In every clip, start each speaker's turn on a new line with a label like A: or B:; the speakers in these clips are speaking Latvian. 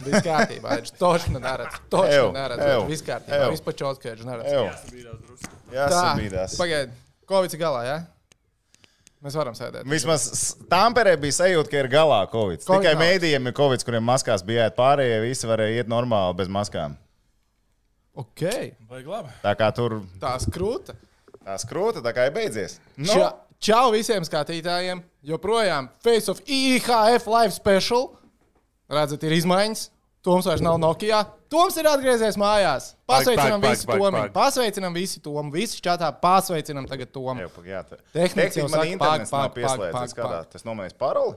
A: Viss kārtībā, viņš točno neredz. Točno
B: Ew,
A: neredz.
B: ew,
A: Viss kārtībā,
B: ew.
A: vispār čotkēdži neredz.
B: Evo, jāsabīdās.
A: pagaid, Covid ir galā, jā? Ja? Mēs varam sēdēt.
B: Vismaz s- Tamperē bija sajūta, ka ir galā Covid.
A: Covid
B: Tikai
A: nav.
B: mēdījiem ir Covid, kuriem maskās bija jāiet pārējie, visi varēja iet normāli bez maskām.
A: Ok,
C: Vai labi?
B: Tā kā tur
A: tā skrūta.
B: tā skrūta tā kā ir beidzies. Nu,
A: Ča, čau visiem skatītājiem! Joprojām Face of IHF Live Special. Redzat, ir izmaiņas. Toms vairs nav Nokia. Toms ir atgriezies mājās. Pasveicinām
C: pag, pag,
A: visi
C: pag,
A: Tomu.
C: pag.
A: Pasveicinām visi Tomu. Visi čatā pasveicinām tagad Tomu.
B: Evo, pag- jā, tā-
A: Tehnici jau
B: Tehniski man
A: saka, pag,
B: internets
A: pag, pag,
B: nav pieslēgts.
A: pag,
B: Es kādā- Tas nomainīs paroli.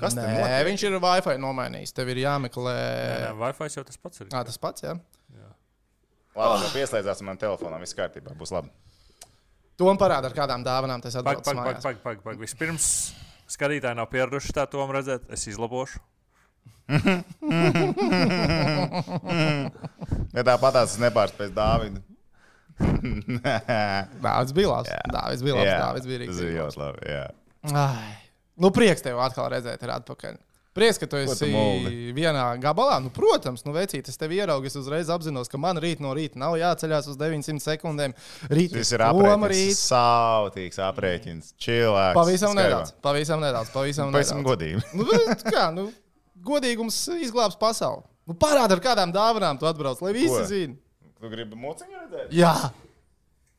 B: Kas tur
A: Nē,
B: notiek?
A: viņš ir Wi-Fi nomainījis. Tev ir jāmeklē.
C: Wi-Fi jau tas pats ir.
A: Jā, tas pats, jā.
B: Labi, jau pieslēdzās man telefonam, viss kārtībā, būs labi.
A: Tom parāda, ar kādām dāvanām tas
C: Pag,
A: atbrauc
C: pag, pag,
A: mājās.
C: pag, pag, pag. Vispirms skatītāji nav pieraduši tā tom redzēt, es izlabošu.
B: Ja tāpat tās nepārspēs Dāvidu.
A: Dāvids bija labs. Dāvids bija labs.
B: Jā,
A: Dāvids bija
B: tas ir
A: rīks.
B: ļoti labi. jā.
A: Ai, nu prieks tev atkal redzēt, ir atpakaļ. Prieks, ka tu
B: tu
A: esi
B: moldi?
A: vienā gabalā. Nu, protams, nu, vecīt, es tevi ieraugu, es uzreiz apzinos, ka man rīt no rīta nav jāceļās uz 900 sekundēm. Rīt
B: Šis ir
A: Toma
B: aprēķins.
A: rīt.
B: Sautīgs aprēķins. Cilvēks.
A: Pavisam
B: skaidro.
A: nedaudz. Pavisam nedaudz. Pavisam
B: Pavisam
A: nedaudz.
B: godīgi.
A: Nu, bet kā, nu, godīgums izglābs pasauli. Nu, Parāda, ar kādām dāvanām tu atbrauc, lai
B: Ko?
A: visi zinātu.
B: Tu gribi muciņu redzēt?
A: Jā,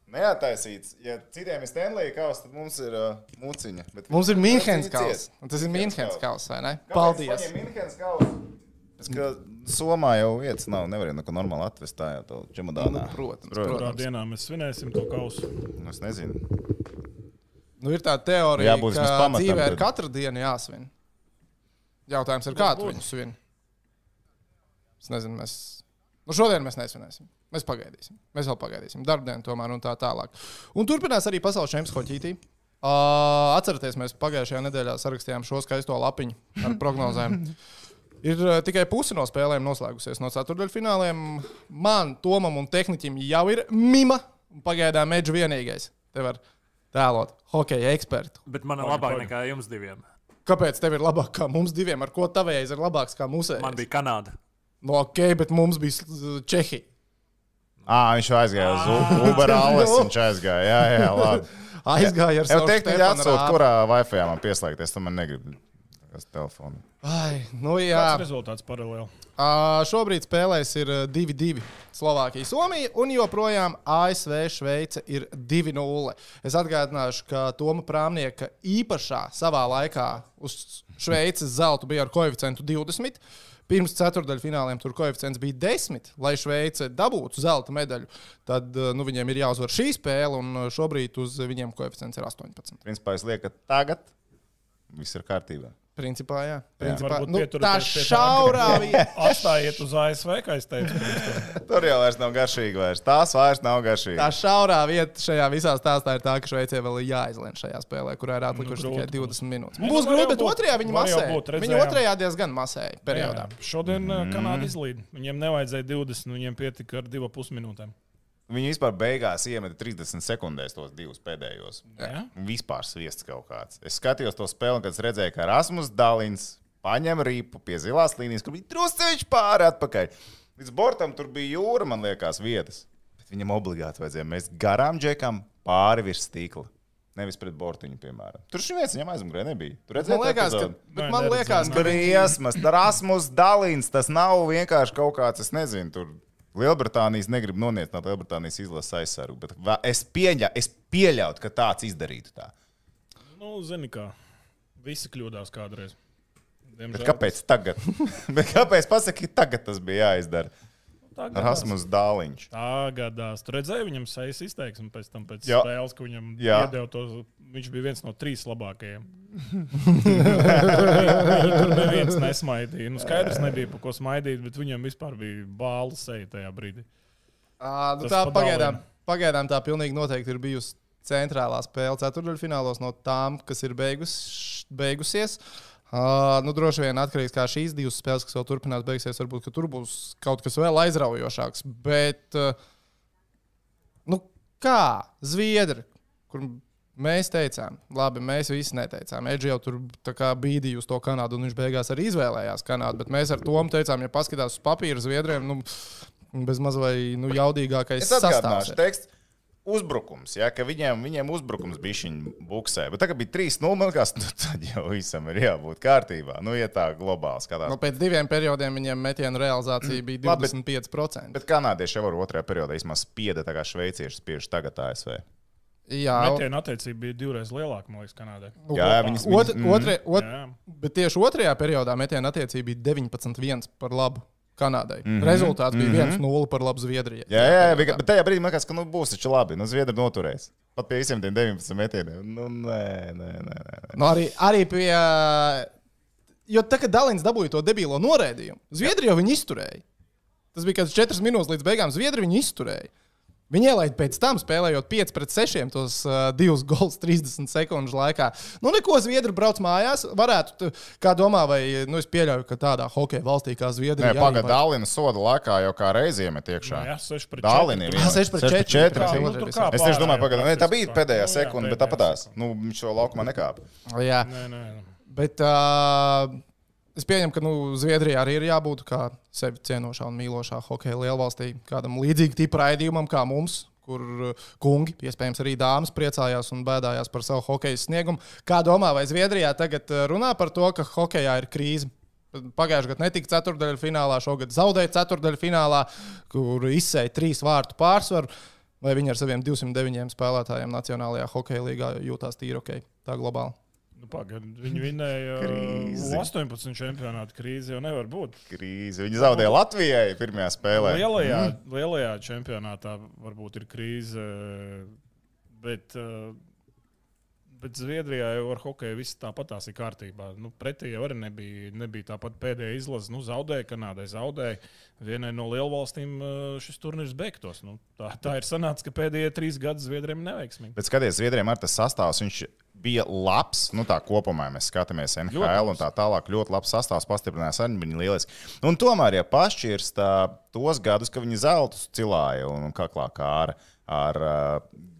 B: Neataisīts. Ja citiem ir Stanley kaus, tad mums ir uh, muciņa. Bet
A: mums ir Mīnhenes
B: Muciņa ciet.
A: kaus. Un Tas ir Mīnhenes kaus, vai ne?
B: Kāpēc
A: Paldies!
B: paņem Minhenes kausu? Es ka Somā jau vietas nav. Nevarēja neko normāli atvest tā jau tādā čemodānā.
A: Nu, protams,
B: protams.
C: Kurā dienā mēs svinēsim to kausu?
B: Nu, Es nezinu.
A: Nu, ir tā teorija, ka
B: Jābūt vismaz pamatam,
A: dzīvē ir
B: tad.
A: katru dienu jāsvin. Jautājums ir, kā tu viņu svin? Es nezinu, mēs. Nu, šodien mēs nesvinēsim. Mēs pagaidīsim. Mēs vēl pagaidīsim. Darbdienu tomēr un tā tālāk. Un turpinās arī pasaules čempions Hoķītī. Uh, atcerieties, mēs pagājušajā nedēļā sarakstījām šo skaisto lapiņu ar prognozēm. Ir uh, tikai puse no spēlēm noslēgusies no ceturdaļfināliem. Man, Tomam un tehnikam jau ir mima. un Pagaidām mēģi vienīgais. Tev var tēlot hokeja ekspertu.
C: Bet man ir labāk nekā jums diviem.
A: Kāpēc tev ir labāk kā mums diviem? Ar ko tavējais ir labāks kā mūsējais?
C: Man bija Kanāda.
A: No, ok, bet mums bija s- Čehija.
B: Ā, viņš aizgāja uz U- Uber Alles.
A: Nu.
B: Viņš aizgāja. Jā, jā, labi.
A: Aizgāja ar
B: Tev
A: savu
B: tehniski
A: Stefanu
B: jāatsūt,
A: Rāpu.
B: kurā Wi-Fi man pieslēgties. Tu man negribi. Tas telefonu.
A: Ai, nu
C: Tas
A: jā.
C: rezultāts paralēli.
A: Ā, Šobrīd spēlēs ir ā, 2-2 Slovākija, Somija un joprojām ASV Šveice ir 2-0. Es atgādināšu, ka Toma Prāmnieka īpašā savā laikā uz Šveices zelta bija ar koeficientu 20. Pirms ceturdaļfināliem tur koeficients bija 10, lai Šveice dabūtu zelta medaļu. Tad ā, nu, viņiem ir jāuzvar šī spēle, un ā, šobrīd uz viņiem koeficients ir 18.
B: Principā es lieku, ka tagad viss ir kārtībā.
A: Principā, jā. Principā,
D: Varbūt
A: nu, tā
D: pieturieties pie tā.
A: šaurā vieta.
D: Atstājiet uz ASV, kā es teicu.
B: Tur jau vairs nav garšīgi. Vairs. Tās vairs nav garšīgi.
A: Tā šaurā vieta šajā visā stāstā ir tā, ka Šveicē vēl ir jāizlemj šajā spēlē, kurā ir atlikušas
D: grūti
A: tikai 20 minūtes.
D: Nē, nu,
A: Būs
D: var
A: grūti,
D: jau
A: bet
D: būt.
A: otrajā viņi
D: Var jau
A: masē.
D: būt,
A: Viņi
D: redzējām.
A: otrajā diezgan masēja periodā.
D: Jā, Šodien
B: Mhm.
D: mm. Kanāda izlīd. Viņiem nevajadzēja 20, viņiem pietika ar 2,5 minūtēm.
B: Viņi vispār beigās iemeta 30 sekundēs tos divus pēdējos.
D: Jā.
B: Vispār sviests kaut kāds. Es skatījos to spēli, un kad es redzēju, ka Rasmus Dālins paņem rīpu pie zilās līnijas, kur bija drusceļš pāri atpakaļ. Līdz bortam tur bija jūra, man liekas, vietas. Bet viņam obligāti vajadzēja mest garām džekam pāri virs stīkla. Nevis pret bortiņu, piemēram. Tur šī viens viņam aizmugurē nebija. Tur redzēja,
A: Man liekas, ka, bet
D: Nē,
A: man
D: neredzēju.
A: liekas, ka
B: Briesmas, Rasmus Dālins. Tas nav vienkārši kaut kāds, es nezinu, tur Lielbritānijas negribu noniecināt Lielbritānijas izlases aizsargu, bet va- es, pieļa, es pieļautu, ka tāds izdarītu tā.
D: Nu, zini, kā visi kļūdās kādreiz.
B: Bet kāpēc tagad? Bet kāpēc pasaki, tagad tas bija jāizdara?
D: Tagad,
B: Rasmus Dāliņš.
D: Tagadās. Tur redzēju, viņam sejas izteiksme pēc tam, pēc
B: Jā.
D: Jā. spēles, ka viņam
B: Jā.
D: iedeva to. Viņš bija viens no trīs labākajiem. Viņu tur neviens nesmaidīja. Nu, skaidrs nebija, pa ko smaidīt, bet viņam vispār bija bāla seja tajā brīdī.
A: Ā, nu
D: Tas
A: tā
D: pa
A: pagaidām,
D: baliem.
A: pagaidām tā pilnīgi noteikti ir bijusi centrālā spēle ceturdaļfinālos no tām, kas ir beigus, beigusies. Uh, nu, droši vien atkarīgs no šīs divas spēles, kas vēl turpinās, beigsies. Varbūt ka tur būs kaut kas vēl aizraujošāks. Bet, uh, nu, kā Zviedri, kur Mēs teicām, labi, mēs visi neteicām. Edži jau tur tā kā bīdīja uz to Kanādu, un viņš beigās arī izvēlējās Kanādu. Bet mēs ar to teicām, ja paskatās uz papīru zviedriem, nu, bez maz vai nu, jaudīgākais
B: Es atgādināšu,
A: sastāvs. ir.
B: teksts. Uzbrukums, ja, ka viņiem, viņiem uzbrukums bija šī buksē. Bet tagad bija 3-0. Man liekas, nu, tad jau visam ir jābūt kārtībā. Nu, ja tā globāli skatās.
A: Nu, pēc diviem periodiem viņiem metienu realizācija bija
B: Mm. Labi, bet-
A: 25%.
B: Bet kanādieši jau ar otrajā periodā īstenībā spieda, tā kā šveicieši spiež tagad ASV.
A: Jā,
D: Metienu attiecība bija divreiz lielāka, man liekas, Kanādā.
A: nu,
B: Jā,
A: kopā.
B: viņas-
A: Ot-
B: viņas- mm.
A: otrē- ot-
D: Jā.
A: Bet tieši otrajā periodā metienu attiecība bija 19-1 par labu Kanādai. Mm -hmm. Rezultāts bija mm -hmm. 1-0 par labu Zviedrijai.
B: Mhm. Jā, jā, jā bet bet tajā brīdī man liekas, ka nu, būs taču labi. Nu, Zviedri noturēs. Pat pie visiem tiem 19 metieniem. Nu, nē, nē, nē. nē.
A: Nu, arī, arī pie. Jo tā kā Dalins dabūja to debilo norādījumu, Zviedri jau viņu izturēja. Tas bija kāds 4 minūtes līdz beigām. Zviedri viņu izturēja. Viņi ielaida pēc tam, spēlējot 5 pret 6, tos uh, divus gols 30 sekundžu laikā. Nu, neko Zviedri brauc mājās. Varētu, tu- kā domā, vai nu, es pieļauju, ka tādā hokeja valstī kā Zviedrija
B: nē Pagaidā, Dālina soda laikā jau kā reizē met iekšā.
D: Nu, jā, 6 pret 4.
B: Dāliniem
A: Jā,
B: vienmēr.
A: 6 pret
B: 6
A: četri.
B: pret
A: Kā,
B: 4.
A: nu, tur kā
B: Es tieši domāju, pagaidām, nē, tā bija pēdējā
D: Nu, jā,
B: sekunde, bet
D: pēdējā
B: apatās. Nu, viņš jau laukumā nekāpa.
A: vai... Jā,
D: Nē, nē, nu, nē.
A: bet uh, es pieņemu, ka nu, Zviedrijā arī ir jābūt kā sevi cienošā un mīlošā hokeja lielvalstī, kādam līdzīgam tipu raidījumam kā mums. Kur uh, kungi, iespējams, arī dāmas priecājās un bēdājās par savu hokeja sniegumu. Kā domā, vai Zviedrijā tagad uh, runā par to, ka hokejā ir krīze? Pagājušajā gadā netika ceturdaļfinālā, šogad zaudēja ceturdaļfinālā, kur izsēja trīs vārtu pārsvaru. Vai viņi ar saviem 209 spēlētājiem Nacionālajā hokeja līgā jūtās tīri ok, tā globāli?
D: Nu, pagad, viņi vinēja
B: Krīzi.
D: uh, 18 čempionāta krīzi, jau nevar būt.
B: Krīze. Viņi zaudēja Latvijai pirmajā spēlē.
D: Lielajā, mm. lielajā čempionātā varbūt ir krīze, bet, eh, bet Zviedrijā jau ar hokeju viss tāpatās ir kārtībā. Nu, pretī jau arī nebija, nebija tāpat pēdējā izlase. Nu, zaudēja Kanādai, zaudēja. Vienai no lielvalstīm eh, šis turnīrs beigtos. Nu, tā, tā ir sanāca, ka pēdējie trīs gadi Zviedrijam neveiksmīgi.
B: Bet skaties, Zviedrijam ar tas sastāvs viņš bija labs. Nu, tā kopumā ja mēs skatāmies NHL un tā tālāk. Ļoti labs sastāvs, pastiprinājās arī viņa lieliski. Un tomēr, ja pašķirs tā, tos gadus, kad viņi zelta cilāja un kaklā kāra ar uh,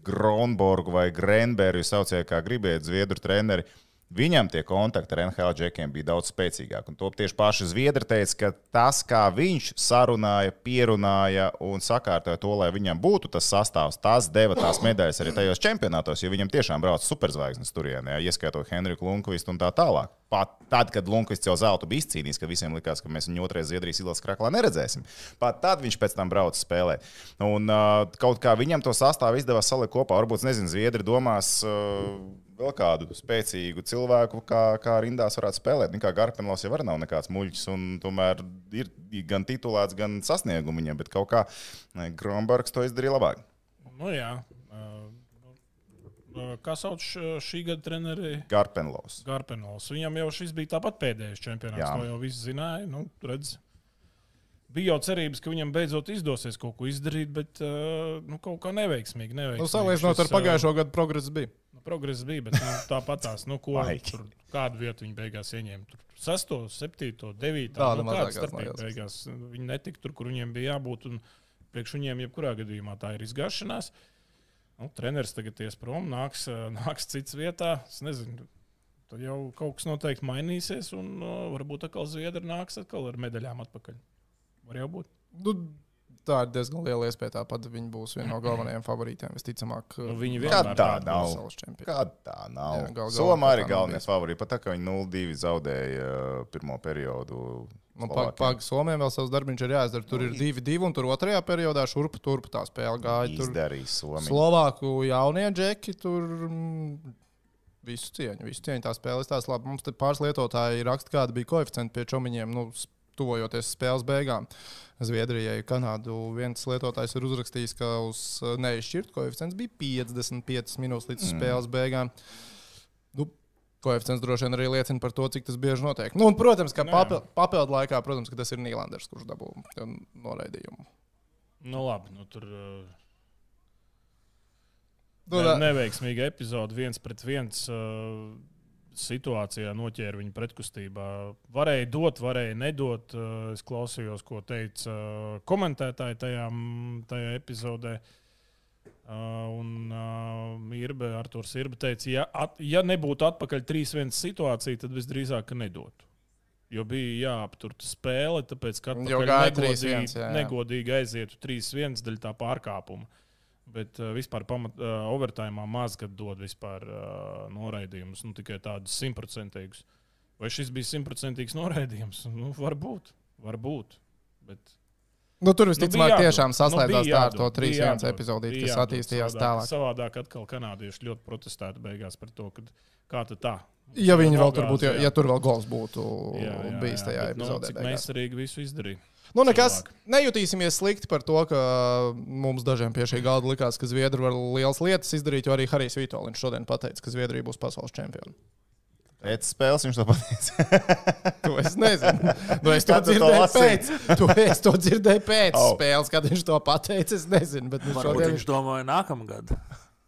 B: Gronborgu vai Grenbergu, sauciet, kā gribēt, Zviedru treneri. Viņam tie kontakti ar NHL džekiem bija daudz spēcīgāki. Un to tieši paši Zviedri teica, ka tas, kā viņš sarunāja, pierunāja un sakārtoja to, lai viņam būtu tas sastāvs, tas deva tās medaļas arī tajos čempionātos, jo viņam tiešām brauc superzvaigznes turienē, ieskaitot Henriku Lunkvistu un tā tālāk. Pat tad, kad Lunkvists jau zeltu bija izcīnījis, kad visiem likās, ka mēs viņu otrajā Zviedrijas ilas krāklā neredzēsim, pat tad viņš pēc tam brauca spēlē. Un uh, kaut kā viņam to sastāvu izdevās salikt kopā. Varbūt, nezinu, Zviedri domās. Uh, vēl kādu spēcīgu cilvēku, kā, kā rindās varētu spēlēt. Nu, Kā Garpenlovs jau arī nav nekāds muļķis, un tomēr ir gan titulēts, gan sasniegumi viņam, bet kaut kā Grunbergs to izdarīja labāk.
D: Nu, jā, eh, nu, eh, kā sauc š- šī gada treneri?
B: Garpenlovs.
D: Garpenovs. Viņam jau šis bija tāpat pēdējais čempionāts.
B: Jā.
D: Jā. To jau viss zināja. Nu, redz, bija jau cerības, ka viņam beidzot izdosies kaut ko izdarīt, bet uh, nu, kaut kā neveiksmīgi. neveiksmīgi.
A: Nu, Salīdzinot ar
D: Šis, uh,
A: pagājušo gadu progresu bija.
D: ā, Nu, progress bija, bet nu, tāpat tās, nu, ko
B: Maigi.
D: tur, kādu vietu viņi beigās ieņēma. Tur 6, 7, 9.
A: Tāda
D: nu, kāda
A: mazākās
D: starpība
A: lielās.
D: beigās. Viņi netika tur, kur viņiem bija jābūt. Un priekš viņiem, jebkurā gadījumā, tā ir izgāšanās. Nu, treneris tagad ies prom, nāks, eh, nāks cits vietā. Es nezinu, tad jau kaut kas noteikti mainīsies. Un uh, varbūt atkal Zviedri nāks atkal ar medaļām atpakaļ. Var jau būt.
A: Nu, tā ir diezgan liela iespēja. Tāpat viņi būs viena no galvenajiem favorītiem. Visticamāk,
D: Nu, viņi
B: Kad
D: vienmēr
B: tā
D: tādi
B: nav?
A: pasaules čempioni.
B: Kad tā nav?
A: Jā, gal- galā
B: Somā arī
A: tā nav
B: galvenie
A: bijis.
B: favorīti. Pat tā, ka viņi 0-2 zaudēja uh, pirmo periodu.
A: Nu,
B: Slovākiem.
A: Pagaidām, Somijam vēl savs darbs ir jāizdara. Tur ir divi, divi, un tur otrajā periodā šurp turp tā spēle gāja. Tur
B: Izdarīja Somiju.
A: Slovāku jaunie džeki tur. mm, Visu cieņu, visu cieņu. Tā spēle izstāsta labi. Mums te pāris lietotāji raksta, kāda bija koeficienta pie čomiņiem, nu, s- tuvojoties spēles beigām. Zviedrijai, Kanādu. Viens lietotājs ir uzrakstījis, ka uz eh, neizšķirta koeficients bija 55 minūtes līdz mm. spēles beigām. Nu, koeficients droši vien arī liecina par to, cik tas bieži notiek. Nu, un, protams, ka
D: Nu, jā.
A: papil papildu laikā, protams, ka tas ir Nīlanders, kurš dabūja noraidījumu.
D: Nu, labi, nu, tur, uh,
A: Nu,
D: Ne,
A: tā-
D: neveiksmīga epizode, viens pret viens uh, situācijā noķēra viņu pretkustībā. Varēja dot, varēja nedot. Uh, es klausījos, ko teica uh, komentētāji tajā, tajā epizodē. Uh, un uh, Irba, Arthurs Irba teica, ja, at, ja nebūtu atpakaļ 3-1 situācija, tad visdrīzāk ka nedotu. Jo bija jāaptur tā spēle, tāpēc ka
A: Jo
D: atpakaļ
A: gāja 3:1,
D: negodīgi,
A: jā, jā.
D: negodīgi aizietu 3-1 daļa tā pārkāpuma. Bet uh, vispār pamat, uh, overtājumā maz kad dod vispār uh, noraidījumus, nu, tikai tādus simtprocentīgus. Vai šis bija simtprocentīgs noraidījums? Nu, varbūt, varbūt. Bet
A: Nu, tur visticamāk,
D: bija
A: nu,
D: jādod.
A: tiešām saslēdzās
D: bija
A: tā ar to
D: jādod, bija
A: 3-1
D: jādod,
A: epizodī,
D: bija
A: kas
D: jādod.
A: attīstījās
D: Savādāk-
A: tālāk.
D: Savādāk atkal kanādieši ļoti protestēja beigās par to, ka kā tad tā.
A: Ja viņi vēl
D: Nogāzi,
A: tur būtu, ja,
D: jā.
A: ja tur vēl gols būtu
D: Jā, jā,
A: bijis
D: jā,
A: tajā
D: bet, nu,
A: epizodē.
D: Cik
A: beigās.
D: meistarīgi visu izdarīja.
A: Nu, nekas,
D: Cilvēki.
A: nejutīsimies slikti par to, ka mums dažiem pie šī galda likās, ka Zviedri var lielas lietas izdarīt, jo arī Harijs Vitoļins šodien pateica, ka Zviedrija būs pasaules čempioni.
B: Pēc spēles viņš to pateica.
A: To es nezinu. Nu, es to
B: Kad tu to
A: dzirdēju
B: lasīji?
A: pēc, to, es to dzirdēju pēc oh.
B: Au.
A: spēles, kad viņš to pateica. Es nezinu, bet nu,
C: Varbūt
A: šodien
C: viņš domāja nākamgad.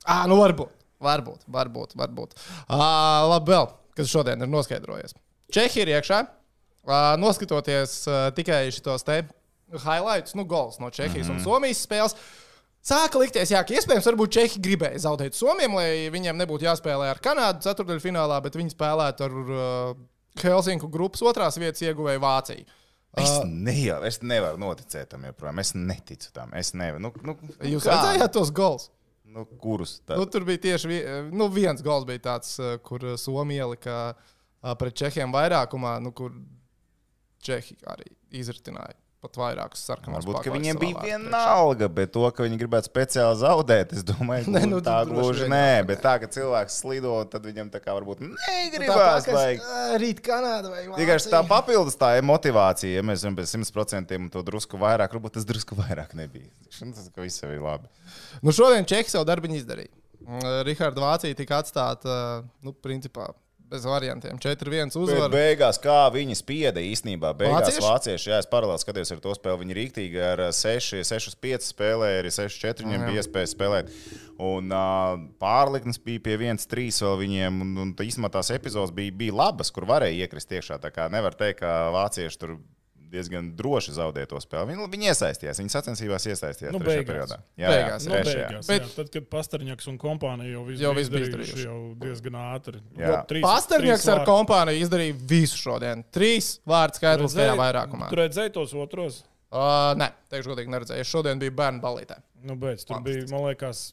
A: À, nu varbūt, varbūt, varbūt. varbūt. À, labi, vēl, kas šodien ir noskaidrojies. Čehija ir iekšā. À, noskatoties à, tikai šos te highlights, nu, gols no Čehijas mm -hmm. un Somijas spēles. Sāka likties, jā, ka iespējams, varbūt Čehi gribēja zaudēt Somijam, lai viņiem nebūtu jāspēlē ar Kanādu ceturdaļfinālā, bet viņi spēlētu ar uh, Helsinku grupas otrās vietas ieguvēju Vāciju.
B: Es, ne, es nevaru noticēt tam joprojām. Es neticu tam. Es nevaru. Nu, nu,
A: Jūs
B: kā?
A: redzējāt tos gols?
B: Nu, kurus? Tad?
A: Nu, tur bija tieši vi- nu, viens gols, bija tāds, eh, kur eh, Somija ielika eh, pret Čehiem vairākumā, nu, kur Čehi arī izritināja pat vairākus sarkanus.
B: Varbūt ka
A: spēkus
B: viņiem
A: savā
B: bija
A: vārtu priekšā.
B: vienalga, bet to, ka viņi gribētu speciāli zaudēt, es domāju,
A: Nē,
B: ka
A: nu,
B: nu, tā
A: tu droši
B: gluži
A: vien
B: nē. Bet tā, ka cilvēks slido, tad viņam tā kā varbūt negribās.
A: Tāpat,
B: Tā
A: kas, eh, Rīt Kanāda vai Vācija.
B: Tikai tā papildus tā ir motivācija. Ja mēs zinām, pēc 100% un to drusku vairāk, varbūt tas drusku vairāk nebija. Tas ka viss jau ir labi.
A: Nu, šodien Čehi savu darbu izdarīja. Rihards Vācija tika atstāta, eh, nu, principā bez variantiem. 4-1
B: Bet
A: uzvara.
B: beigās, kā viņi spieda īstenībā, beigās
A: Vācieši?
B: vācieši, jā, es paralēli skatījos ar to spēli. Viņi rīktīgi ar 6, 6, 5 spēlēja, arī 6, 4 viņiem bija iespēja spēlēt. Un uh, pārliknes bija pie 1, 3 vēl viņiem. Un, un tā īstenībā tās epizodes bija, bija labas, kur varēja iekrist iekšā. Tā kā nevar teikt, ka vācieši tur diezgan droši zaudēja to spēli. Viņi, viņi iesaistījās, viņi sacensībās iesaistījās nu,
D: Nu,
B: trešajā
D: beigās.
B: periodā.
A: Beigās,
D: Nu,
B: trešajā.
D: beigās,
A: Bet-
D: bet... jā, tad, kad Pastaņģis un kompānija jau visu
A: Jau
D: bija
A: viss bija
D: izdarījuši,
A: izdarījuši.
D: jau diezgan ātri.
B: Jā.
D: Gob- trīs-
A: Pastāvnieks
D: trīs
A: ar
D: vārdi.
A: kompāniju izdarīja visu šodien. Trīs vārdu skaidrs, kā
D: Redzēji-
A: vairākumā.
D: Tu redzēji tos otros?
A: Uh, nē, teikšu, godīgi neredzēju. Es šodien biju bērnu balītē.
D: Nu, beidz, tur bija, man liekas,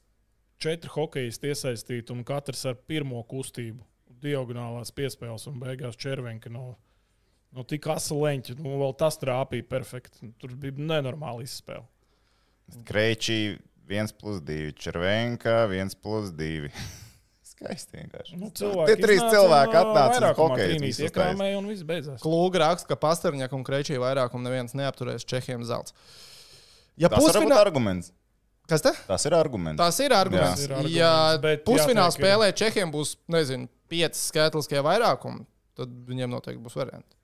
D: četri hokejisti iesaistīti un katrs ar pirmo kustību. Diagonālās piespēles un beigās červenka. No, no tik asa leņķa, nu, vēl tas trāpīja perfekti. Nu, Tur bija nenormāla izspēle.
B: Kreičī 1 plus 2, Červenka 1 plus 2. Skaisti vienkārši.
D: Nu,
B: Tie trīs cilvēki atnāca un hokeja
D: Viņus iekrāmēja un viss beidzās.
A: Klūga raksta, ka Pasterņaka un Krečija vairākumu neviens neapturēs Čehiem zelts. Ja
B: Tas ir
A: pusfinālā...
B: arguments.
A: Kas te?
B: Tas ir arguments.
A: Tas ir arguments.
D: Tas ir
A: Jā.
D: arguments,
A: Ja
D: bet
A: pusfinālā
D: jātiek-
A: spēlē Čehiem būs, nezinu, pieci skaitliskie vairākumi, tad viņiem noteikti būs varianti.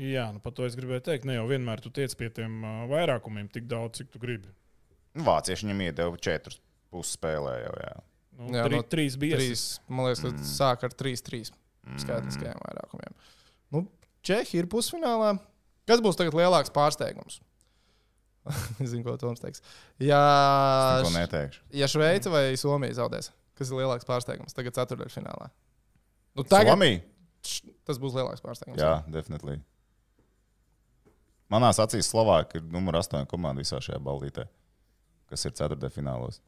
D: Jā, nu, par to es gribēju teikt. Ne jau vienmēr tu tiec pie tiem ā, vairākumiem tik daudz, cik tu gribi.
B: Nu, Vācieši viņam iedeva 4 pusspēlē jau. Jā.
D: Nu,
A: Jā,
D: jā, trī,
A: no
D: no trīs bija
A: Trīs, man liekas,
B: Mm.
A: ka sāk ar 3-3 skaitliskajiem vairākumiem. Nu, Čehi ir pusfinālā. Kas būs tagad lielāks pārsteigums? Es zinu, ko Toms teiks. Jā,
B: Es neko neteikšu.
A: Ja Šveice vai Somija zaudēs, kas ir lielāks pārsteigums tagad, ceturdaļfinālā? Nu,
B: Tagad...
A: tagad
B: Somija?
A: š- tas būs lielāks pārsteigums.
B: Jā, definitīvi. Manā acīs Slovākija ir numur 8 komanda visā šajā ballītē, kas ir 4. finālos.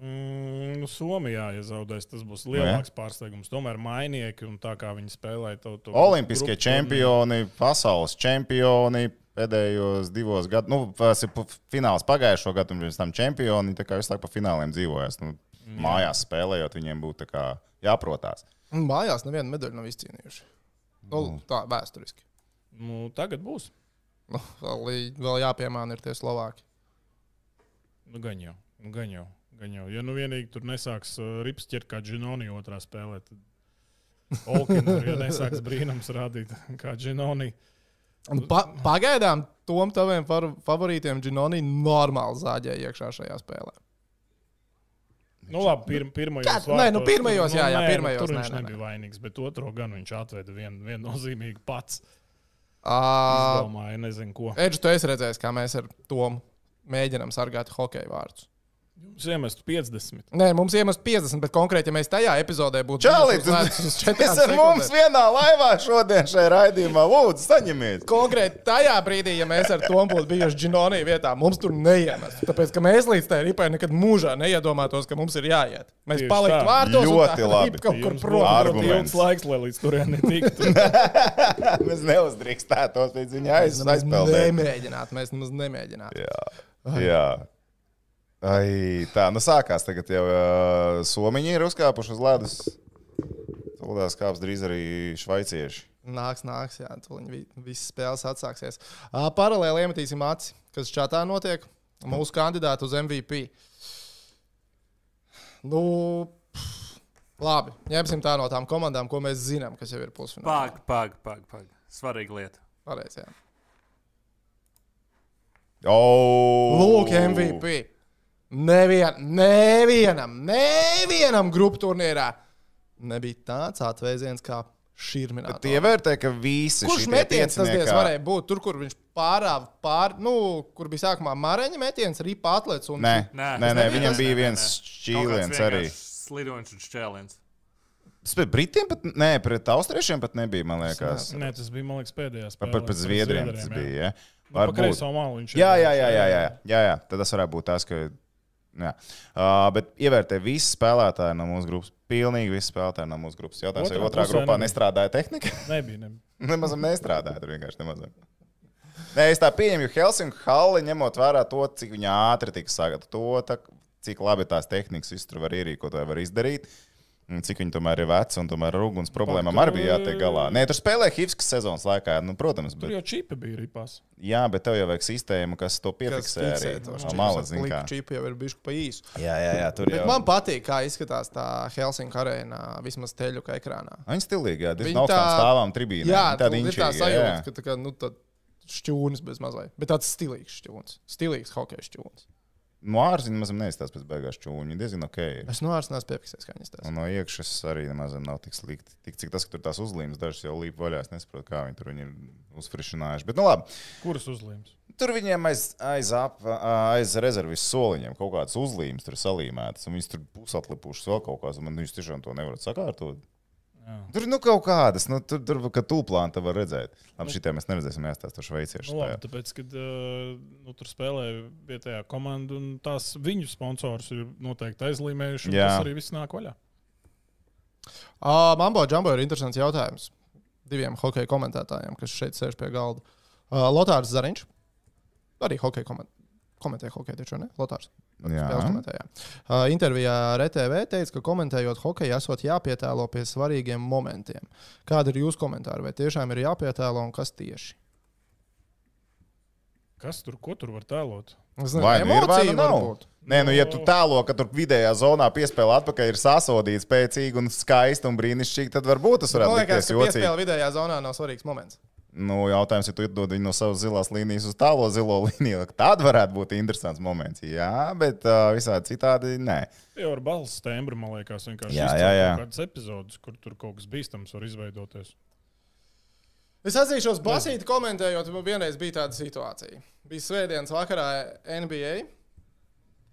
D: Mm, nu, Somijā, ja zaudēs, tas būs
A: Nu,
D: lielāks pārsteigums. Tomēr mainieki un tā kā viņi spēlēja to, to
B: Olimpiskie
D: grupu
B: čempioni, pasaules čempioni pēdējos divos gados, nu, tas ir pu- fināls pagājušo gadu, un pirms tam čempioni. Tā kā visu laiku pa fināliem dzīvojas. Nu, mājās spēlējot, viņiem būtu tā kā jāprotās.
A: Un Mājās nevienu medaļu nav izcīnījuši. Nu, tā vēsturiski.
D: Un, nu, tagad būs.
A: Nu, vēl, lī- vēl jāpiemāna ir tie Slovāki.
D: Nu, gan jau, nu, gan jau. Gan jau. Ja nu vienīgi tur nesāks uh, rips ķert kā džinoni otrā spēlē, tad Olkina, ja nesāks brīnums rādīt kā džinoni.
A: Un Pa, pagaidām tom taviem far- favorītiem Džinoni normāli zāģēja iekšā šajā spēlē.
D: Nu, labi, pir, pirmajos.
A: Kad?
D: vārtos
A: Nē, nu,
D: tur-
A: pirmajos, jā, jā,
D: nē, nu,
A: pirmajos,
D: Tur
A: nē,
D: viņš
A: nē, nē.
D: nebija vainīgs, bet otro gan viņš atveda vien- viennozīmīgi pats.
A: Ā,
D: Domāju, nezinu ko.
A: Edž, tu esi redzējis, kā mēs ar Tomu mēģinām sargāt hokeju vārdus.
D: Jums iemest 50.
A: Nē, mums iemest 50, bet konkrēti, ja mēs tajā epizodē būtu
B: Čālīt,
A: bijuši uz- uz četrām
B: tas ir mums
A: sekundēm.
B: vienā laivā šodien šajā raidījumā. Lūdzu, saņemiet!
A: Konkrēti tajā brīdī, ja mēs ar to būtu bijuši Džinonī vietā, mums tur neiemestu. Tāpēc, ka mēs līdz tai ripai nekad mūžā neiedomātos, ka mums ir jāiet. Mēs
D: Tieši
A: paliktu
D: tā.
A: vārtos. un
B: Ļoti
A: tā
B: labi.
A: ripa Kaut kur
D: Jums būtu
A: prom.
D: ļoti
B: Arguments.
D: ilgs laiks, lai līdz turienei tiktu.
B: Mēs neuzdrīkstētos līdz viņa aiz-
A: Mēs
B: aizpeldēt.
A: Nemēģināt, mēs nemaz nemēģināt.
B: Jā. Jā. Ai, tā, nu sākās tagad jau uh, somiņi ir uzkāpuši uz ledus. Tūlēļ kāps drīz arī šveicieši.
A: Nāks, nāks, jā, tuliņ viss spēles atsāksies. Ā, Paralēli iemetīsim acis, kas čatā notiek. Mūsu kandidātu uz MVP. Nu, pff, labi, ņemsim tā no tām komandām, ko mēs zinām, kas jau ir pusfinālā.
C: Pag, pag, pag, pag. Svarīga lieta.
A: Pareizi, jā.
B: Oh!
A: Lūk, MVP. Nevien, nevienam, nevienam grupu turnīrā nebija tāds atvēziens kā šīm.
B: Tie vērtē, ka visi.
A: Kurš
B: šitie
A: metiens tas diez
B: pieciniekā-
A: varēja būt? Tur, kur viņš pārāva pār, nu, kur bija sākumā mareņa metiens, arī pārlēc. Un...
B: Nē,
C: Nē,
B: nē, nē,
C: tas
B: viņam
C: neviens.
B: bija
C: Nē, nē,
B: viens
C: nē.
B: čīliens arī.
C: Slidoņš un čēliens.
B: Tas pret Britiem pat, nē, pret Austriešiem pat nebija, man liekas.
D: Nē, tas bija, man liekas, pēdējā
B: Par,
D: spēlē.
B: par, pret Zviedriem Nu, tas bija. Ja?
D: Ar
B: Varbūt.
D: Nu, kreiso malu viņš ir.
B: Jā, jā, jā, jā, jā, jā, jā. Tad tas varētu būt tas, ka. Jā. Uh, bet ievērtē visi spēlētāji no mūsu grupas. Pilnīgi visi spēlētāji no mūsu grupas. Jautājums, vai
D: Otrā
B: otrā
D: pusē
B: grupā
D: nebija.
B: nestrādāja tehnika?
D: Nebija, nebija.
B: nemaz nestrādāja. Tur vienkārši nemaz. Nē, es tā pieņemu, jo Helsinku halli ņemot vērā to, cik viņa ātri tika sagatavota, cik labi tās tehnikas visu tur var ierīkot vai var izdarīt. un Cik viņi tomēr ir veci un tomēr ar uguns problēmām arī bija jātiek galā. Nē, tur spēlēja Hivskas sezonas laikā, nu, protams, bet
D: Tur jau čipi bija ripās.
B: Jā, bet tev jau vajag sistēmu, kas to piefiksē. Kas arī, no malas, zin kā.
A: Čīpa jau ir bijuši pa īsu.
B: Jā, jā, jā, tur
A: Bet
B: jau.
A: man patīk, kā izskatās tā Helsinku arēnā, vismaz teļuka ekrānā.
B: Viņa stilīgi, jā, tas
A: Viņa
B: nav tā
A: tā-
B: stāvām tribīnē.
A: Jā, tā
B: tāda
A: ir tā
B: inčīga, jā,
A: sajūta, ka tā kā, nu, tā šķūnis bez mazliet. Bet tāds stilīgs šķūnis, stilīgs hokeja šķūnis.
B: No ārzemes mazam Nu, neizstāsta pēc beigās čūņa. Viņa diezgan ok. ir.
A: Es nu no ārzemes piefiksēju, kā viņš tās.
B: Un no iekšas arī nemaz nav tik slikti. Tik cik tas, ka tur tās uzlīmes dažas jau līp vaļā. Es nesaprotu, kā viņi tur viņu ir uzfrišinājuši. Bet, nu labi,
D: Kuras uzlīmes?
B: tur viņiem aiz, aiz, ap, aiz rezerves soliņiem kaut kādas uzlīmes tur salīmētas. Un viņas tur pusatlipušas vēl kaut kādas. Un man viņas tiešām to nevar sakārtot.
D: Jā.
B: Tur nu kaut kādas, nu, tur, tur ka tūplānā tā var redzēt.
A: Nu.
B: Labi, šī tā mēs neredzēsim, mēs tās tur šveicieši.
D: Nu, labi,
B: spēlē.
D: tāpēc, kad uh, nu, tur spēlēja vietējā komanda, un tās viņu sponsors ir noteikti aizlīmējuši. un
B: Jā.
D: Tas arī viss nāk vaļā.
A: Ā, Mambo Džambo ir interesants jautājums diviem hokeja komentētājiem, kas šeit sēž pie galda. Ā, Lotārs Zariņš, arī hokeja komentē. Komentēja hokeju, taču ne? Lotārs.
B: Jā.
A: spēles komentējā. Uh, intervijā ar ETV teica, ka komentējot hokeju, esot jāpietēlo pie svarīgiem momentiem. Kāda ir jūsu komentāra? Vai tiešām ir jāpietēlo un kas tieši?
D: Kas tur, ko tur var tēlot?
A: Es
B: Vai nu ir, vai nu
A: emociju
B: nav?
A: varbūt.
B: Nē, nu, ja tu tālo, ka tur vidējā zonā piespēlē atpakaļ ir sasodīts, spēcīgi un skaisti un brīnišķīgi, tad varbūt tas
A: Man
B: varētu
A: liekas,
B: likties
A: ka
B: jocīgi.
A: piespēle vidējā zonā nav svarīgs moments.
B: Nu, jautājums, ja tu iedod viņu no savas zilās līnijas uz tālo zilo līniju, tad varētu būt interesants moments. Jā, bet uh, visādi citādi nē.
D: Jau ar balss tembru, man liekas, vienkārši
B: Jā,
D: izcelt
B: jā, jā.
D: kaut kādas epizodes, kur tur kaut kas bīstams var izveidoties.
A: Es atzīšos, basīti komentējot, man vienreiz bija tāda situācija. Bija svētdienas vakarā NBA.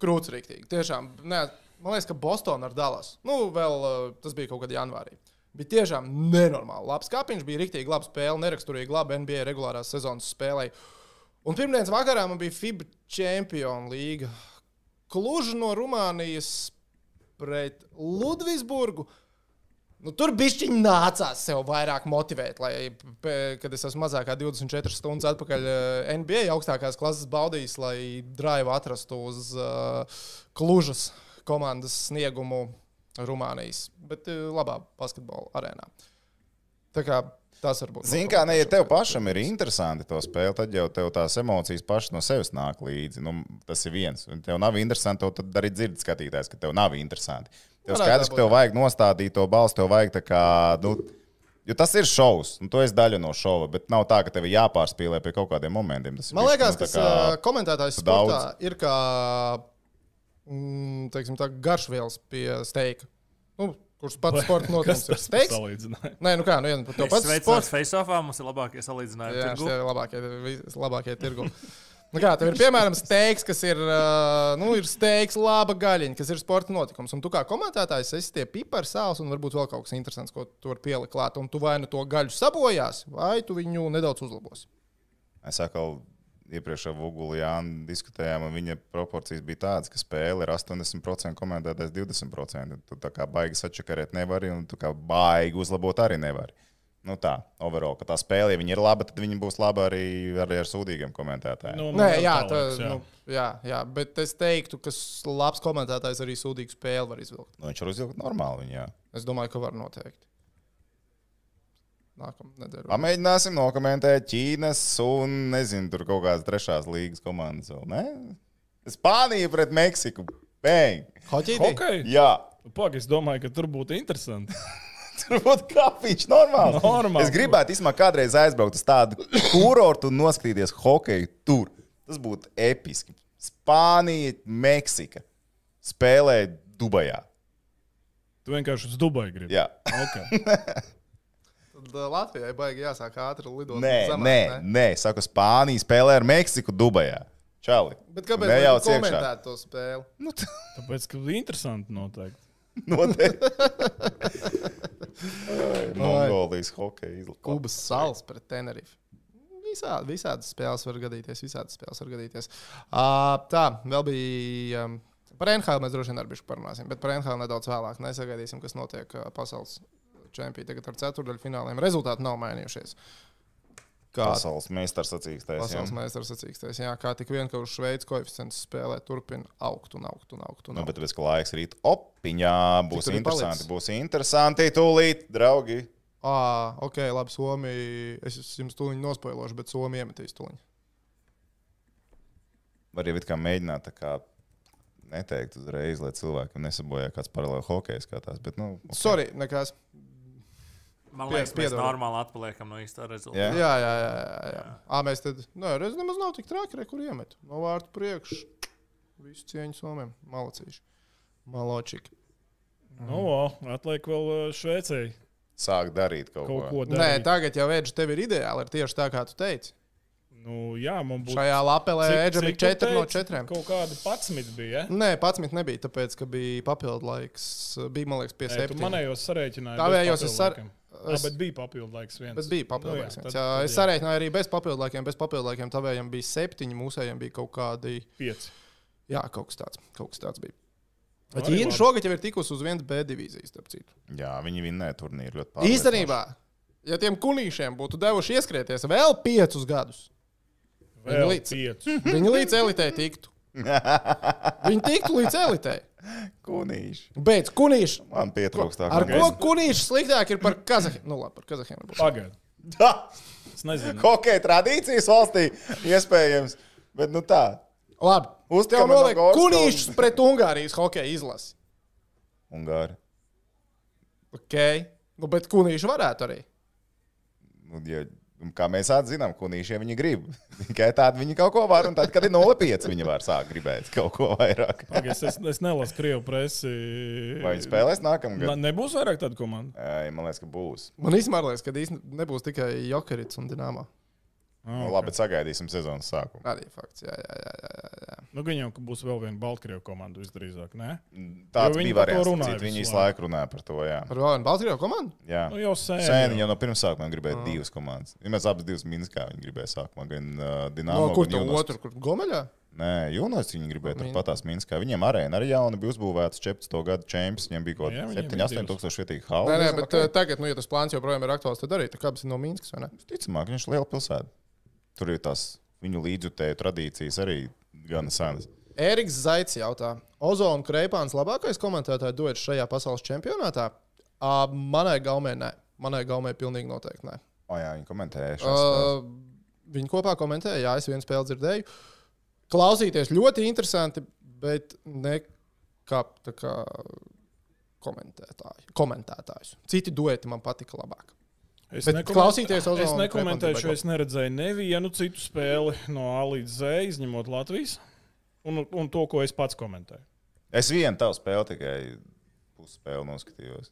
A: Krūts rīktīgi. Tiešām, ne, man liekas, ka Bostonā ar Dallas. Nu, vēl uh, tas bija kaut kad janvārī. Bija tiešām nenormāli. Labs kāpiņš bija rīktīgi, laba spēle, neraksturīgi laba NBA regulārās sezonas spēlē. Un pirmdienas vakarā man bija FIBA Champions League. Kluži no Rumānijas pret Ludvisburgu. Nu, tur bija nācās sev vairāk motivēt, lai, pē- kad es esmu mazāk kā 24 stundas atpakaļ eh, NBA augstākās klases baudījis, lai drive atrastu uz uh, Klužas komandas sniegumu Rumānijas, bet uh, labā basketbola arēnā. Tā kā tas var būt.
B: Zini, kā ne, ja tev pašam ir interesanti to spēlēt, tad jau tev tās emocijas pašas no sevis nāk līdzi. Nu, tas ir viens. Un tev nav interesanti, to tad arī dzird skatītājs, ka tev nav interesanti. Tev
A: Varētu
B: skaidrs,
A: tā
B: ka
A: būt,
B: tev vajag nostādīt to balstu, tev vajag tā kā. Nu, Jo tas ir šovs, un tu esi daļa no šova, bet nav tā, ka tev ir jāpārspīlē pie kaut kādiem momentiem. Tas ir
A: Man
B: bišķi,
A: liekas,
B: nu,
A: ka
B: tā
A: uh, komentētājs
B: tu
A: sportā ir kā mm, teiksim, tā, garšvielas pie steika. Nu, kurš pats sporta notiekums ir steiks?
D: salīdzinājums?
A: Nē, nu kā, nu, ja par to
C: Tāpēc
A: pats
C: sveicināts
A: sports.
C: Facebookā. Mums ir labākie
A: Jā,
C: salīdzinājumi.
A: šie
C: tirgu.
A: ir labākie, vis- labākie tirgu. Nu kā, tev ir piemēram steiks, kas ir, uh, nu, ir steiks, laba gaļiņa, kas ir sporta notikums. Un tu kā komentētājs esi tie pipari sāls un varbūt vēl kaut kas interesants, ko tu vari pielikt klāt. Un tu vai nu to gaļu sabojās, vai tu viņu nedaudz uzlabosi.
B: Es atkal iepriekšā Vogulī diskutējām, un viņa proporcijas bija tādas, ka spēle ir 80% komentētais, 20%. Tu tā kā baigi sačakarēt nevari, un tu kā baigi uzlabot arī nevari. Nu tā, overall, ka tā spēle, ja viņa ir laba, tad viņa būs laba arī, arī ar sūdīgiem komentētājiem. Nu.
D: Nu,
A: Nē,
D: man
A: jā,
D: tā
A: tā,
D: liekas, jā.
A: nu, jā, jā, bet es teiktu, ka s- labs komentētājs arī sūdīgu spēli var izvilkt.
B: Nu, viņš var uzvilkt normāli. Viņa, jā.
A: Es domāju, ka var noteikti. Nākamā nedēļa.
B: Pamēģināsim nokomentēt Ķīnas un, nezinu, tur kaut kādas trešās līgas komandas. vēl, ne? Spānija pret Meksiku. Bang!
A: Hoķītī?
D: Hokeja?
B: Jā,
D: Pagaid, es domāju, ka tur būtu interesanti.
B: tur būtu kāpīgs. Normāli.
D: Normāli.
B: Es gribētu īstenībā kādreiz aizbraukt uz tādu kurortu un noskatīties hokeju tur. Tas būtu episki. Spānija, Meksika spēlē Dubajā.
D: Tu vienkārši uz Dubaju gribi.
B: Jā.
D: Okay.
A: Tad ā, Latvijai baigi jāsāk ātri lidot.
B: Nē,
A: zemāk,
B: nē,
A: ne?
B: nē, saku, Spānija spēlē ar Meksiku Dubajā. Čau!
A: Bet kāpēc gan jau komentēt to spēli?
B: Nu, t-
D: Tāpēc, ka interesanti noteikti.
B: Noteikti. Ai, Mongolijas hokeja izlaiž.
A: Kubas salas pret Tenerife. Visādi, visādas spēles var gadīties. Visādas spēles var gadīties. Uh, tā, vēl bija. Um, par NHL mēs droši vien arī parunāsim, bet par NHL nedaudz vēlāk. Nesagaidīsim, kas notiek uh, pasaules čempionātā. Tagad ar ceturdaļu fināliem rezultāti nav mainījušies. Kā
B: Pasaules meistars sacīkstēs.
A: pasaules meistars sacīkstēs, jā, kā tik vienkārši Šveices koeficients spēlē turpina augt un augt un augt. Un
B: Nu,
A: augt.
B: bet, bet, ka laiks rīt opiņā būs
A: Cik tur ir
B: interesanti.
A: palicis?
B: Būs interesanti tūlīt, draugi.
A: Ah, ok, labi, Somija. Es jums tūlīt nospoilošu, bet Somija iemetīs tūlīt.
B: Var jau it kā mēģināt tā kā neteikt uzreiz, lai cilvēkam nesabojā kāds paralēli hokeja skatās. Bet, nu, ok.
A: Sorry, nekās.
C: Man
A: Pie-
C: liekas, mēs
A: piedod.
C: normāli atpaliekam no
B: Jā.
C: īstā rezultāta.
A: Jā, jā, jā. jā, jā. À, mēs tad, nē, redz, nemaz nav tik traki, re, kur iemet. No vārtu priekš. Visu cieņu somiem. Malacīši. Maločiki.
D: Nu, o, atliek vēl eh, Šveicei
B: Sāk darīt kaut,
D: kaut ko
A: Nē,
D: darīt.
A: tagad jau Edžers tev ir ideāli. Ir tieši tā, kā tu teici.
D: Nu, jā, man būtu.
A: Šajā lapelē
D: Cik-
A: Edžers
D: cik
A: bija
D: tu
A: 4 no
D: teici?
A: 4.
D: Kaut kāda 11 bija. Ja?
A: Nē, 11 nebija, tāpēc, ka bija papildu laiks. Bija, man liekas, pie
D: Nē, tu
A: 7.
D: manējos sarēķināji.
A: Tā
D: bez
A: vējos es
D: papildu
A: sar-
D: laikiem.
A: es-
D: Jā, bet bija papildu laiks viens.
A: Bet bija papildu
D: Nu jā,
A: laiks.
D: tad-
A: viens, jā.
D: tad
A: Es sareiķināju arī bez papildu laikiem. Bez papildu laikiem tavējiem bija 7, mūsējiem bija kaut kādi.
D: Pieci.
A: Jā, kaut kas tāds, kaut kas tāds bija. Bet
D: Arī
A: Ķīna
D: labi.
A: šogad jau ir tikusi uz vienas B divīzijas, starp citu.
B: ko. Jā, viņi vinnēja turnīru ļoti pārāk.
A: Īstenībā, ja tiem kunīšiem būtu devuši ieskrieties vēl piecus gadus,
D: Vēl
A: Līdz.
D: pieci.
A: viņi līdz elitei tiktu. Viņi tiktu līdz elitei.
B: Kunīši.
A: Beidz, kunīši.
B: Man pietrūkst tā.
A: Ar ko kunīši sliktāk ir par Kazahiem? Nu, labi, par Kazahiem. nebūs.
D: Pagaid.
B: ko?
D: Es nezinu.
B: Hokeja tradīcijas valstī iespējams. Bet nu tā.
A: Labi. Uz tev
B: Uztver no
A: noliek
B: Gorskala.
A: kunīšus pret Ungārijas hokeja izlasi.
B: Ungāri.
A: Ok. Nu, bet kunīši varētu arī.
B: Nu, ja, un kā mēs atzinām, kunīšiem viņi grib. Tikai tādu viņi kaut ko var, un tad, kad ir 0,5, viņi var sākt gribēt kaut ko vairāk.
D: Pagaid, es, es, es nelasu krievu presi.
B: Vai viņi spēlēs
D: Na,
B: nākamgad?
D: nebūs vairāk tādu komandu.
B: Ai, man liekas, ka būs.
A: Man īstenībā liekas, ka īstenībā nebūs tikai Jokerits un Dienāmā.
D: Ah,
B: Nu, labi, bet sagaidīsim sezonas sākumu.
A: Arī fakts. Jā, jā, jā. jā, jā.
D: Nu, gan jau, ka būs vēl viena Baltkrievu komanda visdrīzāk. Nē,
B: Tāds
D: Jo viņi
B: bija
D: par to
B: variants.
D: runāja
B: Cit, Viņi
D: visu
B: visu laiku runāja par to. Jā.
A: Par Vānu Baltkrievu komandu?
B: Jā.
D: nu, jau sen.
B: Sēni jau no pirmsākuma
D: Ah.
B: gribēja divas komandas. Ja mēs abas divas Minskā viņa gribēja sākumā, gan uh, Dienāmo.
A: No kur
B: gan
A: tu
B: Junost.
A: otru? Kur Gomeļā?
B: Nē, Junos viņa gribēja
A: Min-
B: turpat tās Minskā. Viņiem arēna arī jauna bija uzbūvēta 14. gada čempions. Viņiem bija kaut
D: Jā,
B: kāda
D: viņiem
B: 7,
D: bija
B: 8
D: divas.
B: tūkstoši vietīgi hausa.
A: Nē, nē, bet okay. tagad, nu, ja tas plāns joprojām ir aktuāls, tad arī tā kā tas ir no Mīnskas, vai ne?
B: Ticamāk, viņš ir liela pilsēta. Tur ir tās viņu līdzjutēju tradīcijas arī gan senas.
A: Ēriks Zaits jautā, Ozo un Kreipāns labākais komentētāju duets šajā pasaules čempionātā? Uh, manai gaumē nē, manai gaumē pilnīgi noteikti nē.
B: O, jā, viņi komentēja šo spēli.
A: Uh, viņi kopā komentēja, jā, es vienu spēli dzirdēju. Klausīties ļoti interesanti, bet ne kā, tā kā komentētāji. komentētājus. Citi dueti man patika labāk.
D: Es
A: Bet
D: nekomen-
A: klausīties Ozolu
D: Es
A: un
D: nekomentēšu,
A: Krepantu
D: es neredzēju nevienu citu spēli no A līdz Z, izņemot Latvijas. Un, un to, ko es pats komentēju.
B: Es vienu tavu spēli tikai pusspēli noskatījos.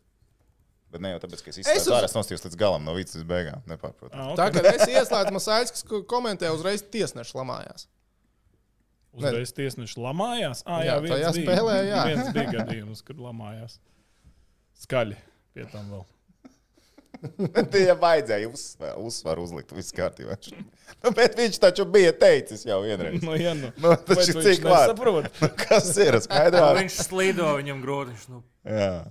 B: Bet ne jau tāpēc, ka es
A: Es uz-
B: izsmeļos, es nostājos līdz galam, no vidus līdz beigām. Nepārprotams.
D: Ah,
A: Tā
D: okay.
A: kā es ieslēdzu Masāļskis, komentēja uzreiz tiesneši lamājās.
D: Uzreiz tiesneši lamājās. Ah, jā,
A: Jā,
D: viens
A: tajā
D: bija.
A: spēlē, jā.
D: viens bija gadījums, kad lamājās. Skaļi pie tam vēl.
B: Tie vajadzēja uzsvaru, uzsvaru uzlikt viss kārtībā. Nu, bet viņš taču bija teicis jau vienreiz.
D: No, jā, nu.
B: Nu, tas ir cik labi.
D: saprot.
B: Kas ir
C: Nu,
B: skaidrāk?
C: Viņš slīdo viņam grūti. Nu,
B: Jā.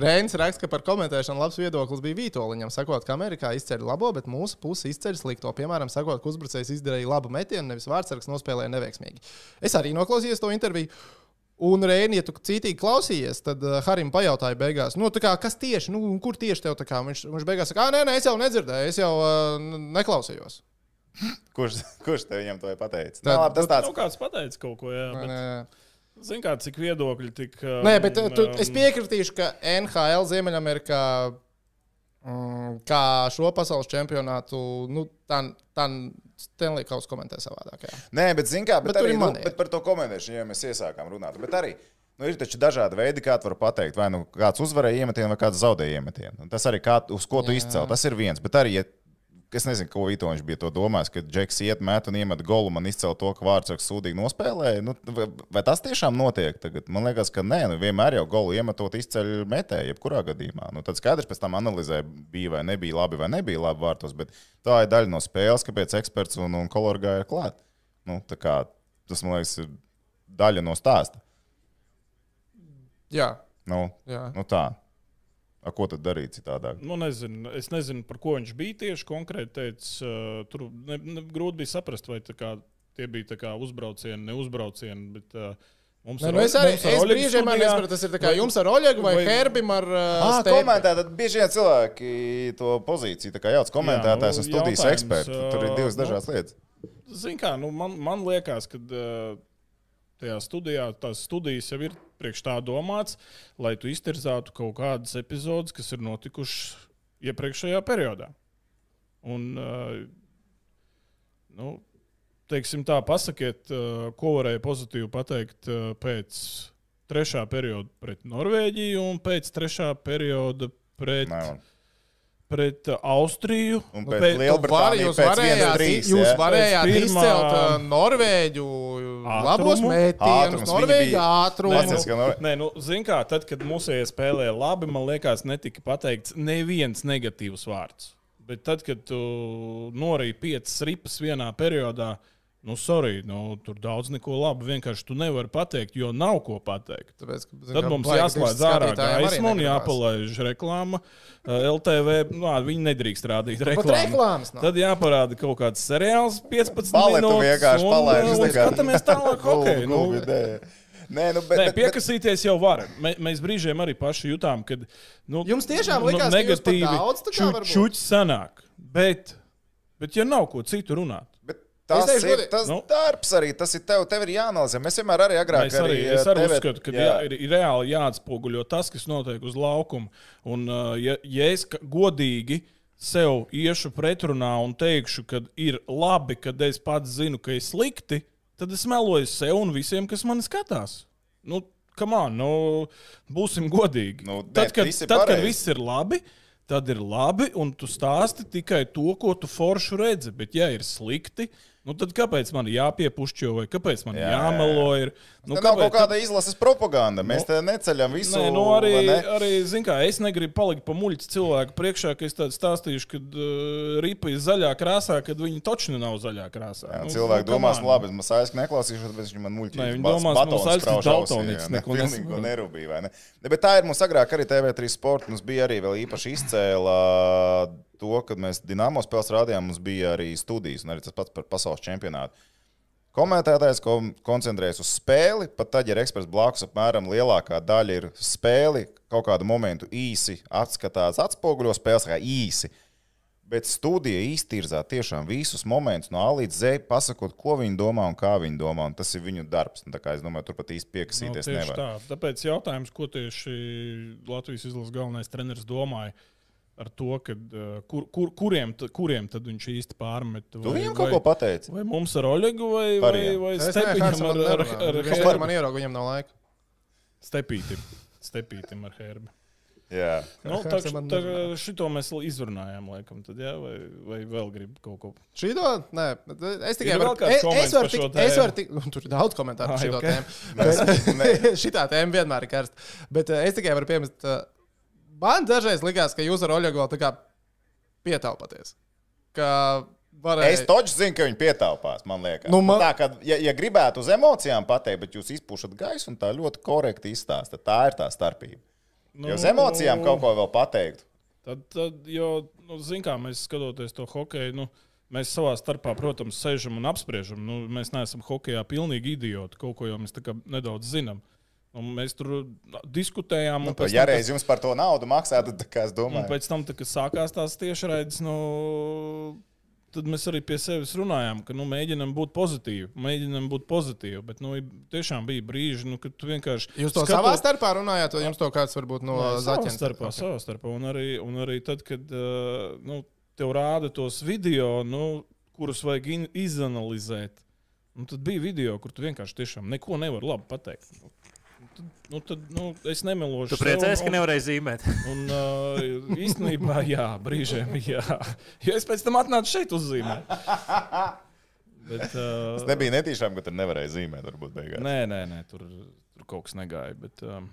A: Reins raksta, ka par komentēšanu labs viedoklis bija Vitoļņam, sakot, ka Amerikā izceļ labo, bet mūsu puse izceļ slikto. Piemēram, sakot, ka uzbrucējs izdarīja labu metienu, nevis vārdsargs nospēlēja neveiksmīgi. Es arī noklausījos to interviju. Un, Reini, ja tu cītīgi klausījies, tad uh, Harim pajautāja beigās, nu, tā kā, kas tieši, nu, un kur tieši tev tā kā viņš, viņš beigās saka, ah, nē, nē, es jau nedzirdēju, es jau uh, n- neklausījos.
B: Kurš, kurš te viņam to ir pateicis?
A: Tad-
B: Nā, labi, tas tāds
D: Nu, kāds pateica kaut ko, jā.
A: Nē,
D: Bet,
A: nē, nē.
D: zin kā, cik viedokļi tik. um,
A: Nē, bet eh, uh, tu,
D: um,
A: es piekritīšu, ka NHL Ziemeļamerikā, mm, kā šo pasaules čempionātu, nu, tā, tā Stanley Kauts komentē savādāk. Jā.
B: Nē, bet zini, kā bet
A: Bet tur
B: bet arī,
A: ir
B: nu,
A: manējie.
B: bet par to komentēšanu, ja mēs iesākām runāt. Bet arī nu, ir taču dažādi veidi, kā tu vari pateikt, vai nu kāds uzvarēja iemetienu, vai kāds zaudēja iemetienu. Un Tas arī kā, uz ko tu
A: Jā.
B: izcēl, tas ir viens. Bet arī, ja, es nezinu, ko Vitoņš bija to domājis, ka Džeks iet, met un iemet golu, man izcēl to, ka Vārtsaks sūdīgi nospēlēja. Nu, vai, vai tas tiešām notiek tagad? Man liekas, ka nē, nu, vienmēr jau golu iemetot izceļ metēju, jebkurā gadījumā. Nu, tad skaidrs pēc tam analizē, bija vai nebija labi vai nebija labi vārtos, bet tā ir daļa no spēles, kāpēc eksperts un, un kolorgā ir klāt. Nu, tā kā, tas, man liekas, ir daļa no stāsta.
A: Jā,
B: Nu,
A: jā.
B: nu tā. A, ko tad darīt citādāk?
D: Nu, nezinu, es nezinu, par ko viņš bija tieši konkrēti teicis. Uh, tur ne, ne, grūti bija saprast, vai tā kā, tie bija tā kā uzbraucieni, neuzbraucieni. Bet, uh, mums
A: Nē,
D: ar
A: nu
D: Ol-
A: es arī
D: mums ar
A: es
D: Oļegu
A: brīžiem arī
D: studijā-
A: nesaprotu, tas ir tā kā
D: vai-
A: jums ar Oļegu vai,
D: vai-
A: vai Herbim ar uh,
B: Ah,
A: Stepiem.
B: komentētāji, bieži vien cilvēki to pozīciju tā kā jauc komentētājs
D: nu,
B: un studijas
D: jautājums,
B: eksperts. Tur ir
D: ā,
B: divas
D: nu,
B: dažādas lietas.
D: Zini, kā nu, man, man liekas, ka eh, tajā studijā tās studijas jau ir priekš tā domāts, lai tu iztirzātu kaut kādas epizodes, kas ir notikušas iepriekšējā periodā. Un, ā, nu, teiksim tā, pasakiet, ā, ko varēja pozitīvi pateikt ā, pēc trešā perioda pret Norvēģiju un pēc trešā perioda pret,
B: Nē, un-
D: pret ā, Austriju.
B: Un
D: Nu,
B: pēc
D: pēc-
A: Tu Var,
B: Lielbritānijas
A: jūs
B: pēc viena
A: varējāt,
B: trīs.
A: jūs
B: jā?
A: varējāt
D: Pēc pirmā-
A: izcelt uh, Norvēģu labos
D: Ātrumu?
A: mētījumus,
B: Ātrums, viņi
A: Norvēģu
B: bija-
D: Nē,
A: ātrumus.
B: Atceries, ka
D: nu,
B: nav-
D: nē, nu, zin kā, tad, kad mūsējie spēlēja labi, man liekas, netika pateikts neviens negatīvs vārds. Bet tad, kad tu norīji piecas ripas vienā periodā, nu, sorry, nu, tur daudz neko labu vienkārši tu nevari pateikt, jo nav ko pateikt.
A: Tāpēc, ka, zin,
D: Tad
A: kā,
D: mums
A: baigi
D: jāslēdz
A: tieši
D: ārā
A: skatītājiem arī
D: gaisma un
A: negribās.
D: jāpalaiž reklāma. Uh, LTV, nu, ā, viņi nedrīkst rādīt
A: Nu, Pat
D: reklāmu.
A: reklāmas nav.
D: Tad jāparāda kaut kāds seriāls, 15
B: Baletu
D: minūtes.
B: vienkārši
D: un,
B: palaiž.
D: uh,
B: uz
D: un
B: tā kā-
D: Skatāmies tālāk,
B: Gulbi,
D: ok. Nu,
B: gulbi, nē. Nē, nu, bet,
D: Nē,
B: bet- bet-
D: piekasīties jau var. Mē, mēs brīžiem arī paši jutām, ka nu,
A: Jums tiešām likās, ka jūs par daudz tā kā varbūt?
D: čūčs sanāk. Bet, bet, ja nav ko citu runāt,
B: Bet tas
A: Es teikšu
B: ir
A: godīgi,
B: tas
D: nu.
B: darbs arī. Tas ir tev, tev ir jāanalizē. Mēs vienmēr arī agrāk
D: Mēs arī,
B: eh,
D: es arī
B: TV
D: uzskatu, ka
B: jā.
D: jā. ir ir reāli jāatspoguļo tas, kas notiek uz laukuma. Un, uh, ja, ja es ka- godīgi sev iešu pretrunā un teikšu, ka ir labi, ka es pats zinu, ka ir slikti, tad es meloju sev un visiem, kas mani skatās. Nu, kamā, nu, būsim godīgi.
B: Nu, nē,
D: tad, kad,
B: visi
D: tad, kad
B: pareizi.
D: viss ir labi. Tad ir labi, un tu stāsti tikai to, ko tu forši redzi. Bet, ja ir slikti, nu tad kāpēc man jāpiepušķo, vai kāpēc man
B: Jā,
D: jā,
B: jā, jā.
D: jāmelo? ir.
B: Nu, tā nav kaut kāda izlases propaganda. Mēs te neceļam visu.
D: Nu- Nē, nu arī,
B: vai ne?
D: arī zin kā, es negribu palikt pa muļķu cilvēku priekšā, ka es tādu stāstīšu, ka uh, ripa ir zaļā krāsā, kad viņa točni nav zaļā krāsā.
B: Jā, cilvēki
D: Nu, come
B: domās,
D: on.
B: labi, es mazā aizsku neklausīšos, bet viņš man muļķīgi
D: Nē, viņi domās, mums aizskas daltonītis, neko nesaprot.
B: nerūpīgi, vai ne? Ne, Bet tā ir mums agrāk arī TV3 sporta. Mums bija arī vēl īpaši izcēla uh, to, kad mēs Dienāmo spēles rādījām, mums bija arī studijas un arī tas pats par pasaules čempionātu. Komentētājs kom koncentrējas uz spēli, pat tad, ja ir eksperts blakus, apmēram lielākā daļa ir spēli, kaut kādu momentu īsi atskatās, atspoguļo spēles kā īsi. Bet studija iztirzā tiešām visus momentus no A līdz Z, pasakot, ko viņi domā un kā viņi domā. un Tas ir viņu darbs. Un tā kā Es domāju, tur pat īsti
D: Nu,
B: piekasīties
D: tieši
B: nevar.
D: tā. Tāpēc jautājums, ko tieši Latvijas izlases galvenais treneris domāja ar to, kad, uh, kur, kur, kuriem, ta- kuriem tad viņš īsti pārmet?
B: Tu
D: vai-
B: viņam
D: vai-
B: kaut ko pateici?
D: Vai mums ar Oļegu vai, vai,
B: Pariem.
D: vai
A: Es nezinu,
D: Stepiņam
A: kāds
D: ar, ar, ar,
A: man
D: ar
A: ir. Viņš
D: Herbu?
A: man ierauga, viņam nav laika.
D: Stepītim. Stepītim ar herbi.
B: Jā,
D: Nu,
A: Kā- kā
D: tā,
A: tas man
D: tā,
A: nerunā?
D: šito mēs l- izrunājām, laikam, tad, jā, vai, vai vēl grib kaut ko.
A: Šī to nē, es tikai
D: Ir vēl
A: varu
D: kāds
A: pateikt,
D: koments
A: es varu
D: par šo
A: tikt, es varu
D: tēmu?
A: tikt, un tur ir daudz komentāru par
D: Ai,
A: šo
D: ok.
A: tēmu. bet- Šitā tēma vienmēr ir karsta. Bet eh, es tikai varu pieminēt, eh, man dažreiz likās, ka jūs ar Oļegu vēl tā kā pietaupaties. Ka varēja...
B: Es taču zinu, ka viņi pietāpās, man liekas.
A: Nu,
B: Nu,
A: man-
B: man... Tā kā, ja, ja gribētu uz emocijām pateikt, bet jūs izpūšat gaisu un tā ļoti korekti izstāstāt, tā ir tā starpība.
D: Nu,
B: Jo uz emocijām kaut ko vēl pateikt.
D: Tad, tad jo, nu, zin kā, mēs skatoties to hokeju, nu, mēs savā starpā, protams, sēžam un apspriežam. Nu, mēs neesam hokeja pilnīgi idioti. Kaut ko jau mēs tā kā nedaudz zinām. Un mēs tur diskutējām.
B: Nu,
D: un pēc
B: ja
D: tam, kad-
B: reiz jums par to naudu maksātu, tad kā es
D: Un
B: domāju,
D: pēc tam, tā, kad sākās tās tiešraides, nu, tad mēs arī pie sevis runājām, ka nu, mēģinām būt pozitīvi. Mēģinām būt pozitīvi, bet nu, ir- tiešām bija brīži, nu, kad tu vienkārši.
A: Jūs to
D: skatot-
A: savā starpā runājāt, vai jums to kāds varbūt no
D: Nē, savā
A: zaķiem?
D: starpā, okay. savā starpā. Un arī, un arī tad, kad uh, nu, tev rāda tos video, nu, kurus vajag in- izanalizēt. Un tad bija video, kur tu vienkārši tiešām neko nevari labi pateikt. Nu, tad- Nu, tad, nu, es nemelošu.
C: Tu
D: sev,
C: priecājies, ka
D: un-
C: nevarēji zīmēt.
D: Un uh, īstenībā, jā, brīžiem, jā. Jo es pēc tam atnācu šeit uzzīmēt. Bet,
B: tas
D: uh,
B: nebija netīšām, ka tur nevarēja zīmēt, varbūt beigās.
D: nē, nē, nē tur, tur kaut kas negāja. Bet, um,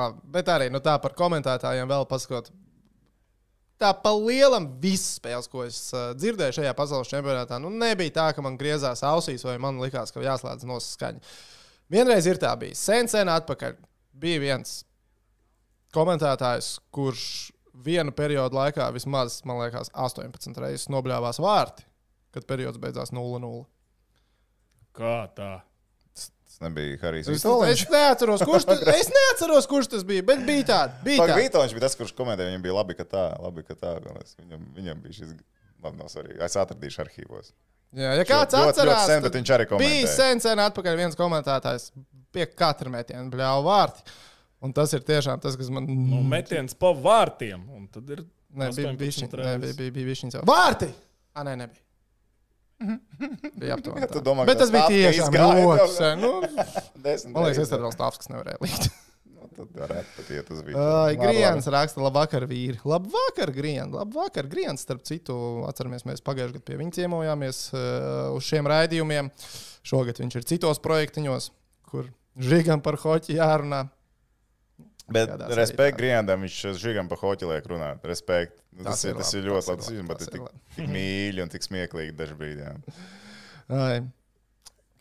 A: Labi, bet arī nu, tā par komentētājiem vēl pasakot. Tā pa lielam visas spēles, ko es uh, dzirdēju šajā pasaules čempionātā, nu, nebija tā, ka man griezās ausīs vai man likās, ka jāslēdz noskaņa. Vienreiz ir tā bijis. Sen, sen atpakaļ bija viens komentētājs, kurš vienu periodu laikā vismaz, man liekas, 18 reizes nobļāvās vārti, kad periods beidzās 0-0.
D: kā tā?
B: Tas nebija Harijs
A: Es, nu,
B: Vitoliņš.
A: es, neatceros, kurš tas, es neatceros, kurš tas bija, bet bija tāda. Bija
B: Pag,
A: tāda.
B: Vitoliņš bija tas, kurš komentēja, viņam bija labi, ka tā, labi, ka tā. un es- Viņam, viņam bija šis, labi, nav svarīgi. Es atradīšu arhīvos.
A: Jā, ja kāds
B: ļoti, ļoti
A: atcerās,
B: sen,
A: tad
B: bet viņš arī
A: Bija
B: komentēja.
A: sen, sen atpakaļ viens komentētājs pie katra metiena bļāva vārti. Un tas ir tiešām tas, kas man
D: Nu, metiens pa vārtiem. un Tad ir
A: nebija
D: 18 reizes.
A: bijis viņa. Vārti! Ah, nē, nebija. Bija aptuveni.
B: tu
A: tā.
B: domā, ka
A: Bet tas
B: tas
A: bija
B: tāds, ka
A: tiešām
B: izgāja
A: ļoti
B: tev?
A: sen. Nu,
B: Desmit
A: man liekas,
B: reizes.
A: es tad vēl stāvs, kas nevarēja likt.
B: Nu, Tad varētu pat iet uz
A: Uh,
B: Vitoliņu.
A: Griezis raksta, labvakar, vīri. Labvakar, Griezis. Labvakar, Griezis. Starp citu, atceramies, mēs pagājušajā gadā pie viņa ciemojāmies uh, uz šiem raidījumiem. Šogad viņš ir citos projektiņos, kur žigam par hoci jārunā.
B: Bet
A: Kādās arī
B: respekt
A: tā.
B: Griendam, viņš žigam pa hoķi liek runāt. Respekt. Nu,
A: Tas
B: tas,
A: ir
B: ir, tas
A: labi,
B: ir
A: tas
B: ļoti
A: ir
B: labi. Tas
A: labi,
B: ir, bet
A: tas ir
B: ir tik, tik mīļi un tik smieklīgi dažbrīd. jā.
A: Ai.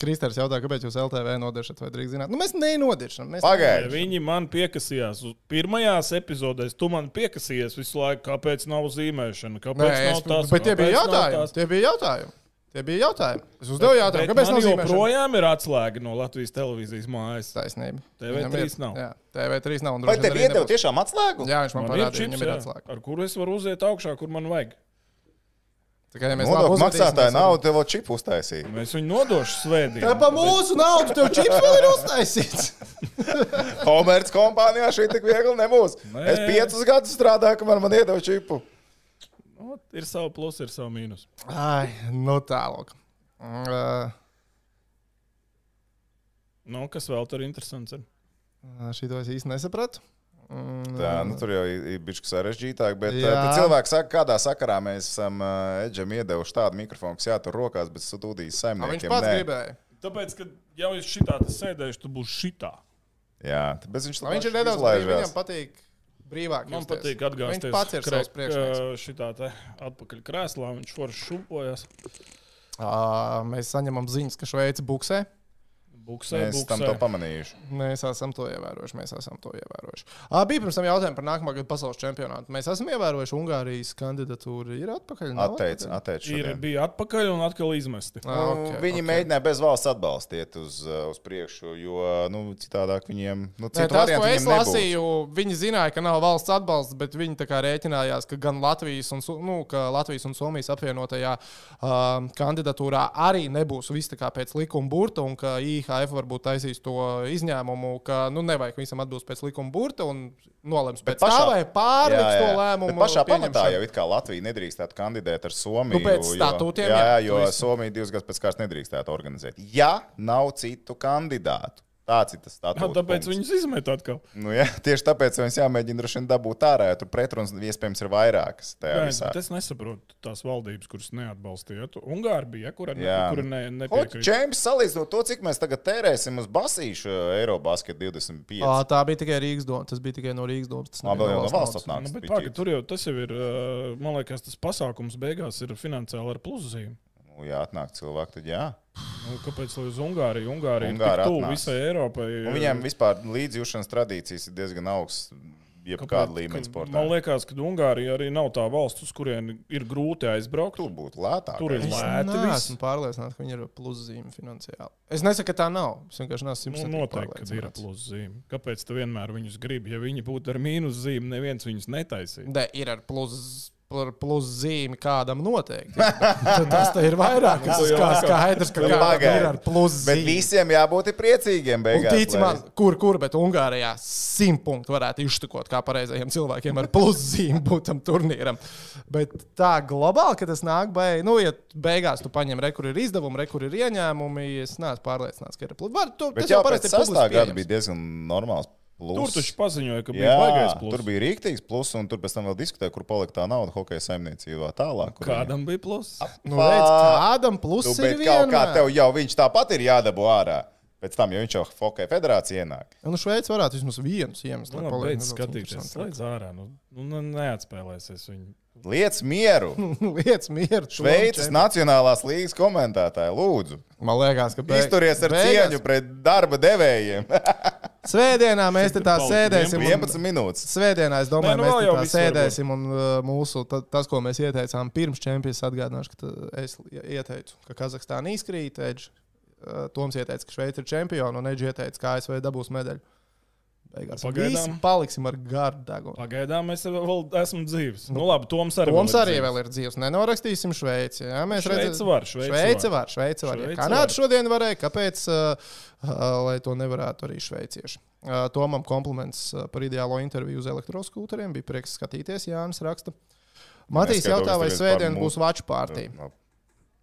A: Kristers jautā, kāpēc jūs LTV nodežat vai drīkst zināt? Nu, mēs nenodežam. Mēs
B: Pagaidi!
D: Viņi man piekasījās. Uz Pirmajās epizodēs tu man piekasījies visu laiku, kāpēc nav zīmēšana, kāpēc
A: Nē,
D: Nē,
A: es,
D: nav tas.
A: bet tie bija
D: kāpēc nav
A: jautājumi.
D: tas?
A: Tie bija jautājumi. Tie bija jautājumi. Es uzdevu jautājumu,
D: Bet
A: kāpēc
D: man
A: nav zīmēšana?
D: joprojām ir atslēga no Latvijas televīzijas mājas.
A: Taisnība.
D: TV3
A: Viņam ir-
D: nav.
A: Jā, TV3 nav. un
B: Vai
A: droši vien
B: tev
A: arī
B: iedeva
A: nebūs.
B: tiešām atslēgu?
A: Jā, viņš man,
D: Man
A: man
D: ir
A: parādīja,
D: čips,
A: viņam ir
D: jā,
A: atslēga.
D: ar kuru es varu uziet augšā, kur man vajag.
A: Tā kā ja mēs
B: Nodokļu maksātāju
A: naudu.
B: naudu tev vēl čipu uztaisīja.
D: Es viņu nodošu
A: Tā
D: svētdien.
A: pa mūsu naudu tev čips vēl ir uztaisīts.
B: Komerc kompānijā šī tik viegli nebūs.
D: Nē.
B: Es piecus gadus strādāju, kamēr man iedeva čipu.
D: Nu, Ir savi plusi, ir savi mīnus.
A: Ai, nu tālāk. Uh,
D: Nu, kas vēl tur interesants ir interesants?
A: Šī to es īsti nesapratu. Mm,
B: Tā, nu, tur jau ir ir bišķi sarežģītāk, bet
A: Jā.
B: jā. cilvēki saka, kādā sakarā mēs esam uh, Edžam iedevuši tādu mikrofonu, kas jātur rokās, bet sūtīs
A: Ā,
B: saimniekiem.
A: Viņš pats
B: nē.
A: gribēja.
D: Tāpēc, ka jau es šitā te sēdēšu, tu būsi šitā.
B: Jā, bet viņš
A: Nu, Viņš ir
B: labāk
A: nedaudz brīvs.
B: izlaižās.
A: Viņam patīk brīvāk.
D: Man
A: justies.
D: patīk atgādāt,
A: Viņš pats ir savs priekšnieks.
D: Šitā te atpakaļ krēslā viņš forši šūpojas.
A: Ā, Mēs saņemam ziņas, ka Šveice buksē. eh,
D: Buksē,
B: Mēs tam to
D: buksē.
B: pamanījuši.
A: Mēs esam to ievērojuši. Mēs esam to ievērojuši. Ā, bija pirms tam jautājums par nākamā gada pasaules čempionātu. Mēs esam ievērojuši Ungārijas kandidatūru. Ir atpakaļ. nav
B: Atteic,
A: atpakaļ?
B: atteic
D: Ir,
B: šodien.
D: bija atpakaļ un atkal izmesti.
A: Ā,
B: Nu, Nu,
A: Ah, ok,
B: Viņi
A: ok.
B: mēģināja bez valsts atbalsta iet uz, uh, uz priekšu, jo nu, citādāk viņiem nu,
A: Nē,
B: citu
A: tas, ko
B: variantu
A: es
B: viņiem nebūs.
A: lasīju, viņi zināja, ka nav valsts atbalsts, bet viņi tā kā rēķinājās, ka gan Latvijas un, Su- nu, ka Latvijas un Somijas apvienotajā uh, kandidatūrā arī nebūs viss tā kā pēc likuma burta, un ka IHF varbūt taisīs to izņēmumu, ka nu, nevajag visam atbilst pēc likuma burta un nolems
B: Bet
A: pēc pašā,
B: pašā-
A: tā, vai pārliks
B: Jā, jā.
A: to lēmumu.
B: Bet pašā pamatā
A: pieņemšanu.
B: jau it kā Latvija nedrīkstētu kandidēt ar
A: Nu,
B: Somiju.
A: pēc statūtiem,
B: jo, jā,
A: jā, Nu, tu
B: jā, jo
A: esi-
B: Somija divas gadus pēc kārtas nedrīkstētu organizēt. Ja nav citu kandidātu, Tāds ir tas stāvoklis.
D: Jā, tāpēc viņus izmet atkal.
B: Nu, jā, tieši tāpēc mums jāmēģina droši vien dabūt ārā, jo tur pretrunas iespējams ir vairākas. tajā
D: Nē,
B: visā.
D: bet es nesaprotu tās valdības, kuras neatbalstīja. Tu- Ungāri bija, ja, kura, ne,
B: Jā.
D: kura ne,
B: Hoci,
D: nepiekrita.
B: Čempions salīdzinot to, cik mēs tagad tērēsim uz basīšu eh, Eirobasket 25.
A: Ā, tā bija tikai Rīgas doma. Tas bija tikai no Rīgas domas. Tas
B: Ā, vēl jau no
A: naudas.
B: valsts
D: Nu,
B: atnāks.
D: bet
B: piķīt.
D: tā, ka tur jau tas jau ir, uh, man liekas, tas pasākums beigās ir finansiāli ar pluszīm.
B: Nu, Jā, atnāk cilvēki, tad jā.
D: Nu, kāpēc lai uz Ungāriju? Ungārija ir
B: Ungāri
D: tik tuvu
B: atnāca.
D: visai Eiropai.
B: Un viņiem vispār līdzjūšanas tradīcijas ir diezgan augsts, jebkāda līmeņa sportā.
D: Man liekas, ka Ungārija arī nav tā valsts, uz kurien ir grūti aizbraukt.
B: Tur būtu lētāk.
D: Tur ir
A: Es
D: Lēti viss.
A: neesmu pārliecināts, ka viņi ir pluszīme finansiāli. Es nesaku, ka tā nav. Es vienkārši neesmu
D: Nu,
A: 100%
D: noteikti, ka ir
A: pārliecināts.
D: pluszīme. Kāpēc tu vienmēr viņus gribi? Ja viņi būtu ar mīnuszīmi, neviens viņus netaisītu.
A: Ne, ir ar plus, ar plus zīmi kādam noteikti. Tad tas te ir
D: Nu,
A: vairāk. Tas ir kā skaidrs, ka
B: Nu,
A: kādam
B: pagaidi.
A: ir ar plus
B: Bet
A: zīmi.
B: visiem jābūt ir priecīgiem
A: Un
B: beigās.
A: tici
B: lai-
A: man, kur, kur, bet Ungārijā simt punktu varētu iztukot kā pareizajiem cilvēkiem ar pluszīm būtam turnīram. Bet tā globāli, ka tas nāk, vai, nu, ja beigās tu paņem rekur ir izdevumi, rekur ir ieņēmumi, es neesmu pārliecināts, ka ir pluszīm.
B: Bet jau pēc sastā gada bija diezgan normāls. Plus.
D: Tur taču paziņoja, ka bija
B: Jā,
D: baigais plus.
B: tur bija rīktīgs plus, un tur pēc tam vēl diskutēja, kur palikt tā nauda hokeja saimniecībā tālāk. kur
D: Kādam bija pluss?
A: Nu, redz, kādam
B: Nu,
A: plusam
B: bet
A: ir
B: kaut kā
A: vienmēr.
B: tev jau viņš tāpat ir jādabū ārā. Pēc tam, ja viņš jau Hokeja federācijā ienāk,
A: Nu, Šveice varētu vismaz vienu iemeslu.
D: Nu,
A: lai
D: labi,
A: paliek
D: beidz
A: nedaudz
D: skatīties.
A: interesantāk.
D: Slēdz ārā. Nu, nu, ne- neatspēlēsies viņu.
B: lietas mieru.
A: Lietas mieru. tu
B: Šveices
A: labi,
B: Nacionālās līnijas komentētāji, lūdzu,
A: čempion. Man liekas, ka beig-
B: izturieties ar
A: beigās-
B: cieņu pret darba devējiem.
A: Svētdienā mēs te tā sēdēsim. un-
B: 11 minūtes.
A: Svētdienā, es domāju,
D: Nē, nu,
A: Nē, nu,
D: vēl
A: mēs
D: jau
A: te tā
D: viss var
A: sēdēsim un uh, mūsu, ta- tas, ko mēs ieteicām pirms čempions, atgādināšu, ka tā- es ieteicu, ka Kazahstāna izkrīt, Edž, uh, Toms ieteica, ka Šveice ir čempions, un Edž ieteica, ka ASV dabūs medaļu. Beigās
D: Pagaidām.
A: visi paliksim ar garu degunu.
D: Pagaidām es vēl esmu dzīves. Nu, labi, Toms arī,
A: Toms
D: ir
A: arī
D: dzīvs.
A: vēl ir dzīves. Nenorakstīsim Šveici. Jā, mēs
D: Šveice
A: redzam,
D: var, Šveice
A: Šveice var. Šveice var.
D: Šveice
A: Ja Kanāda
D: var.
A: šodien varēja, kāpēc uh, uh, lai to nevarētu arī šveicieši? Uh, Tomam kompliments uh, par ideālo interviju uz elektroskūteriem. Bija prieks skatīties, Jānis raksta. Matīs
B: skatos
A: jautā, vai
B: tagad
A: svētdien
B: par mūsu-
A: būs vaču pārtī.
B: No. Nu,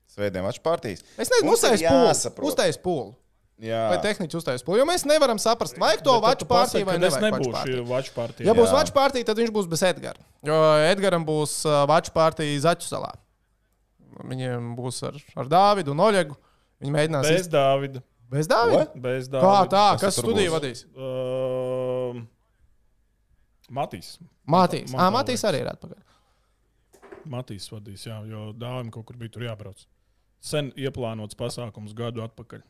B: Svētdien, mačs partijas.
A: Es nezinu,
B: Mums ir
A: uztais pūli.
B: jāsaprot.
A: Uztais pūli.
B: Jā,
A: Vai tehniķis uztais pūli. Jo mēs nevaram saprast, vajag to
D: Bet tad
A: vaču
D: tu pasaki,
A: pārtī vai
D: kad
A: ne.
D: Es nebūšu vaču partijā.
A: Ja būs
B: Jā.
A: vaču pārtī, tad viņš būs bez Edgara. Jo Edgars būs uh, vaču pārtī Zaķu salā. Viņiem būs ar, ar Dāvidu un Oļegu. Viņi mēģinās
D: Bez Dāvida.
A: iz- bez Dāvida.
D: Bez
A: Kā
D: Dāvida.
A: tā,
B: Kas
A: kas
B: tur
A: studiju
B: būs?
A: vadīs?
D: Uh, Matīs.
A: Matīs.
D: Man tā
A: Ah, Matīs arī ir atpakaļ.
D: Matīs vadīs, jā, jo dāvim kaut kur bija tur jābrauc. Sen ieplānots pasākums gadu atpakaļ.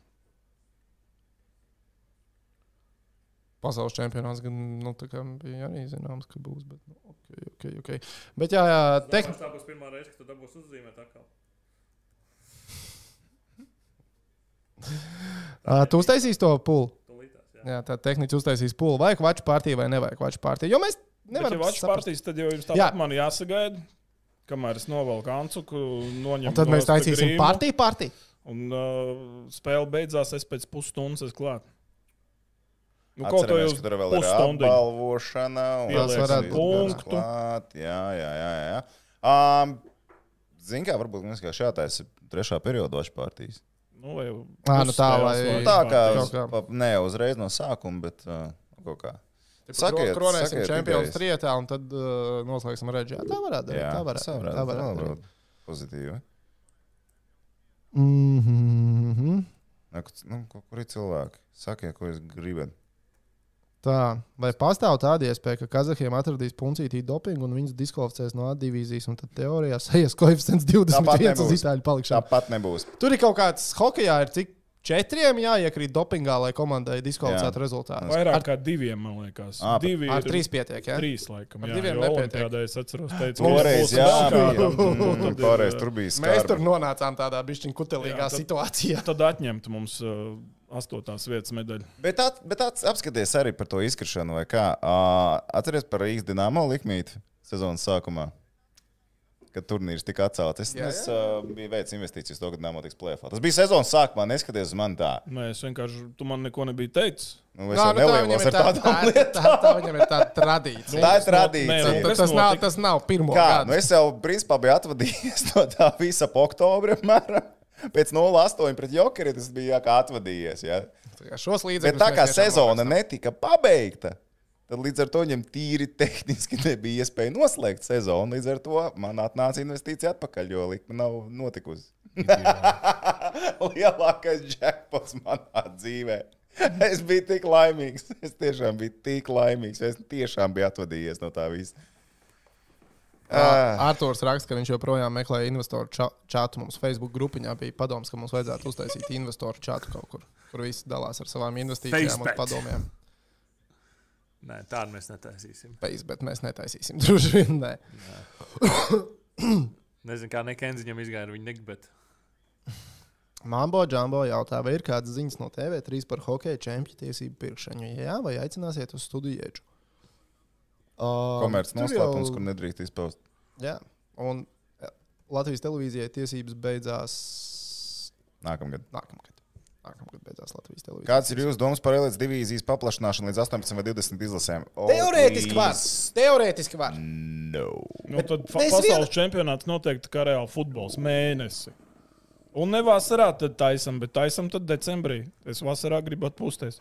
A: Pasaules čempionāts gan nu, tā kā bija arī zināms, ka būs. Bet, nu, okay, okay, okay. bet jā, jā
C: Tek...
A: tehn...
C: Tā būs pirmā reize, kad tu dabūsi uzzīmēt atkal.
A: uh, tu uztaisīsi to pūli.
C: Tūlītās, jā.
A: Jā, tā tehniķis uztaisīs pūli. Vajag vaču pārtī vai nevajag vaču pārtī. Jo mēs
D: Nevar
A: nevaram
D: būt vaču
A: saprast.
D: partijas, tad jau jums
A: Jā.
D: tāpat man jāsagaida. Kamēr es novelku ancuku, noņemu
A: Un tad mēs
D: nost ar
A: taisīsim
D: grīmu,
A: partiju, partiju.
D: Un uh, spēle beidzās, es pēc pusstundas esmu klāt. Nu, kaut ko jau
B: Atceramies, ka tur vēl ir
D: pusstundu.
B: apbalvošana. un
D: Tas
B: viss
A: varētu
B: ir
D: būt.
B: klāt. Jā, jā, jā. jā. Um, Zini, kā varbūt mums kā šātais trešā perioda vašu partijas.
D: Nu, vai jau
A: Ā, nu tā, lai-
D: pusspēles vai
B: Tā kā,
A: Kaut kā.
B: pa- ne jau uzreiz no sākuma, bet uh, kaut kā.
A: Sakiet, kronēsim
B: sakiet
A: čempionu
B: idejas.
A: trijotā un tad uh, noslēgsim reģionā. Tā varētu būt.
B: Jā,
A: Tā varētu
B: tā
A: būt.
B: varētu,
A: Tā
B: tā
A: varētu būt.
B: varētu. Pozitīvi.
A: Mhm.
B: Nu, kaut- Nu, kaut kur ir cilvēki? Sakiet, ko jūs gribat.
A: Tā, vai pastāv tāda iespēja, ka Kazahiem atradīs puncītī dopingu un viņus diskvalificēs no A divīzijas, un tad teorijā sejas koeficients
B: Tāpat
A: 25 uz
B: nebūs.
A: itāļu palikšanu?
B: Tāpat nebūs.
A: Tur ir kaut kāds hokeja, ir cik četriem jāiekrīt dopingā, lai komandai diskvalificētu
B: Jā.
A: rezultātu.
D: Vairāk kā diviem, man liekas.
B: Ā,
D: Divi
A: Ar
D: ir-
A: trīs pietiek, ja?
D: Trīs, laikam.
A: Ar
D: Jā,
A: diviem
D: diviem
A: nepietiek.
D: nepēdējā. Es atceros, teicu,
B: Toreiz, jā, bija.
D: jā.
B: Mm, Toreiz tur bija
A: Mēs tur
B: skarbs.
A: nonācām tādā bišķiņa kutelīgā
D: Jā, tad-
A: situācijā.
D: Tad atņemt mums uh, astotās vietas medaļu.
B: Bet, at, bet at, apskaties arī par to izkrišanu, vai kā. Uh, Atcerieties par Rīgas dīnāmo likmīti sezonas sākumā. Kad turnīrs tika atcelts, es,
A: Jā,
B: es uh, biju veicis investīcijas to, kad dīnāmo tiks plēfā. Tas bija sezonas sākumā, neskaties uz mani tā.
D: Nē, es vienkārši, tu man neko nebija teicis.
B: Nu, es jau
A: tā
B: nelielu
A: viņam ir
B: ar
A: tā-
B: tādām
A: tā-
B: lietām. Nu,
A: tā- tā viņam ir tāda tradīcija.
B: Tā ir
D: Nē,
B: tradīcija.
D: nu,
A: Nu, Tas,
D: Kas
A: tas, nav,
D: notika?
A: tas nav pirmo
B: Kā?
A: gadu.
B: Nu, es jau, principā, biju atvadījies no tā visa ap oktobra. apmēram. Pēc 0,8 pret Jokeru tas bija jā, kā atvadījies. Jā.
A: Tā kā Šos
B: Bet
A: līdzekļus.
B: tā kā
A: mēs tiešām
B: sezona
A: norakstām.
B: netika pabeigta, tad līdz ar to viņam tīri tehniski nebija iespēja noslēgt sezonu. Līdz ar to man atnāca investīcija atpakaļ, jo likme nav notikusi. Lielākais jackpots manā dzīvē. Es biju tik laimīgs. Es tiešām biju tik laimīgs. Es tiešām biju atvadījies no tā visa.
A: Ā, Arthurs raksta, ka viņš joprojām meklē investoru ča- čatu. Mums Facebook grupiņā bija padoms, ka mums vajadzētu uztaisīt investoru čatu kaut kur, kur visi dalās ar savām investīcijām un
C: Facebook.
A: padomiem.
C: Nē, tādu mēs netaisīsim.
A: Pēc, bet mēs netaisīsim. Droši vien nē.
C: Nezinu, kā Nekenziņam izgāja ar viņu nikt, bet
A: Mambo Džambo jautā, vai ir kādas ziņas no TV3 par hokeja čempionu tiesību pirkšanu? Jā, vai aicināsiet uz studiju ieču? Uh,
B: Ah, Komerces
A: tur
B: noslēpums,
A: jau-
B: kur nedrīkst izpaust.
A: Jā, un e, Latvijas televīzijai tiesības beidzās
B: Nākamgad.
A: nākamgad. Nākamgad beidzās Latvijas televīzija.
B: Kāds ir jūsu domas par Latvijas divīzijas paplašināšanu līdz 18 vai 20 izlasēm? Oh,
A: Teorētiski var. Mm.
B: please.
A: Teorētiski var.
B: No.
D: Nu, tad fa-
A: mēs
D: pasaules čempionāts noteikti kā reāls futbols mēnesi. Un ne vasarā tad taisam, bet taisam tad decembrī. Es vasarā gribu atpūsties.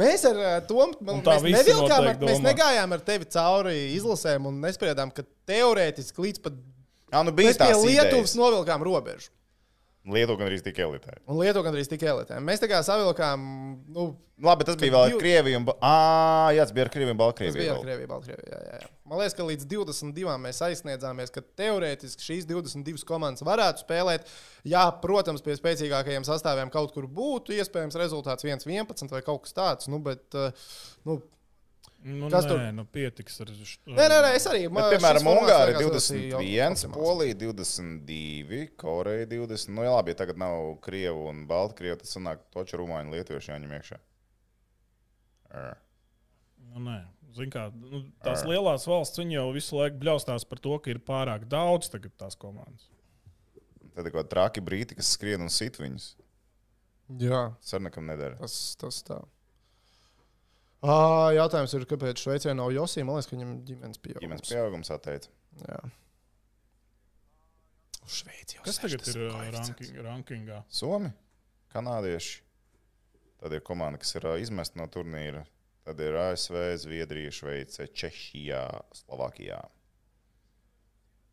A: Mēs ar ā, Tomu
D: Un tā
A: mēs
D: visi
A: nevilkām, ar,
D: noteikti
A: mēs
D: domā.
A: negājām ar tevi cauri izlasēm un nespriedām, ka teorētiski līdz pat
B: Jā, nu bija
A: mēs pie
B: tā
A: Lietuvas nu-
B: Lietuvas.
A: novilkām robežu.
B: Lietuva gan arī tika elitē.
A: Un Lietuva gandrīz tik elitēm. Mēs tā kā savilkām, nu,
B: Labi, tas bija vēl ar
A: div-
B: Krieviju. Un... Ba- Ā, jā, tas bija ar Krieviju un
A: tas bija ar
B: Baltkrieviju. vēl.
A: Krieviju, Baltkrieviju. Jā, jā, jā. Man liekas, ka līdz 22 mēs aizsniedzāmies, ka teorētiski šīs 22 komandas varētu spēlēt. Jā, protams, pie spēcīgākajiem sastāviem kaut kur būtu iespējams rezultāts 1-11 vai kaut kas tāds. Nu, bet, ā, nu,
D: Nu,
A: Kas
D: Kas
A: tur?
D: tur nu, pietiks ar šo?
A: nē, nē, nē, es arī.
B: Bet,
A: man šis
B: piemēram,
A: formāts
B: Ungārija
A: liekas ļoti
B: 21,
A: optimāls.
B: Polija 22, Koreja 20. Nu, jā, labi, ja tagad nav Krievu un Baltkrievu, tad sanāk toču Rumāņu lietuviešu jāņem iekšā. Ā.
D: Nu, nē. Zin Kā, nu, tās lielās valsts viņi jau visu laiku bļaustās par to, ka ir pārāk daudz tagad tās komandas.
B: Tad ir kaut kādi traki brīti, kas skrien un sit viņus.
A: Jā.
B: Sarnakam nedara.
A: Tas, tas tā. Uh, jautājums ir, kāpēc Šveicē nav Josija? Man liekas, ka viņam ģimenes
B: Ģimenes
A: pieaugums.
B: pieaugums atteica.
A: Jā. Uz Šveici jau
D: Kas tagad ir
A: 60
D: uh,
A: koeficients.
D: ranking, rankingā?
B: Somi, kanādieši. Tad ir komanda, kas ir ā, izmest no turnīra. Tad ir ASV, Zviedrija, Šveice, Čehijā, Slovākijā.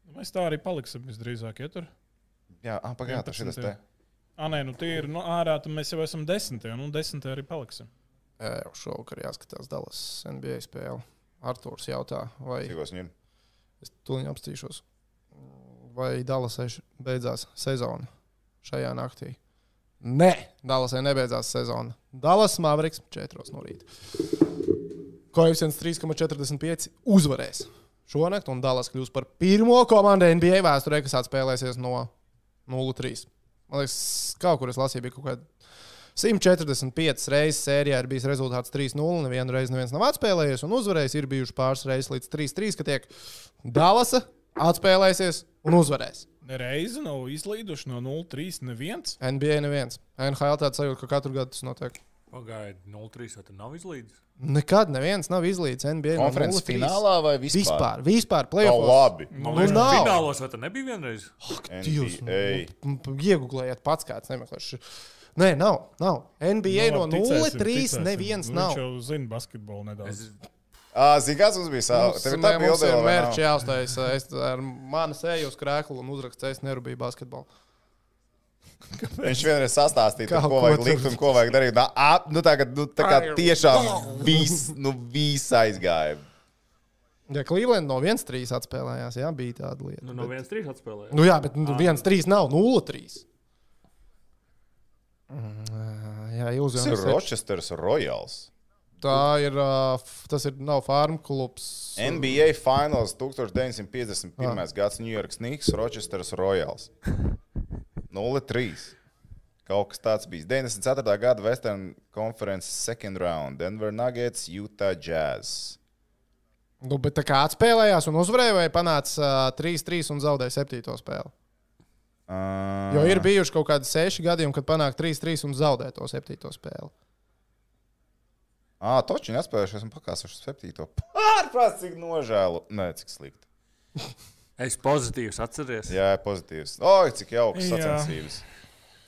D: Nu, Mēs tā arī paliksim visdrīzāk. Ja tur?
B: Jā, ah, pagaidām, tas ir tas te.
D: 11. Ā, nē, nu tie ir nu, ārā, tad mēs jau esam desmitajā, nu desmitajā arī paliksim.
A: Jā, jau šovakar jāskatās Dallas NBA spēle. Arthurs jautā, vai
B: Cikos viņiem?
A: es tuliņā apstīšos, vai Dallasai š- beidzās sezona šajā naktī. Nē, Dallasai nebeidzās sezona. Dallas Mavriks 4 no rīta. Koeficients 3,45 uzvarēs šonakt, un Dallas kļūs par pirmo komandu NBA vēsturē, kas atspēlēsies no 0-3. Man liekas, kaut kur es lasīju, bija kaut kāda 145 reizes sērijā ir bijis rezultāts 3-0. Nevienu reizi neviens nav atspēlējies un uzvarējis. Ir bijuši pāris reizes līdz 3-3, ka tiek Dalasa atspēlēsies un uzvarēs.
D: Nereizi nav izlīduši no 0-3 neviens.
A: NBA neviens. NHL tāds sajūta, ka katru gadu tas notiek.
C: pagaidiet, 0-3 vai tur nav izlīdz.
A: Nekad neviens nav izlīdzis NBA no
B: Konferences
A: 0-3.
B: finālā vai vispār?
A: Vispār, vispār
B: Tā
A: plēsoņā.
B: labi.
A: Nu,
C: Man liekas,
A: nav.
C: ka finālos vai tur nebija vienreiz.
A: Jūs
B: NBA.
A: nu, p- iegooglējiet pats kāds nemeklēšu. Nē, nav, nav. NBA no
D: Nu, labi, ticēsim,
A: 0-3
D: ticēsim.
A: neviens
D: Nu,
A: nav.
D: Viņš jau zina basketbolu
A: Nu,
D: nedaudz.
C: Es,
D: Es...
B: Ah, Zini, kas mums bija? Sā- Tev ir tā
A: Mums
B: bilde,
A: ir
B: vēl vai nav?
A: mērķis jāuztais. eh, Es ar mani seju uz krēklu un uzrakstu, es nerūpēju basketbolu.
B: Viņš vienreiz sastāstīja, tur,
A: Kaut
B: ko
A: ko
B: vajag
A: tur.
B: likt un ko vajag darīt. Nā, ap, nu, tagad, nu, tā kā tiešām viss, nu, viss aizgāja.
A: Ja Cleveland no 1-3 atspēlējās, jā, bija tāda lieta.
C: nu, no 1-3 atspēlēju.
A: Nu, jā, bet nu, 1-3 nav 0-3. Mm, Jā, jūs
B: Tas
A: jau
B: ir Rochesteras Royals.
A: Tā ir. ā, f- Tas ir nav farm klubs.
B: NBA Finals
D: Ah.
B: 1951. gads New York Knicks, Rochesteras Royals. 0-3. Kaut kas tāds bija. 94. gada Western Conference second round Denver Nuggets, Utah Jazz.
A: Nu, bet tā kā atspēlējās un uzvarēja, vai panāca ā, 3-3 un zaudēja 7 spēli?
B: Uh,
A: Jo ir bijuši kaut kādi 6 gadījumi, kad panāk 3-3 un zaudēja to 7 spēli.
B: Ah, toči nespējuši, esmu pakāsuši septīto. Pārprāt, cik nožēlu. Nē, cik slikti.
C: Es pozitīvs atceries.
B: Jā, pozitīvs. Oi, cik jauks
D: Jā.
B: sacensības.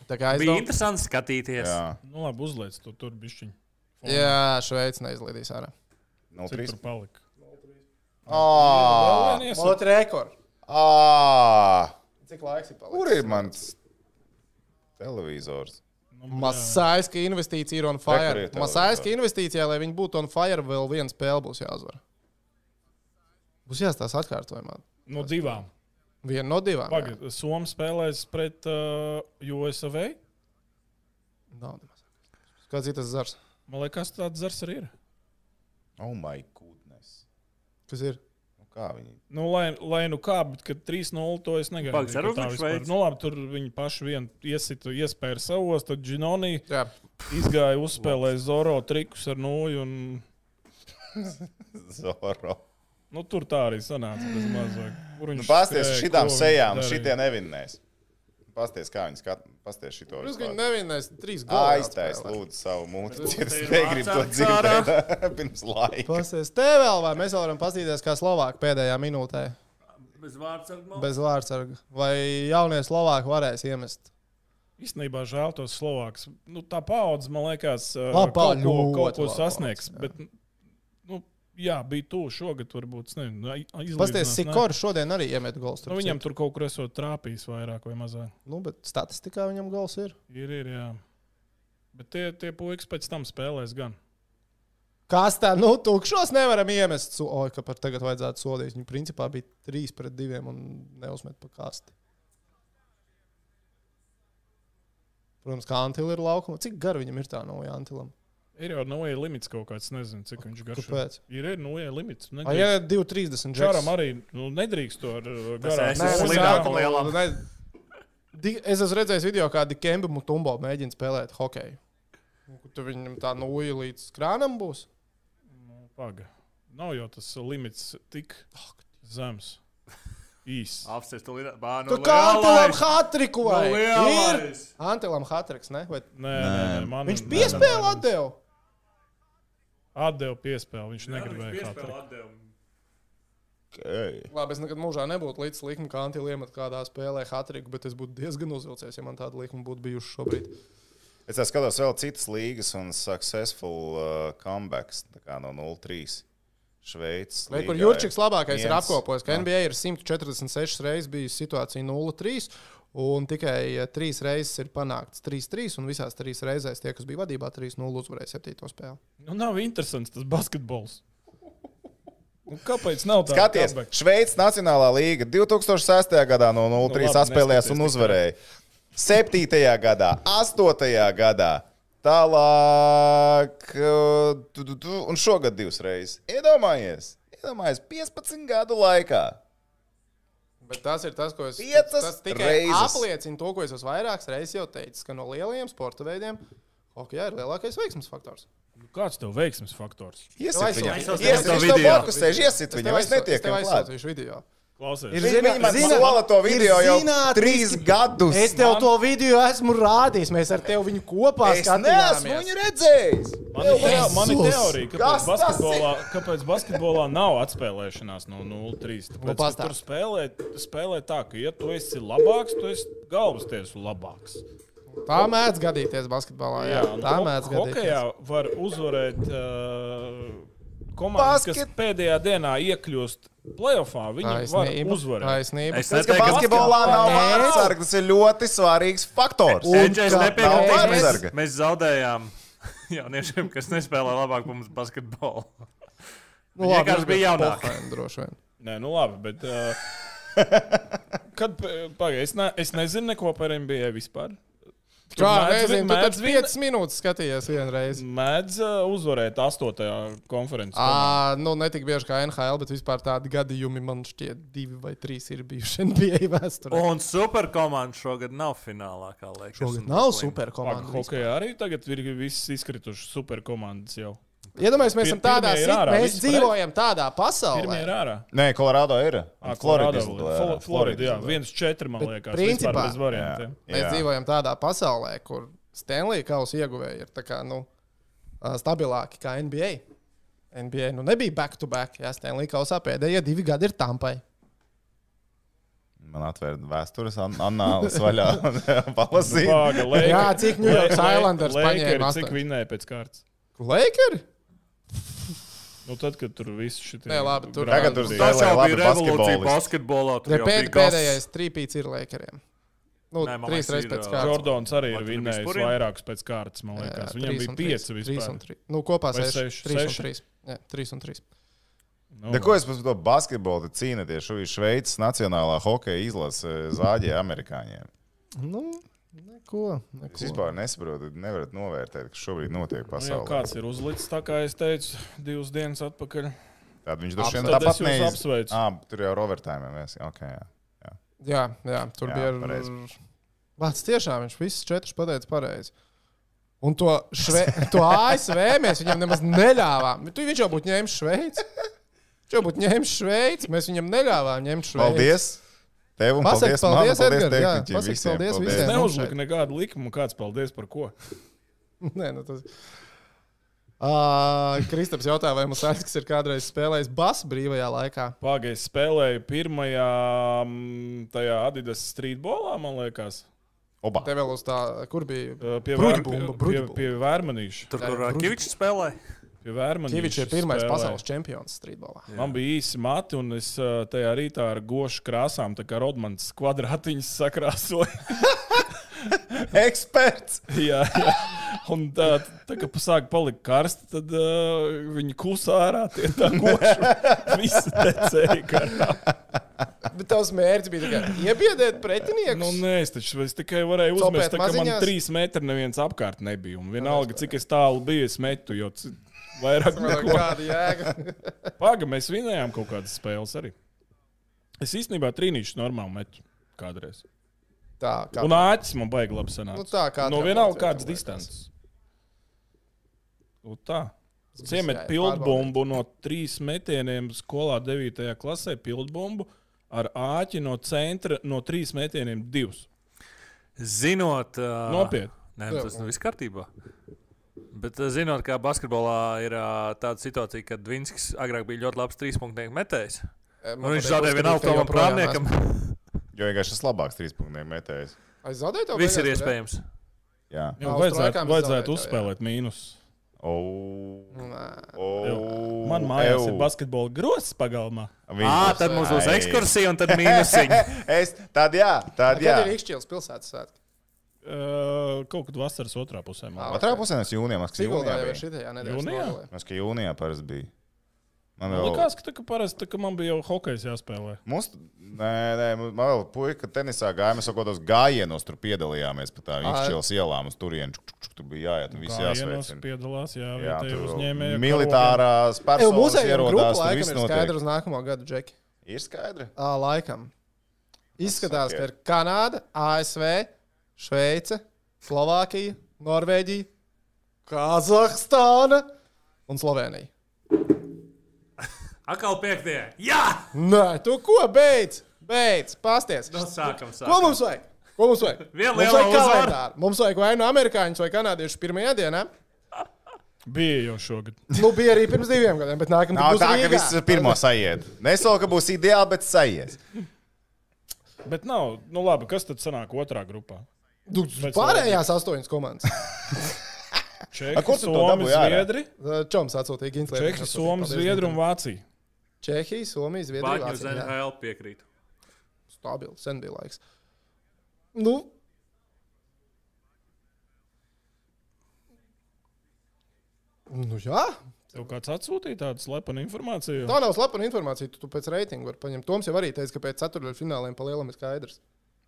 A: Tā kā es
C: Bija
A: domāju,
C: interesanti skatīties.
B: Jā,
D: Nu, labi, uzliec to tur bišķiņu.
A: Jā, Šveice neizlaidīs ārā.
D: Cik
B: 0,3.
D: tur palika?
A: Ah,
B: Ā,
D: Vēl vien iesū-
A: Otra rekords.
B: ā,
A: Cik laiks ir palicis?
B: Kur ir mans televizors?
A: Masāiska investīcija ir on
B: Re, kur
A: fire.
B: ir televizors?
A: Masāiska investīcija, lai viņi būtu on fire, vēl viena spēle būs jāuzvar. Būs jāstāsta atkārtojumā.
D: No divām.
A: Viena no divām. jā.
D: Pagaid, Somija spēlēs pret uh, USV.
A: Nav nemaz. Kāds ir tas zars?
D: Man liekas, tāds zars arī ir.
B: Oh, my goodness.
A: Kas ir?
B: Nu, kā viņi?
D: Nu, lai, lai nu kā, bet kad 3-0 to es negaidu.
C: Pagaid, ceru,
D: ka tā
C: viņš
D: vispār-
C: veids.
D: nu, labi, tur viņi paši vien iesita, iespēja savos, tad Džinoni
A: Jā,
D: izgāja uzspēlēt Zoro trikus ar nūju. Un,
B: Zoro.
D: nu, tur tā arī sanāca. bez mazāk. Kur
B: Nu,
D: viņš
B: Pasties uz
D: skrēja,
B: šitām
D: ko viņš
B: sejām,
D: darīja.
B: šitie nevinnēs. Pasties, kā viņi skatās. Pasties šito.
A: tas
B: vispār.
A: viņa nevienais trīs gadi.
B: Aiztais, lūdzu, savu mūtu.
C: Lūdzu,
B: Es
C: tevi
B: negribu to
C: vācāt
B: dzirdēt pirms laika.
A: Pasies, te vēl vai mēs vēl varam paskatīties, kā Slovākija pēdējā minūtē
C: Bez vārdsargu.
A: bez vārdsarga. Vai jaunie Slovāki varēs iemest?
D: Īstenībā žēl tos Slovākus. Nu, tā paudze, man liekas, uh,
A: Labā,
D: kaut ko,
A: ļoti
D: kaut ko
A: labā
D: sasniegs.
A: paudze, jā.
D: Bet, nu, jā, bija tuvu šogad, varbūt. es Nezinu, ai- aizlīdzinās,
A: Pasties,
D: ne?
A: Sikors šodien arī iemet gols.
D: Nu, viņam tur kaut kur esot trāpījis vairāk vai mazāk.
A: nu, bet statistikā viņam gols ir.
D: Ir, ir, jā. Bet tie, tie puikas pēc tam spēlēs gan.
A: Kas tā, nu, tukšos nevaram iemest. So, Oi, ka par tagad vajadzētu sodīt. Viņu principā bija 3 pret 2 un neuzmet pa kasti. Protams, kā Antila ir laukumā. Cik gara viņam ir tā no Antilam?
D: Ir jau noja limits kaut kāds, nezinu, cik viņš garš. ir.
A: Kāpēc?
D: Ir, ir noja limits.
A: Ai,
D: Nedrīkst.
A: jā, 2,30 džeks.
D: Čāram arī nu, nedrīkst to ar uh,
C: Tas
D: garām.
C: es
A: Nē,
C: esmu
A: nu,
C: slimāk
A: sākumā,
C: un lielāk.
A: ne. Di- Es esmu redzējis video, kā Dikemba Mutumbo mēģina spēlēt hokeju. Un Tur viņam tā no uja līdz krānam būs.
D: Paga. Nav jau tas limits tik zems. Īs.
C: Apstāties, tu līdzi. Bā,
A: Tu
C: nu,
A: kā Antilam
C: lielais!
A: Hatriku
C: Nu,
A: vai? Ir!
C: lielais!
A: Antilam Hatriks, ne? Vai
D: Nē, nē, nē, man
A: Viņš
D: nē, nē,
A: piespēlē
D: nē.
A: atdevu.
D: Atdeva piespēli. Viņš
C: Jā, viņš
D: negribēja kaut
C: piespēlē
D: kā.
C: atdevumu.
B: Okay.
A: Labi, es nekad mūžā nebūtu līdz likmei, kā Antūlija iemet kādā spēlē hatriku, bet es būtu diezgan uzvilcies, ja man tāda likme būtu bijusi šobrīd.
B: Es tā skatos vēl citas līgas un successful uh, comebacks tā kā no 0-3. Šveicis.
A: Vai kur Jurčiks labākais ir
B: viens.
A: apkopojis, ka
B: Jā.
A: NBA ir 146 reizes bijusi situācija 0-3. Un tikai 3 reizes ir panākts 3-3, un visās 3 reizēs tie, kas bija vadībā, 3-0 uzvarēja 7. spēli.
D: Nu, nav interesants tas basketbols. Nu, kāpēc nav tā?
B: Skaties,
D: comeback?
B: Šveices Nacionālā līga 2006. gadā no 0-3
D: Nu, labi,
B: atspēlējās un
D: neskaties
B: uzvarēja. 7. gadā, 8. gadā, tālāk, uh, tu, tu, tu, un šogad divas reizes. Iedomājies, iedomājies 15 gadu laikā.
A: Bet tas ir tas, ko es
B: Piecas
A: tas tikai
B: reizes.
A: apliecina to, ko es esmu vairākas reizes jau teicis, ka no lielajiem sporta veidiem hokeja ir lielākais veiksmes faktors.
D: Nu, Kāds tev veiksmes faktors?
A: Tev
B: Iesit
A: aizsūtīšu-
B: viņam,
A: es tev
B: iesit
C: aizsūtīšu
B: viņam,
C: video.
B: blakus sēž, iesit viņam,
A: tev
B: es
A: aizsū-
B: netiekam
A: tev
B: klāt.
A: aizsūtīšu video.
D: Klausies.
A: Ir
B: Viņi
A: zina-
B: viņi man
A: zina-
B: sola to
A: ir
B: video jau
A: zinātniski-
B: trīs gadus.
A: Es tev to video esmu rādījis. Mēs ar tevi viņu kopā
B: Es neesmu
A: skatījāmies.
B: viņu redzējis.
D: Man ir teo- man ir
A: Jēzus!
D: teorija,
B: Kas
D: kāpēc
B: tas
D: basketbolā, kāpēc basketbolā nav atspēlēšanās no 0-3.
A: Nu,
D: Tāpēc, ka
A: pastāsti.
D: Tur spēlē, spēlē tā, ka, ja tu esi labāks, tu esi galvas tiesu labāks.
A: Tā mēdz gadīties basketbolā. Jā,
D: nu,
A: tā
D: ho-
A: mēdz
D: Hokejā
A: gadīties.
D: var uzvarēt uh, komandas, Basket...
B: Basket-
D: kas pēdējā dienā iekļūst playoffā. Viņi var uzvarēt.
A: Taisnība.
C: Es
B: Tas, ka
C: neteiktu, ka
B: basketbolā nav
A: Nē.
B: vārdsargs, tas ir ļoti svarīgs faktors.
A: Un
C: Edžers
A: kā-
B: Nav
C: nepiekrita. Mēs,
B: vārdsarga.
C: mēs zaudējām jauniešiem, kas nespēlē labāk par mums basketbolu.
A: Nu,
C: Viņi
A: labi,
C: vienkārši
A: bet
C: bija jaunāki.
A: Hohenheim droši vien.
D: Nē, nu labi, bet. Uh, kad pagaidi, es, ne, es nezinu neko par NBA vispār. Tur
A: Kā
D: mēdz-
A: reizē, tu
D: mēdz
A: taču 5 minūtes skatījies vienreiz.
D: Mēdz uh, uzvarēt astotajā konferencē.
A: À, nu, ne tik bieži kā NHL, bet vispār tādi gadījumi man šķiet, divi vai trīs ir bijuši NBA vēsturē.
C: Un superkomanda šogad nav finālā, kā liekas.
A: Šogad
C: Un
A: nav
C: slim.
A: superkomanda. vispār.
D: Hokejā arī tagad ir visas izkritušas superkomandas jau.
A: Iedomājieties, mēs esam
D: Pir-
A: tādā
D: pirmie ir
A: situācijā,
D: ārā,
A: mēs
D: viss
A: dzīvojam tādā
D: Pirmie ir
A: pasaulē.
D: ārā.
B: Nē, Kolorādo ir.
D: Ā,
B: Florida
D: Colorado,
B: izlidē.
D: Flo- Florida. Jā,
B: izlidē.
D: viens četri man
A: Bet
D: liekas.
A: principā-
D: Principā bez
B: Jā,
D: variantiem.
A: Mēs
B: jā.
A: dzīvojam tādā pasaulē, kur Stanley kausa ieguvēji ir tā kā, nu, ā, stabilāki kā NBA. NBA nu nebija back to back, ja Stanley kausā pēdējie divi gadi ir tampai.
B: Man atvērta vēstures an anālis vaļā un palasīja.
D: Vāga, Lakers-
A: Jā, cik New York
D: Lake-
A: Islanders
D: Lakers
A: paņēma
D: Cik
A: astoņ-
D: vinēja pēc kārtas?
A: Lakers?
D: Nu, tad, kad tur viss šis
A: Nē, labi, tur-
B: Tagad tur
A: Tas
B: spēlē
C: Tas jau
B: labi
C: bija revolūcija
B: basketbolisti.
C: basketbolā. Tur jau bija
A: Pēd,
C: gas.
A: pēdējais trīpīts ir Lakeriem. Nu,
C: Nē, man
A: trīs
C: liekas,
A: reizes
C: ir,
A: pēc
C: uh,
A: kārtas.
D: Jordans
C: Vai
D: arī ir
C: tur bija
D: vinnējis
C: spuriem?
D: vairākus pēc kārtas, man liekas. Viņam bija pieci vispār.
A: 3. Nu, kopā
D: Vai
A: 6.
D: seši?
A: 3 un
D: Seši?
A: 3. Jā, 3 un 3.
D: Nu,
B: Neko es par to basketbolu te cīnīties. Šo ir Šveices nacionālā hokeja izlase zāģē amerikāņiem.
A: Nu, neko.
B: Es
A: neko.
B: vispār nesaprotu, nevarat novērtēt, kas šobrīd notiek
D: nu, jau
B: pasaulē.
D: kāds ir uzlicis, tā kā es teicu, divas dienas atpakaļ.
B: Tad viņš droši vien
D: Tad es
B: tāpat
D: jūs
B: neiz...
D: apsveicu.
B: Ah, tur jau ir overtime. Mēs... Okay, jā.
A: Jā, jā, tur
B: Jā,
A: jā, bija.
B: pareizi.
A: Vats tiešām viņš visus četrus pateica pareizi. Un to, šve, to ASV mēs viņam nemaz neļāvām. Tu viņš jau būtu ņēmis Šveici. Viņš jau būtu ņēmis Šveici. Mēs viņam neļāvām ņemt Šveici.
B: Paldies! Tev un
A: Pasaki
B: paldies, man,
A: paldies,
B: paldies,
A: Edgar, jā.
B: tehniķiem
A: Pasaki
B: visiem,
A: paldies
B: paldies.
A: visiem.
D: Neuzlika nekādu likumu, kāds paldies par ko.
A: Nē, nu tas. Uh, Kristaps jautā, vai mums Aiskas ir kādreiz spēlējis basu brīvajā laikā?
D: Pagaidā es spēlēju pirmajā mm, tajā Adidas streetbolā, man liekas.
B: Oba.
A: Te vēl uz tā, kur bija.
D: Uh, Pie
A: Brudbumba,
D: Vērmanīša. Pie,
A: Brudbumba.
D: pie Vērmanīša.
C: Tur, kur
A: Tā ir
C: uh,
A: brūti.
C: Kivičs spēlēja.
D: Pie Vērmanīša
A: Kīvičs ir pirmais
D: spēlēju.
A: pasaules čempions streetbolā.
D: Man bija īsi mati, un es uh, tajā rītā ar gošu krāsām, tā kā Rodmans kvadrātiņš sakrāsoja.
B: Eksperts!
D: jā, jā. Un tā, tā kā sāk palikt karsti, tad uh, viņi klusā ārā. Tie tā goši visi tecēja garām.
A: Bet tavs mērķis bija tikai iebiedēt pretinieku.
D: Nu, nē, es, taču, es tikai varēju
A: Copēt
D: uzmest, tā, ka man
A: maziņās?
D: trīs metri neviens apkārt nebija. Un vienalga, cik es tālu biju, es metu, jo c- vairāk neko.
A: kāda jēga.
D: Paga, mēs vinējām kaut kādas spēles arī. Es īstenībā trīnīšu normāli metu kādreiz.
A: Tā kā.
D: Un āķis man baigi labi sanāca.
A: Nu, tā kā
D: no
A: katram
D: vienalga
A: vajadzētu,
D: kādas
A: man liekas.
D: distances. Nu, tā.
A: Tas
D: Ciemet
A: jāiet
D: pildbumbu no trīs metieniem skolā 9. klasē, pildbumbu ar āķi no centra no trīs metieniem divus.
C: Zinot, uh,
D: Nopietni.
C: Nē, nu tas nu viss kārtībā. Bet uh, zinot, ka basketbolā ir uh, tāda situācija, ka Dvinskis agrāk bija ļoti labs trīspunktu metējs.
A: Eh, Man
C: Nu, viņš
A: patīk
C: zaudēja
A: uzskatīt,
C: vienalga
A: ka
C: tavam
A: joprojām
C: prātniekam.
B: Jo vienkārši tas labāks trīspunktiem metējs.
A: esmu- Ai, zaudēju to
C: Viss
A: beigās,
C: ir
A: vai ne?
C: iespējams.
B: Jā.
A: Austrālijā
D: Jā,
A: kā
D: vajadzētu,
A: mēs
D: vajadzētu
A: zaudējām,
D: uzspēlēt mīnus.
B: Oh.
A: Nu, Nē.
B: Oh.
D: Man mājās
B: Ew.
D: ir basketbola grozs pagalmā.
C: Ah,
B: Viņš-
C: tad mums būs
B: Ai.
C: ekskursija un tad mīnusiņa.
B: Es, tad jā, tad
A: Kad ir
B: jā.
A: Rīgšķils pilsētas svētki?
D: Uh, kaut kad vasaras otrā pusē. man
A: Ā,
B: Otrā pusē no jūnija mums bija
A: Siguldā jau ir
B: jūnija.
A: šitajā nedēļas
D: Jūnijā?
A: nogalē.
B: Mums bija jūnija parasti bija.
A: Nu,
B: Man
D: Man
B: vēl...
D: Likās, ka, tā, ka parasti tā, ka man bija jau hokejs jāspēlē.
B: Mums, nē, nē, mums- man vēl puika tenisā gāja. Mēs jau kaut kādos gājienos tur piedalījāmies pa tām
A: Ai.
B: izšķils ielām uz turieni. Čuk, čuk, čuk, Tur bija jāiet un viss
D: Gājienos
B: jāsveicina.
D: piedalās, jā,
B: Jā,
D: vietējie
B: tur vēl
D: uzņēmēji. karogi.
B: militārās
A: Tev
B: personas
A: muzeja grupa
B: ierodās, tur
A: laikam
B: viss
A: ir
B: notiek.
A: skaidra uz nākamo gadu, Džeki.
B: Ir skaidri.
A: Ā, laikam. Izskatās, ka
B: sakiet.
A: ir Kanāda, ASV, Šveice, Slovākija, Norvēģija, Kazahstāna un Slovenija.
C: Akal piektie. Jā!
A: Nē, tu ko beidz? Beidz, pasties.
C: Nu, sākam, sākam.
A: Ko mums vajag? Ko mums vajag?
C: Vienu
A: mums
C: lielo
A: vajag
C: uzvaru.
A: kalendāru. Mums vajag vai nu amerikāņus vai kanādiešus pirmajā dienā.
D: Bija jau šogad.
A: Nu, bija arī pirms diviem gadiem, bet nākamā
B: Nav
A: gada
B: tā, ka viss pirmo sajiet. Nesolu, ka būs ideāli, bet sajies.
D: Bet nav, nu labi, kas tad sanāk otrā grupā? Pēc
A: Pārējās astoņas komandas.
D: Čehi,
B: kur tu to
D: Somi,
B: dabūji ārā?
D: Zviedri.
A: Čoms atsūtīja Gintlers.
D: Čehi, Somi, Zviedri un Vācija.
A: Čehija, Somija, Zviedrija.
C: Bāķi uz
A: Vācija, jā.
C: NHL piekrīt.
A: Stabili, sen bija laiks. Nu, nu jā,
D: Tev kāds atsūtīja tādu slepenu informāciju?
A: tā nav slapena Nu, informācija. Tu, tu pēc reitinga vari paņemt. Toms jau arī teica, ka pēc ceturtajiem fināliem pa lielam ir skaidrs.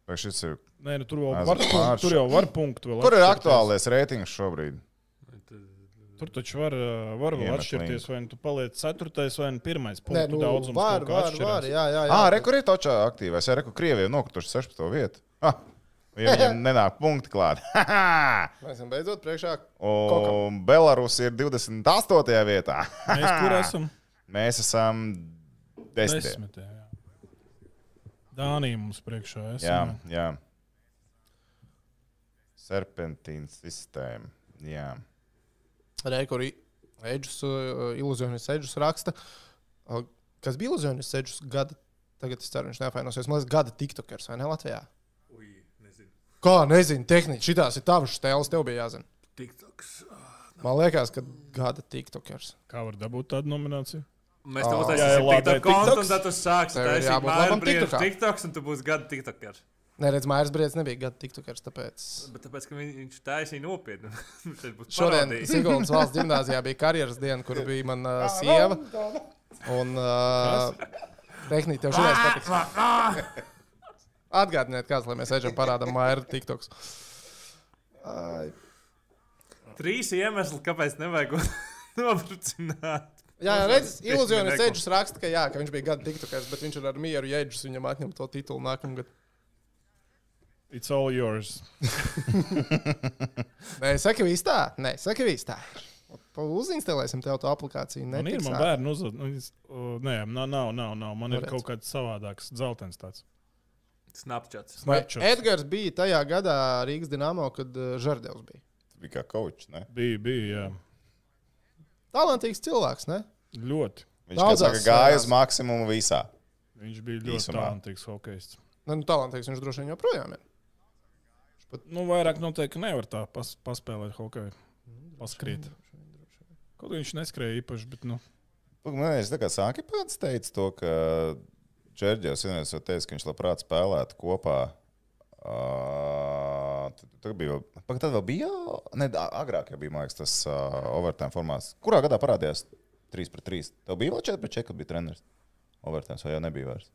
B: Vai šis ir?
D: Nē, nu, tur, vēl
B: Mēs
D: var,
B: pārši-
D: tur jau var punktu. Vēl
B: Kur ir
D: atšķirties.
B: aktuālais reitings šobrīd?
D: Tur taču var, ā, var vēl
B: Iemet
D: atšķirties.
B: linku.
D: Vai nu tu paliec ceturtais, vai nu pirmais
A: Nē,
D: punkts.
A: nu,
D: Daudzums
A: var,
D: kaut kā
A: var, var,
D: atšķirās.
A: jā, jā. jā.
B: Ā, re, kur ir točā aktīvais? Jā, re, kur Krievijai nokrituši 16. vietu. Ah, ja viņiem nenāk punkti klāt.
A: Mēs esam beidzot priekšā.
B: Un Belarus ir 28. vietā.
D: Mēs tur esam
B: Mēs esam 10.
D: desmitajā. jā. Dānija mums priekšā. Esam,
B: Jā,
D: jā.
B: jā. Serpentīna sistēma. Jā.
A: Reikuri Uh, Eģis, iluzionis Eģis raksta. Uh, Kas bija iluzionis Eģis gada Tagad es ceru, viņš neapvainosies. Man liekas, gada tiktokers vai ne Latvijā?
C: Ui, nezinu.
A: Kā nezinu, tehniski šitās ir tavs stēlis, tev bija jāzina.
C: TikToks.
A: Man liekas, ka gada tiktokers.
D: Kā var dabūt tādu nomināciju?
C: Mēs
A: Ā.
C: tev uztaisīsim
D: Jā, jā,
C: TikTok
D: labi,
C: kontu,
D: TikToks.
C: un tad tu
A: Ah. Tev
C: sāksi
A: ir
C: taisīt
A: jābūt labam
C: Maibriedz
A: TikTokā.
C: TikToks, un tu būsi gada TikTokers.
A: Nē, redz, Maijas Brīsīs nebija gada tiktokers. Tāpēc...
C: Bet tāpēc, ka viņ- viņš taisīja nopietni. Viņš būs
A: Šodien
C: parodija.
A: Sigūnas valsts gimnājā bija karjeras diena, kur bija mana uh, sieva. Un uh, tehniski tev šodien patiks. Atgādiniet, kāds, lai mēs ejam parādām Maija tiktoks.
C: Trīs iemesli, kāpēc nevajag nobrucināt.
A: Jā, jā, redz, ilūzijas
C: Neko.
A: ceļš raksta, ka, jā, ka viņš bija gada tiktokers, bet viņš ir ar mieru jēdzis, viņam atņem to titulu nākamgad.
D: It's all yours.
A: Nē, saka, viss tā. Nē, saka, viss tā. Uzinstalēsim tev to aplikāciju. Nē,
D: Man Nu, ir man bērnu uzvārds. Nē, nav, nav, nav, nav. Man ir
A: Redz.
D: kaut kāds savādāks, dzeltens tāds.
C: Snapchats.
D: Snapchats.
A: Edgars bija tajā gadā Rīgas Dienāmo, kad uh, Žardevs bija.
B: Tu biji kā koč, ne?
D: Bija, bija, jā.
A: Talantīgs cilvēks, ne?
D: Ļoti.
B: Viņš kā
A: Daudzās
B: saka, gāja
A: sfērās.
B: uz maksimumu visā.
D: Viņš bija ļoti
B: Īsumā.
D: talantīgs hokejists.
A: Nu, nu, talantīgs viņš droši vien joprojām ir.
D: Nu, vairāk noteikti nevar tā pas, paspēlēt hokeju.
A: Mm,
D: Paskrīt. Kaut viņš neskrēja īpaši, bet, nu,
B: Lūk, Man liekas, tas Anki pats teica to, ka Čērģis vienreiz jau teica, ka viņš labprāt spēlētu kopā. Uh, tad bija vēl, Pagaid, tad vēl bija, ne, ā- agrāk jau bija, man liekas, tas uh, overtime formāts. Kurā gadā parādījās 3 pret 3? Tev bija vēl 4 pret 4, kad bija treneris. Overtime jau nebija vairs.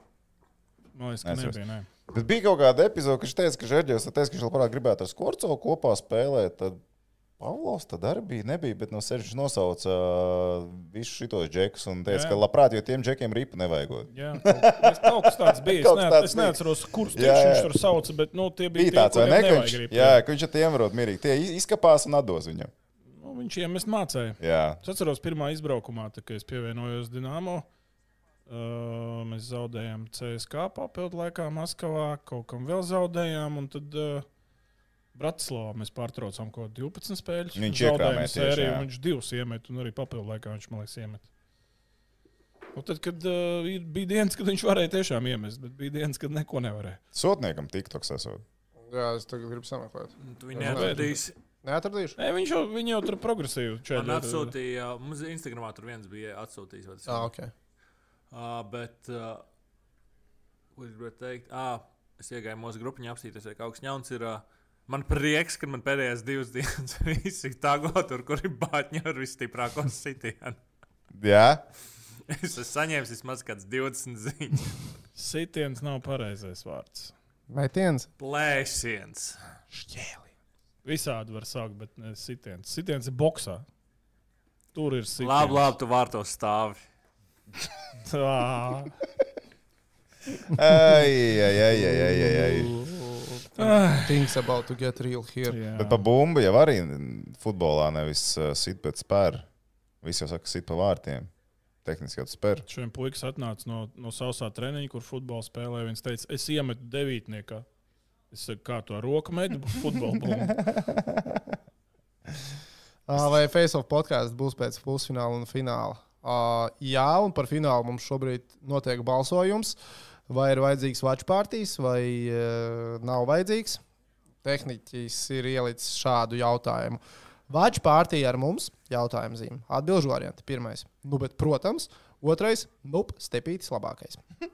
D: man liekas, Nu, ka
B: Neatceros.
D: nebija. Nē.
B: Bet bija kaut kāda epizode, kad viņš teica, ka Žērģis teica, ka viņš labprāt gribētu ar Skorcovu kopā spēlēt. Tad Pavlovs tad arī bija, nebija, bet no sevis viņš nosauca uh, visus šitos džekus un teica,
D: Jā.
B: ka labprāt, jo tiem džekiem ripa nevajagot.
D: Jā, kaut, es- kaut kas tāds bija. Es,
B: Kaut
D: ne,
B: kas tāds
D: es
B: bija.
D: neatceros, kurš
B: Jā, jā.
D: viņš tur sauca, bet nu, tie bija
B: Bija tāds, vai
D: tie,
B: ne?
D: kuriem
B: Ka
D: nevajag
B: viņš,
D: grib,
B: jā, ka viņš ar tiem rod mierīgi. Tie iz- izkapās un atdos viņam.
D: Nu, viņš iemest mācīja.
B: Jā,
D: Es atceros, pirmā izbraukumā, tā, kad es pievienojos Dienāmo. Uh, mēs zaudējām CSK papildu laikā Maskavā, kaut kam vēl zaudējām. un Tad uh, Bratislavā mēs pārtraucām kaut ko 12 spēļu.
B: Viņš iekrāmē tieši,
D: arī
B: jā.
D: viņš divus iemet, un arī papildu laikā viņš man liekas iemet. Un tad, kad uh, ir- bija dienas, kad viņš varēja tiešām iemest, bet bija dienas, kad neko nevarēja.
B: sotniekam tiktoks esot.
A: Jā, es tagad gribu sameklēt.
D: Nu,
C: Tu viņu neatradīsi.
A: Neatradīšu.
D: Nē, viņš jau, viņš jau tur progresīvi
C: Man
D: čēlīja.
C: atsūtīja, mums Instagramā tur viens bija atsūtījis. vai tas
A: Ah,
C: ir?
A: okay.
C: Ā, Bet, ā, ko es gribēju teikt? Ā, Es iegāju mūsu grupiņā apstīties, vai kaut kas jauns ir. ā, Man prieks, ka man pēdējās divas dienas visi tago tur, kur ir bātņi ar visstiprāko sitienu.
B: Jā,
C: Es esmu saņēmis vismaz kāds 20 ziņas.
D: Sitiens nav pareizais vārds.
A: Mētienas.
C: Plēsiens.
A: Šķēli.
D: Visādi var sākt, bet ne sitiens. Sitiens ir boxā. Tur ir sitiens.
C: Labi, labi, tu vārtos stāvi.
D: Tā.
B: ai, ai, ai, ai, ai, ai, ai.
A: Things about to get real here.
D: ah, Jā.
B: Bet pa bumbu jau arī futbolā nevis uh, sit pēc spēra. Visi jau saka, sit pa vārtiem. Tehniski jau tas spēr.
D: Šiem puikas atnāca no, no sausā treniņa, kur futbolu spēlēja. Viņš teica, es iemetu devītniekā. Es saku, kā to ar roku metu, futbolu bumbu.
A: Ā, Ah, Vai Face of podkāsts būs pēc pusfināla un fināla? Ā, Jā, un par finālu mums šobrīd notiek balsojums. Vai ir vajadzīgs watch partijas, vai ā, nav vajadzīgs? Tehniķis ir ielicis šādu jautājumu. Vāģi pārtīja ar mums jautājumu zīmi. Atbilžu varianti. Pirmais, nu, bet, protams, otrais, nu, stepītis labākais.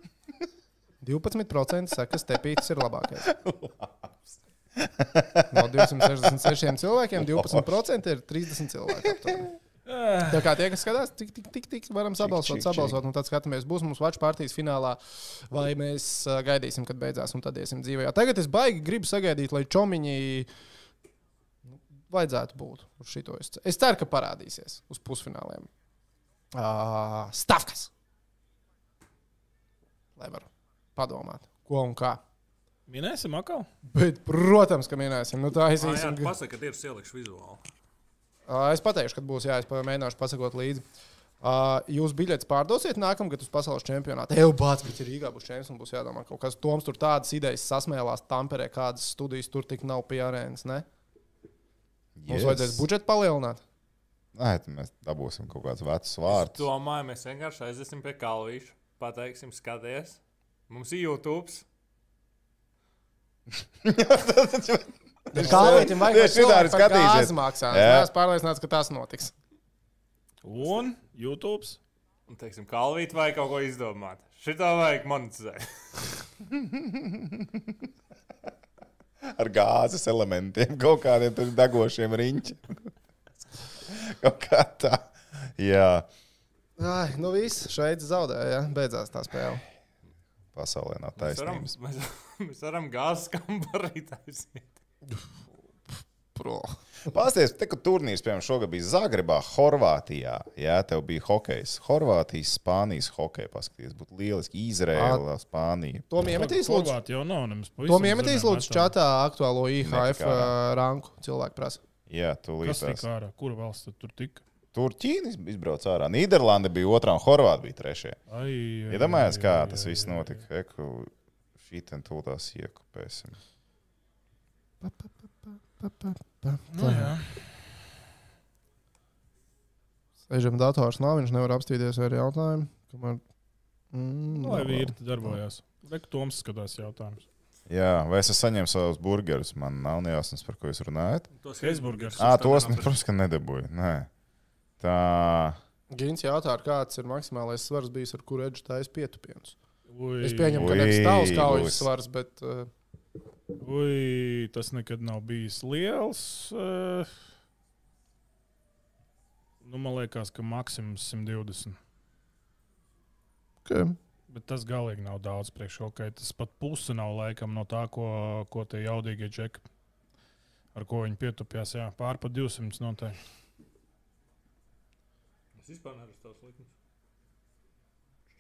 A: 12% saka, ka stepītis ir labākais. No 266 cilvēkiem 12% ir 30 cilvēki. aptuveni. Tā kā tie, kas skatās, tik, tik, tik, tik varam sabalsot,
B: čik, čik.
A: sabalsot, un tad skatāmies, būs mums vaču partijas finālā, vai mēs ā, gaidīsim, kad beidzās, un tad iesim dzīvē. Tagad es baigi gribu sagaidīt, lai čomiņi nu, vajadzētu būt uz šito. Es, ce- es ceru, ka parādīsies uz pusfināliem. Uh, stavkas! Lai varu padomāt, ko un kā.
D: Minēsim atkal.
A: Bet, protams, ka minēsim, nu tā
C: Ā, Jā,
A: aiziesim.
C: tu pasaki, ka ir sielikšu vizuāli.
A: Ā, Uh, Es pateikšu, kad būs, jā, es pa- mēģināšu pasakot līdzi. Uh, jūs biļetes pārdosiet nākamgad uz pasaules čempionātu. Ej, bāc, bet ir Rīgā būs čempions un būs jādomā, kaut kas Toms tur tādas idejas sasmēlās Tamperē, kādas studijas tur tik nav pie arēnas. ne? Mums vajadzēs budžetu palielināt.
B: Nē, tad mēs dabūsim kaut kādus vecus vārdus.
C: Domāju, mēs vienkārši aiziesim pie Kalvīša. Pateiksim, skaties. Mums ir YouTube.
A: Kā līnijam vajag
B: Tieši šitā arī skatīsies.
A: maksāt?
B: Jā.
A: Es pārliecināts, ka tas notiks.
D: Un YouTube.
C: Un, teiksim, kalvīt vai kaut ko izdomāt. Šitā vajag monetizēt.
B: Ar gāzes elementiem, kaut kādiem tur degošiem riņķiem. Kaut kā tā. Jā,
A: Ai, nu viss, šeit zaudēja. jā. Beidzās tā spēle.
B: pasaulē nav
C: Mēs varam,
B: taisnības.
C: mēs, mēs varam gāzes kambarī taisīt.
A: Pro.
B: Pastāstiet, te, ka turnīrs, piemēram, šogad bija Zagrebā, Horvātijā. Jā, tev bija hokejs. Horvātijas, Spānijas hokeja. Paskaties, būtu lieliski. Izraēla, Spānija.
A: Tom iemetīs, lūdzu.
D: Horvāti jau nav nemaz pavisam.
A: Tom iemetīs,
D: zemē
A: lūdzu,
D: metā.
A: čatā aktuālo IHF
B: Nekā.
A: ā, uh, ranku. Cilvēki prasa.
B: Jā, tūlīt.
D: Kas
B: tās-
D: tika ārā? Kura valsts tad tur tika?
B: Tur Ķīna izbrauca ārā. Nīderlanda bija otrā un Horvātija bija trešajā.
D: Ai, ai,
B: Iedomājieties,
D: ai,
B: kā
D: ai,
B: tas
D: ai,
B: viss
D: ai.
B: notika. Eku, šī ten tūlās iekupēsim.
D: Nu, jā.
A: Sēžam dators nav, viņš nevar apstīties ar jautājumu. Kamēr... Mm,
D: Lai
A: labi.
D: vīri tad darbojās. Reku Toms skatās jautājumus.
B: Jā, vai es esmu saņēmis savus burgerus? Man nav ne jāsnes, par ko jūs runājat.
C: Tos
D: Heisburgers.
B: Ā, tos mēs, protams, ka nedabūju. Nē. Tā.
A: Gins jautā, ar kāds ir maksimālais svars bijis, ar kuru edžu taisa pietupienus.
D: Ui,
A: Es pieņemu, ka
B: Ui,
A: nevis tavs
B: būs.
A: kaujas svars, bet uh,
D: Ui, tas nekad nav bijis liels. eh. Nu, man liekas, ka maksimums 120.
A: ka
D: Bet tas galīgi nav daudz priekšrokai. Tas pat puse nav laikam no tā, ko, ko tie jaudīgie džeki, ar ko viņi pietupjās. Jā, pār pa 200 noteikti.
C: Es vispār nevaru tos likumus.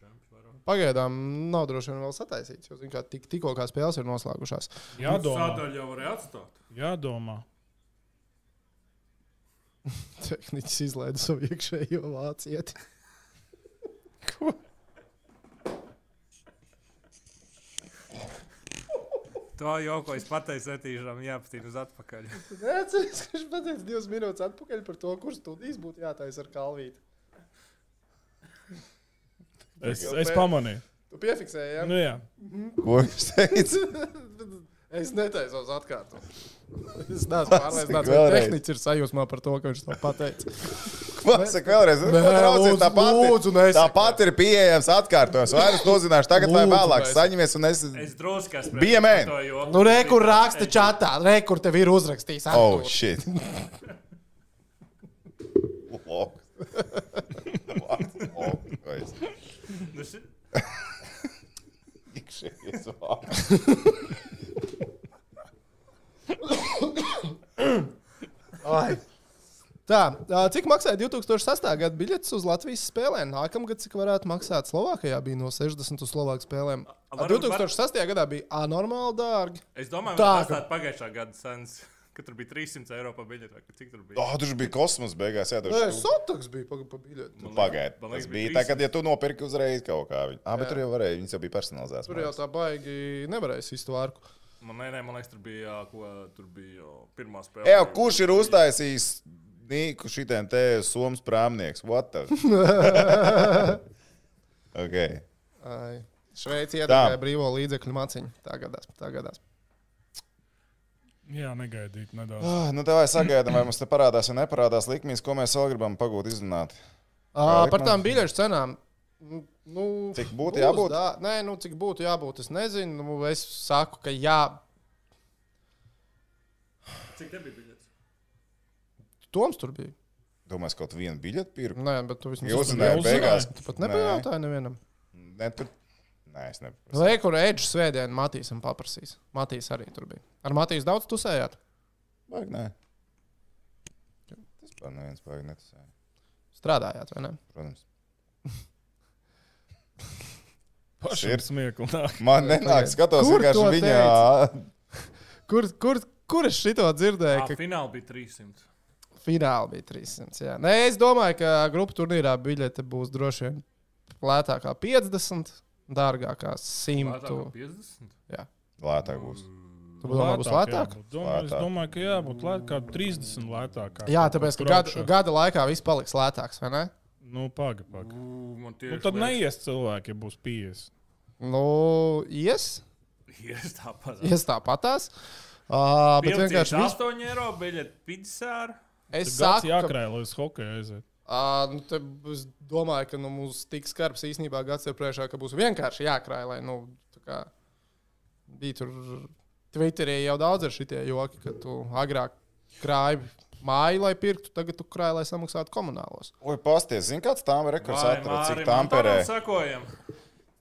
C: Čempions vairāk.
A: pagaidām nav droši vien vēl sataisīts. Jo, zin kā, tik, tikko kā spēles ir noslēgušās.
D: Jādomā.
C: Sādaļu Nu, jau varēja atstāt.
D: Jādomā.
A: Tehnicis izlaida savu iekšējo vācieti.
C: To jau, ko es pateicu, etīžam jāpatīk uz atpakaļ.
A: Nē, atceries, ka viņš pateica divas minūtes atpakaļ par to, kurš studijas būtu jātaisa ar kalvīti.
D: Es,
B: Jau
D: es
B: pēc-
D: pamanīju.
A: Tu piefiksēji, jā?
D: Nu, jā.
B: Ko jūs teicat?
A: Es netaisos atkārtot. Es neesmu pārliecināts, ka
B: Vēlreiz.
A: tehnicis ir sajūsmā par to, ka viņš to pateica.
B: Pasaka vēlreiz.
A: Nē,
B: Lūdzu, tā pati.
A: lūdzu, nesaki.
B: Tāpat ir pieejams atkārtojums. Vai es to zināšu tagad vai
A: Lūdzu,
B: vēlāk?
A: nesaki.
B: Saņemies un es.
C: Es drusku esmu.
B: BMN.
A: Nu, re, kur raksta čatā, re, kur tev ir uzrakstījis.
B: Oh,
A: Artur.
B: shit.
C: Nu,
B: Iekšējais vārds.
A: Ai. Tā, ā, cik maksāja 2008. gada biļetes uz Latvijas spēlēm? Nākamgad, cik varētu maksāt Slovākijā, bija no 60 uz Slovākijas spēlēm.
C: A-
A: Ā,
C: varbūt-
A: 2008. gadā bija anormāli dārgi.
C: Es domāju,
A: Tā,
C: ka
A: ka-
C: tas ir pagājušā gada sens, kad tur bija 300 eiro pa biļeti. vai Cik tur bija?
B: Oh, tur bija kosmos beigās. Jā, tur
A: Nē,
B: bija.
A: Sotaks bija pa, pa biļeti.
B: Pagaidiet,
C: Man liekas,
B: Nu, tas
C: bija
B: bija tā, kad ja tu nopirki uzreiz kaut kā. Viņa. Ah, bet tur jau varēja, viņas jau bija personalizētas.
A: Tur jau tā baigi nevarēja izturēt.
C: Man, nē, nē, man liekas, tur bija, ā, ko, tur bija ā, pirmā spēle.
B: Ej, kurš ir uztaisījis Nīku šitiem te somas prāmnieks? What the? okay.
A: Šveice iedeva brīvo līdzekļu maciņu. Tā gadās. Tā gadās.
D: jā, negaidīt nedaudz.
B: ah, nu, tā vai sagaidām, vai mums te parādās vai neparādās likmīs, ko mēs vēl gribam pagūt izrunāt.
A: Ā,
B: Kā
A: Par
B: likmēs?
A: tām biļešu cenām. Nu,
B: Cik būtu
A: būs
B: jābūt?
A: dā- Nē, nu, cik būtu jābūt, es nezinu. Nu, es saku, ka jā,
C: Cik tev bija biļetes?
A: Toms tur bija.
B: Domāju, es kaut vienu biļeti pirku.
A: Nē, bet tu vismaz
B: Jūs zinājāt,
D: jau
B: beigās.
A: Tu pat nepajautāji nevienam.
B: Nē, ne, tur. Nē, es neprasīju.
A: Vai kur Edžs svētdien Matīsam paprasīs? Matīs arī tur bija. Ar Matīs daudz tusējāt?
B: Baigi, nē. Tas par neviens baigi netusēja.
A: Strādājāt, vai ne?
B: Protams.
D: Pašiem
B: ir-
D: smieklīgi.
B: Man nenāk, skatos
A: Kur
B: vienkārši
A: to
B: viņā.
A: Kur, kur, kur es šito dzirdēju?
C: Ā,
A: Ka
C: Fināli bija 300.
A: fināli bija 300. Jā. Nē, es domāju, ka grupu turnīrā biļete būs droši vien lētākā 50, dārgākā 100.
C: Lētāk kā 50.
B: Lētāk būs.
A: Tu domā, būs lētāk?
D: Domāju, es
B: Lētāk.
D: domāju, ka jā, būtu lētāk, kā 30 lētāk. kā
A: Jā,
D: kaut
A: tāpēc
D: kur
A: ka gada,
D: augšā.
A: gada laikā viss paliks lētāks, vai ne?
D: Nu, paga, paga.
C: Ū, Man
D: Nu,
C: tieši
D: tad
C: liekas-
D: neies cilvēki, ja būs 50.
A: Nu, ies,
C: Ir tāpat.
A: ies tāpatās. Uh, bet vienkārši vis...
C: 8 eiro biļete pizzā.
A: es
D: Tas
A: saku,
D: ir
A: ka,
D: jākrāj, lai uz hokeja aiziet.
A: uh, nu, te es domāju, ka nu, mums tik skarbs īstenībā gads ir priekšā, ka būs vienkārši jākrāj, lai nu, tā kā bija tur Twitterī jau daudz ar šitie joki, ka tu agrāk krāji māju, lai pirktu, tagad tu krāji, lai samaksātu komunālos.
B: Oi, pasties, zini, kāds tam ir rekords atrod, cik Tamperē,
C: Sakojam.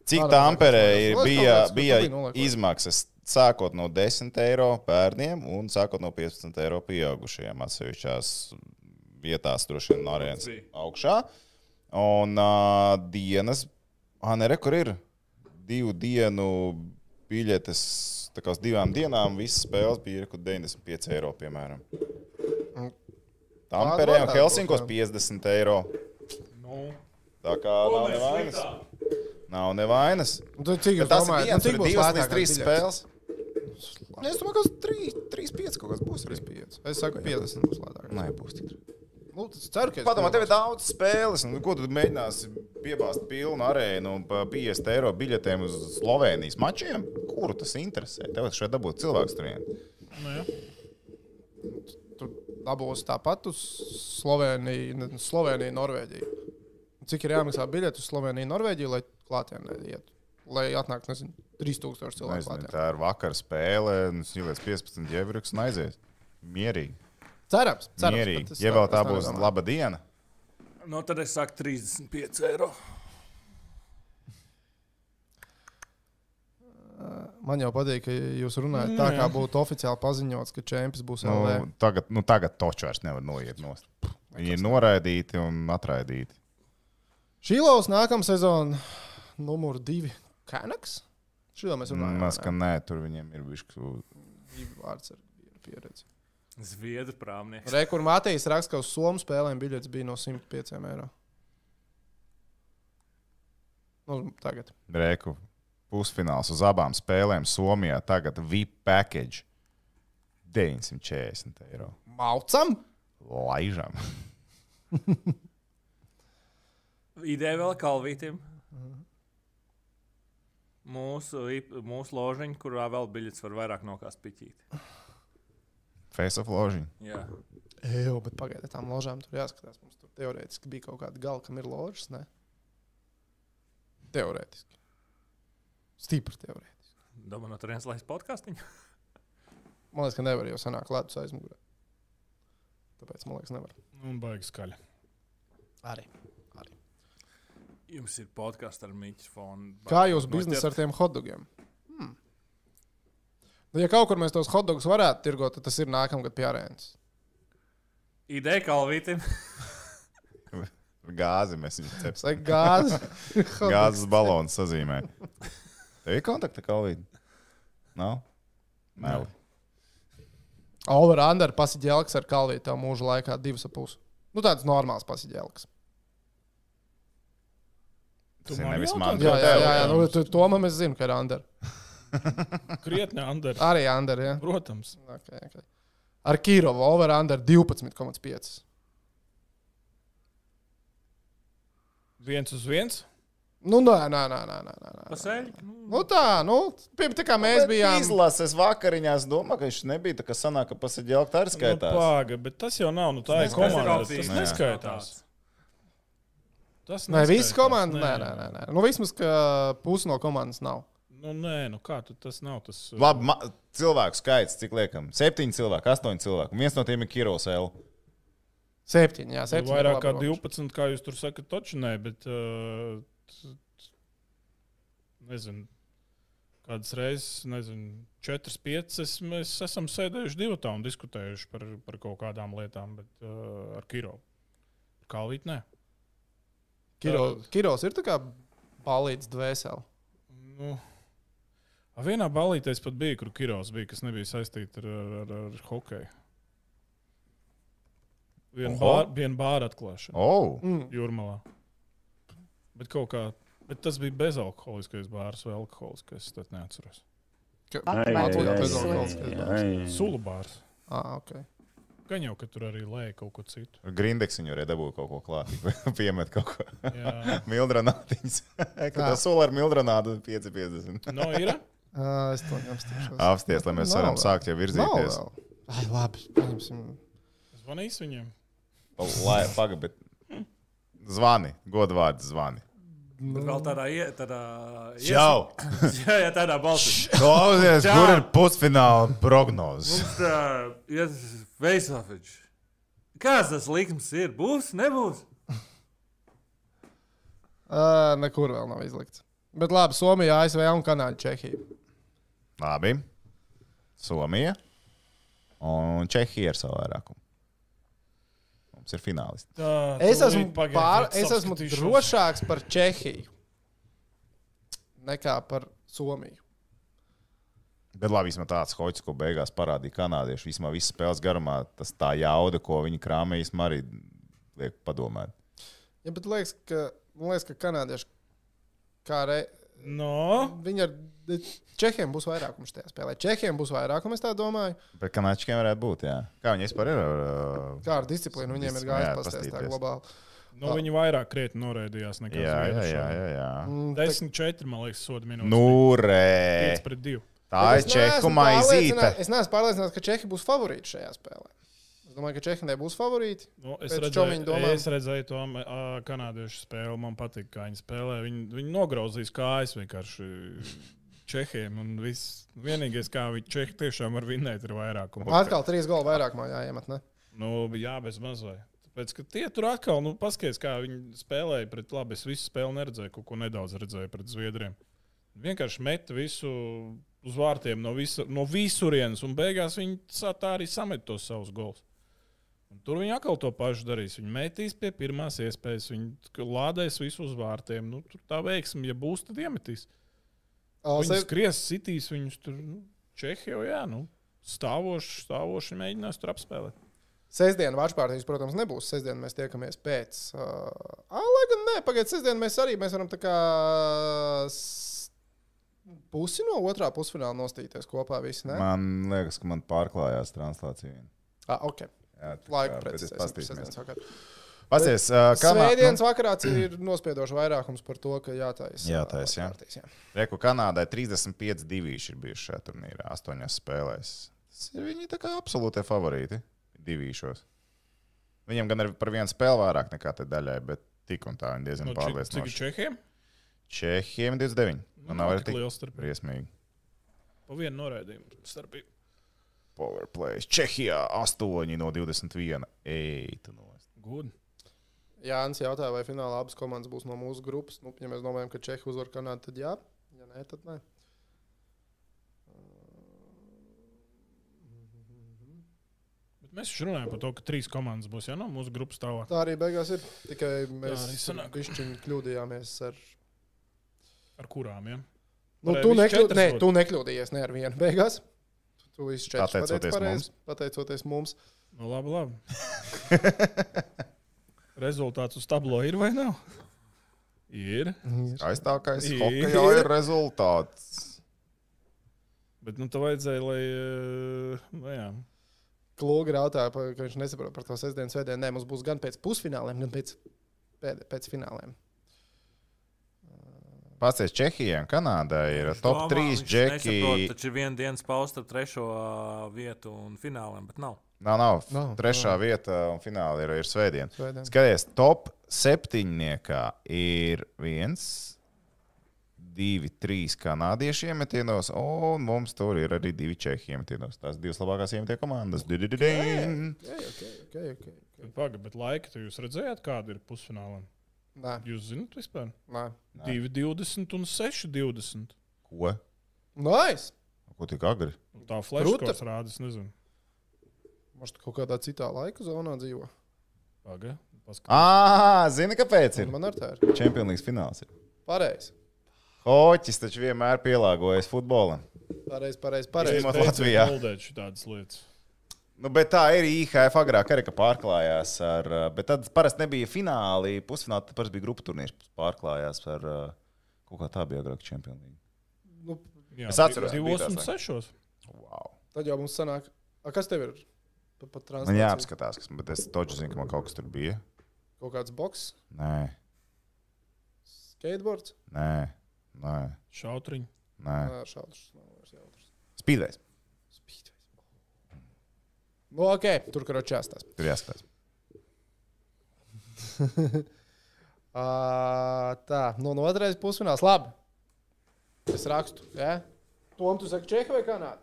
B: cik
A: Varam
B: Tamperē ir,
A: nolikt,
B: bija,
A: kaut kāds,
B: bija
A: kur tu biji noliekot.
B: izmaksas sākot no 10 eiro bērniem un sākot no 15 eiro pieaugušajiem atsevišķās vietās, droši vien no arēnas
C: bija.
B: augšā. Un uh, dienas, ah, nē, re, kur ir divu dienu biļetes, tā kā uz divām dienām visas spēles bija kaut 95 eiro, piemēram.
A: Mm.
B: Tamperē un
A: Pārvaldāt
B: Helsinkos
A: kaut
B: 50 eiro. Tā kā nav nevainas. Nav nevainas.
A: Un tu- Nu, Cik
B: Bet
A: jūs
B: tas ir
A: domājat, nu,
B: viens, tur
A: cik
B: ir
A: būs
B: divas līdz
A: lētākās
B: trīs
A: biļetes?
B: spēles. Nē, Es domāju, ka tas 3, 5 kaut kas būs. Arī.
A: 35. Es saku, 50 būs lētāk.
B: Nē, būs tik.
A: Nu, tas ceru, ka. es
B: Padomā, tev ir
A: kļūdos.
B: daudz spēles. Nu, ko tu mēģināsi piebāzt pilnu arēnu un pa 50 eiro biļetēm uz Slovenijas mačiem? Kuru tas interesē? Tev šeit dabūt cilvēks turien.
D: Nu, jā.
A: Tur dabūs tāpat uz Sloveniju, ne, Sloveniju, Norvēģiju. Cik ir jāmaksā biļete uz Sloveniju, Norvēģiju, lai klātienē iet? Lai atnāktu, nezinu, 3000 cilvēku
B: Nu, Nezinu,
A: klātienē.
B: tā ir vakar spēle, un es jūlies 15 eiro un aizies. Mierīgi.
A: Cerams, cerams. bet
B: Mierīgi.
A: es
B: Ja
A: tā-
B: vēl
A: es
B: tā
A: tā
B: būs
A: nedomāju.
B: laba diena.
C: Nu, tad es saku 35 eiro.
A: Man jau patīk, ka jūs runājat tā, kā būtu oficiāli paziņots, ka čempions būs LV.
B: Nu, tagad, nu, tagad toču vairs nevar noiet nost. Viņi ir noraidīti un atraidīti.
A: Šīlaus nākamā sezona, numur divi - Kanaks. Šīlaus mēs runājam.
B: Maz, ka nē, tur viņiem ir bijis
A: Divi vārds ar divu pieredzi.
C: Zviedru prāmnieks.
A: Rekur Matīs raksta, ka uz Somijas spēlēm biļets bija no 105 eiro. Nu, tagad.
B: rēku pusfināls uz abām spēlēm Somijā. Tagad VIP package 940 eiro.
A: Maucam!
B: Laižam.
C: Ideja vēl kalvītim. Mūsu, ip- mūsu ložiņa, kurā vēl biļetes var vairāk nokāst piķīt.
B: Face of loži.
C: Jā.
A: Jā, bet Nu, pagaidiet, tām ložām tur jāskatās. Mums tur teorētiski bija kaut kāda gala, kam ir ložas. Ne? Teorētiski. Stipri teorētiski.
C: Domā, no turienes laiks podkāstiņa.
A: Man liekas, ka nevar jau sanākt ledus aizmugurē. Tāpēc man liekas, nevar.
D: Nu, Un baigs skaļi.
A: Arī.
C: Jums ir podkāsts ar mikrofonu.
A: Kā jūs biznesa ar tiem hotdogiem? Hmm. Nu, ja kaut kur mēs tos hotdogus varētu tirgot, tad tas ir nākamgad pie arēnas.
C: Ideja kalvītim.
B: Gāzi mēs viņu cepsim.
A: Saka, gāzi.
B: Gāzes balons sazīmē. Tev ir kontakta kalvīdi? Nav? Nē.
A: Over under pasiģēlks ar kalvīti tev mūža laikā divas ap pusi. Nu, tāds normāls pasiģēlks.
D: Tu
B: Tas ir
D: man
B: nevis
D: jautā?
B: man.
A: Jā, jā, jā, jā.
B: tev.
A: Nu, tu- to man es zinu, ka ir under.
D: Krietni, Andri.
A: Arī under, jā.
D: Protams.
A: Okay, okay. Ar Kirovu over under 12,5.
D: Viens uz viens.
A: Nu, nē, nē, nē, nē, nē, nē, nē.
C: Pasēļ. Nu,
A: Nu, tā, nu, piemēram, tā kā mēs
B: Mēs
A: bijām.
B: bijām izlases vakariņās, domāju, ka viņš nebija tā, ka sanāk, ka pasaģēlkt arī
D: Nu,
B: skaitās.
D: Pāga, bet tas jau nav. Nu, tā ir
B: Tas
D: komanda.
C: neskaitās.
D: Tas
B: Nē.
D: neskaitās. Tas
A: Nē, visas
D: neskaitās.
A: komandas. Nē, nē, nē, nē. Nu, vismaz, ka pusi no komandas nav.
D: Nu, nē, nu kā tu, tas nav tas.
A: Nu,
D: uh,
B: Labi, ma- cilvēku skaits, cik liekam? Septiņi cilvēki, astoņi cilvēki. Un Viens no tiem ir Kiros L.
A: Septiņi, jā,
D: Ir
A: septiņi.
D: Nu, vairāk kā
A: labi,
D: 12, kā jūs tur sakat, taču nē, bet. Uh, t- t- nezinu, kādas reizes, nezinu, 4, 5 mēs esam sēdējuši divu tā un diskutējuši par, par kaut kādām lietām, bet uh, ar Kiro. Kalvīt, nē.
A: Kiro- Kiros ir tā kā balīts dvēseli.
D: Nu, a, vienā balītē es pat biju, kur Kiros bija, kas nebija saistīta ar, ar, ar, ar hokeju. Vienu
B: Oho.
D: bāru vien bār atklāšanu.
B: Oh.
A: Mm.
D: Jurmalā. Bet, kaut kā, bet tas bija bezalkoholiskais bārs vai alkoholiskais. Es to neatceros.
A: Ka-
E: Ai,
A: Latvijā
E: ai,
A: tas ir
B: Mm.
E: ai,
A: alkoholiskais
E: ai,
A: bars.
E: ai.
D: Sulu bārs.
A: Ah, ok.
D: Gan jau, ka tur arī lēja kaut ko citu.
B: Grindeks viņu arī dabūja kaut ko klāta. Piemet kaut ko.
D: Jā,
B: Mildranātiņas. Kad
A: Tā.
B: tas sola ar mildranātu 5,50.
D: no, ir.
A: Ā, Es to neapstāšos.
B: Apsties, lai mēs
A: Nav
B: varam
A: vēl.
B: sākt jau
A: Nav
B: virzīties.
A: vēl. Ai, labi. Paņemsim.
D: Zvanīs viņiem.
B: Lai, paga, bet zvani, godvārds zvani.
C: Bet
A: Nu.
C: vēl tādā ie- tādā
B: Čau!
C: ies- Jā, jā, tādā balsī.
B: Klausies,
C: Čau!
B: kur ir pusfināla prognoze?
C: Mums tā ir Veisofeģis. Kāds tas likums ir? Būs, nebūs?
A: Ā, Nekur vēl nav izlikts. Bet labi, Somija, ASV un Kanāda, Čehija.
B: Labi. Somija un Čehija ir savu vairākumu. Mums ir finālisti.
D: Tā,
A: Es
D: tūlīt
A: esmu,
D: pagaidi,
A: pār,
D: pats
A: es esmu
D: apskatīšos.
A: drošāks par Čehiju nekā par Somiju.
B: Bet labi, vismaz tāds hoci, ko beigās parādīja kanādieši. Vismaz visas spēles garumā tas tā jauda, ko viņi krāpēja, arī liek padomāt.
A: Ja, bet liekas, ka, man liekas, ka kanādieši kā re,
D: No,
A: viņi ar Čehiem būs vairākums tajā spēlē. Čehiem būs vairākums, es tā domāju.
B: Bet kanāčiem varētu būt, jā. Kā viņi vispār ir? ā,
A: Kā ar disciplīnu viņiem ir
B: Disciplīna, jā,
A: gājis pasties tā
B: pastīties.
A: globāli.
D: no nu, viņi vairāk krietni noraidījās nekā
B: Jā, jā, jā. jā, jā.
A: Mm, tā-
D: 10-4, man liekas, soda minūtes.
B: Nu, re!
D: 5 pret 2.
B: Tā
A: bet
B: ir
A: es neesmu
B: čeku maizīte.
A: pārliecināts- Es neesmu pārliecināts, ka Čehi būs favorīti šajā spēlē. Es domāju, ka Čehijai būs favorīti.
D: Nu, es,
A: Pēc
D: redzēju,
A: čomiņa domām.
D: es redzēju to am- ā, kanādiešu spēli. Man patīk, kā viņi spēlē. Viņi, viņi nograudzīs kājas vienkārši čehiem. Un viss vienīgais, kā viņi čehi tiešām var vinēt, ir vairākumu.
A: Atkal trīs goli vairāk mājā iemet. Ne?
D: Nu, jā, bez mazai. Tāpēc, ka tie tur atkal, nu, paskatieties, kā viņi spēlēja pret labi. Es visu spēli neredzēju, kaut ko nedaudz redzēju pret zviedriem. Vienkārši met visu uz vārtiem no, visu, no visurienes, un beigās viņi sa- tā arī samet tos savus gols. Un tur viņi atkal to pašu darīs. Viņi metīs pie pirmās iespējas, viņi t- lādēs visu uz vārtiem. Nu, tur tā veiksme, ja būs, tad iemetīs.
A: O,
D: Viņi
A: sev-
D: skries, sitīs viņus tur, nu, Čehijā, jā, nu, stāvoši, stāvoši mēģinās tur apspēlēt.
A: Sestdiena vāršpārtīs, protams, nebūs. Sestdiena mēs tiekamies pēc. Uh, ah, lai gan nē, pagaidiet, sestdiena mēs arī mēs varam tā kā s- pusi no otrā pusfināla nostīties kopā visi. Nē,
B: Man liekas, ka man pārklājās translācija. viena.
A: ah, ok.
B: Jā, tā
A: Laiku
B: kā, bet es
A: precizēsim
B: paskatīšos.
A: sestdienas vakarā.
B: Pasties, ā, Kanā-
A: Svētdienas vakarā ir nospiedošs vairākums par to, ka jātaisa. ā,
B: Jātaisa, jā.
A: vārtpārtiņas, jā.
B: Reku Kanādai 35 divīši ir bijuši šajā turnīrā, 8 spēlēs. Tas ir viņi tā kā absolūtie favorīti divīšos. Viņam gan ir par vienu spēli vairāk nekā te daļai, bet tik un tā viņi diezgan
D: No
B: no,
D: Čeh- Nu, Cik ir
B: pārliecinoši.
D: Čehiem?
B: Čehiem 29. Nu, nav arī
D: tik
B: tik
D: liela starpība.
B: briesmīgi.
D: Pa vienu noraidījumu starpību.
B: Powerplay. Čehijā 8 no 21. Ei, tu no.
D: Good.
A: Jānis jautāja, vai finālā abas komandas būs no mūsu grupas. Nu, ja mēs domājam, ka Čehija uzvar Kanādu, tad jā. Ja nē, tad nē.
D: Bet mēs taču runājam par to, ka trīs komandas būs ja, no mūsu grupas tālāk.
A: Tā arī beigās ir. Tikai
D: arī
A: mēs
D: sanāk.
A: pišķiņi kļūdījāmies ar
D: Ar kurām? Ja?
A: Nu,
D: Varēja
A: tu,
D: visu
A: nekļu...
D: četras
A: Nē,
D: dot.
A: tu nekļūdījies ne ar vienu beigās. Tu visu četru
B: Pateicoties mums.
A: Pateicoties mums.
D: Nu, labi, labi. Rezultāts uz tablo ir vai nav? Ir.
B: Mm, Aiztākais
D: Ir.
B: hokeja ir rezultāts.
D: Bet nu, tev vajadzēja, lai. eh, Nu, jā.
A: Klūga rautāja, pa- ka viņš nesaprot par to sestdienas vēdienu. Nē, mums būs gan pēc pusfināliem, gan pēc, pēc, pēc fināliem.
B: Pasties Čehijai un Kanādai ir top 3 džekija.
C: Taču ir viena dienas pausta ar trešo ā, vietu un fināliem, bet nav.
B: Nav, nav.
A: Nav,
B: nav Trešā nav. vieta un fināla ir, ir svētdiena.
A: Svētdien.
B: Skaties, top septiņniekā ir viens, divi, trīs kanādieši iemetienos, un mums tur ir arī divi čehi iemetienos. Tās divas labākās iemetie komandas. Didididin!
A: Okay, okay, okay, okay.
D: Paga, bet laika tu jūs redzējāt, kāda ir pusfinālā?
A: Nē,
D: Jūs zinat, vispār?
A: nē.
D: 2,20 un 6,20.
B: Ko?
A: Nice!
B: Ko tik agri?
D: Nu, Tā flashka
A: Kruta.
D: rāda, es nezinu.
A: Mums kaut kādā citā laika zonā dzīvo.
D: Paga, paskat.
B: Ā, zini, kāpēc ir?
A: Man ar tā ir.
B: Champions League fināls ir.
A: Pareizi.
B: Hoķis taču vienmēr pielāgojas futbolam.
A: Pareizi, pareizi, pareizi.
B: Izņemot
D: Beidzot
B: Latvijā.
D: Kuldēt šādas lietas.
B: Nu, bet tā ir IHF agrāk, arī ka pārklājās ar. uh, Bet tad parasti nebija fināli, pusfināli, tad parasti bija grupu turnīrs. Pārklājās ar uh, kaut kā tā bija agrāk čempionu līnija.
A: Nu,
D: Jā,
B: Es atceros, ka bija
D: divos
B: tā
D: un
B: saka.
D: sešos.
B: Wow.
A: tad jau mums sanāk, a, kas tev ir Pa, pa
B: Man
A: translāciju.
B: jāapskatās, kas man tas točs zina, ka man kaut kas tur bija.
A: Kaut kāds boks,
B: Nē,
A: skateboards.
B: nē, nē.
D: Šautriņš.
B: nē.
A: Nā, šautrs nav vairs jautrs.
B: Spīdēs.
A: Spīdveids. Nu, ok, tur karočāstās.
B: Tur jāskatās.
A: Uh, tā, nu, no otrais pusfināls. Labi. Es rakstu. Ja? Tom, tu saki, Čehija vai Kanāda?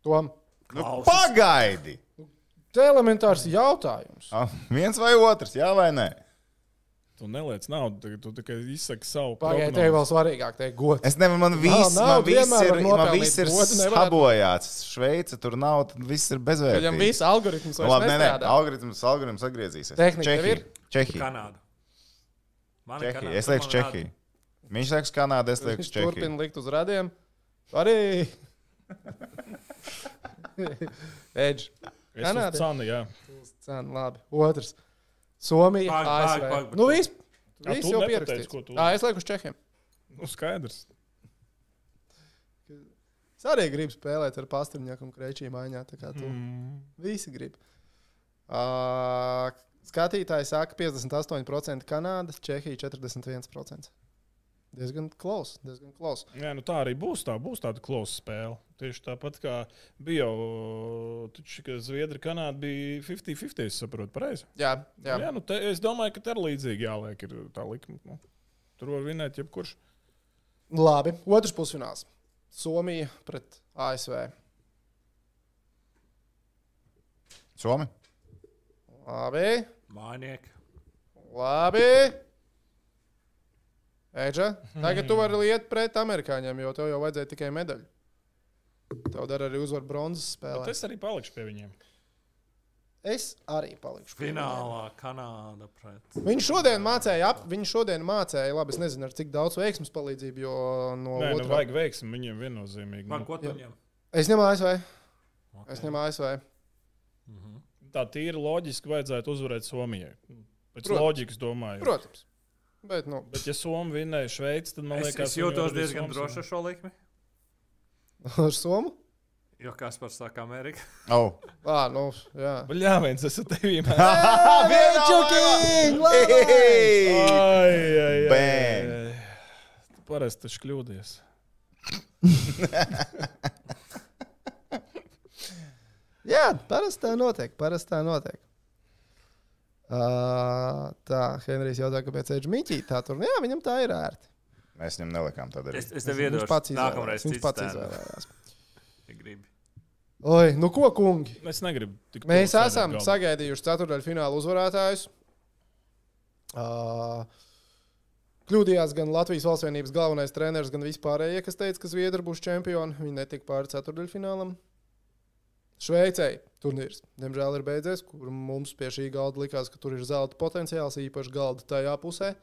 A: Tom,
B: Nu,
C: Klausas.
B: pagaidi!
A: tas ir elementārs jautājums.
B: Ah, Viens vai otrs, jā vai nē?
D: Tu neliec naudu, tagad tu tikai izsaki savu
A: Pagaidiet, tev
D: prognozi.
A: vēl svarīgāk, teikt, gods.
B: Es nevaru, man viss,
A: nav,
B: man viss
A: vienmēr
B: ir,
A: var
B: man
A: nopelnīt
B: viss ir
A: godu, nevar.
B: sabojāts. Šveice tur nav, tad viss ir
A: Viņam
B: bezvērtīgi.
A: viss algoritms
B: Nu,
A: vairs
B: Labi, nē, nē,
A: nestrādā.
B: algoritms, algoritms atgriezīsies.
A: Tehnika tev
B: Čehija.
A: ir?
B: Čehija.
C: Kanādu. Man ir
B: Čehija.
C: Kanāda.
B: Es lieku
C: Man ir
B: Čehiju. Viņš liekas Kanādu, es lieku
A: Viņš
B: Čehiju.
A: turpina likt uz radiem. Arī. Edž.
D: Es
A: Kanāda.
D: uz Canu, jā.
A: Cena, labi. Otrs. Somija,
C: Pag, pag,
A: ASV.
C: pag, pag.
A: nu, viss.
D: Jā,
A: Viss
D: tu
A: jau
D: nepateici,
A: pierakstīts.
D: ko tu-
A: Jā, es lieku uz čehiem.
D: Nu, skaidrs.
A: Es arī gribu spēlēt ar pastrunjaku un krēčīm maiņā. tā kā tu.
D: Mm.
A: Visi grib. Uh, skatītāji saka 58% Kanādas, Čehija 41%. Diezgan klaus, diezgan klaus.
D: Jā, nu tā arī būs. Tā būs tāda klausa spēle. Tieši tāpat kā bija jau Zviedrija, Kanāda bija 50-50. Es saprotu, pareizi.
A: Jā, jā.
D: Jā, nu te, es domāju, ka te ir līdzīgi jāliek ir tā likme. Nu, tur var vinēt jebkurš.
A: Labi, otrs pusfināls. Somija pret ASV.
B: Somi?
A: Labi,
C: Mānieki.
A: labi. Eģe,
D: Mhm.
A: tagad tu vari liet pret amerikāņiem, jo tev jau vajadzēja tikai medaļu. Tev dara arī uzvaru bronzas
D: Bet
A: spēlē.
D: es arī palikšu pie viņiem.
A: Es arī palikšu. pie viņiem.
C: Finālā Kanāda pret.
A: Viņš šodien mācīja, ap, viņš šodien mācīja, labi, es nezinu, ar cik daudz veiksmas palīdzību, jo no
D: Nē, nu,
A: otrā-
D: vajag veiksmi viņiem viennozīmīgi.
C: Man
D: Nu,
C: ko tu
A: Jā.
C: ņem?
A: Es ņemu ASV.
C: Okay.
A: Es ņemu ASV.
D: tā tīri loģiski vajadzētu uzvarēt Somijai. Pēc
A: Protams.
D: Protams. loģikas domājot.
A: Protams. Bet, nu,
D: Bet, ja Somija vinēja Šveici, tad man
C: Es,
D: liekas,
C: es jūtos
D: viņi var arī
C: diezgan
D: Somas
C: droši ar šo likmi.
A: ar Somu?
C: Jo kas par saka Ameriku?
B: Oh.
A: Ā, nu, jā.
D: vinēt. Bļā, viens esmu tevī.
B: Vienalga! Bang!
D: Parasti taču kļūdies.
A: Jā, parasti tā notiek. Parasti tā notiek. Uh, tā, Henrijs jautā, kāpēc viņš mītī tā tur. nu Jā, viņam tā ir ērti.
B: Mēs viņam nelikām tādu arī.
C: Es, es tev iedodu.
A: Viņš pats
C: Nākamreiz
A: izvēlējās. Viņš
C: cits
A: pats
C: tēm,
A: izvēlējās.
C: ja gribi.
A: Oi, nu ko, kungi?
D: Es negribu tik
A: Mēs
D: tuvu
A: esam
D: sēdēt galdā.
A: sagaidījuši ceturtajā fināla uzvarētājus. Uh, Kļūdījās gan Latvijas valsts vienības galvenais treneris, gan vispārējie, kas teica, ka Zviedri būs čempioni. Viņi netika pāri ceturdaļfinālam. Šveicē turnīrs, diemžēl, ir beidzies, kur mums pie šī galda likās, ka tur ir zelta potenciāls, īpaši galda tajā pusē.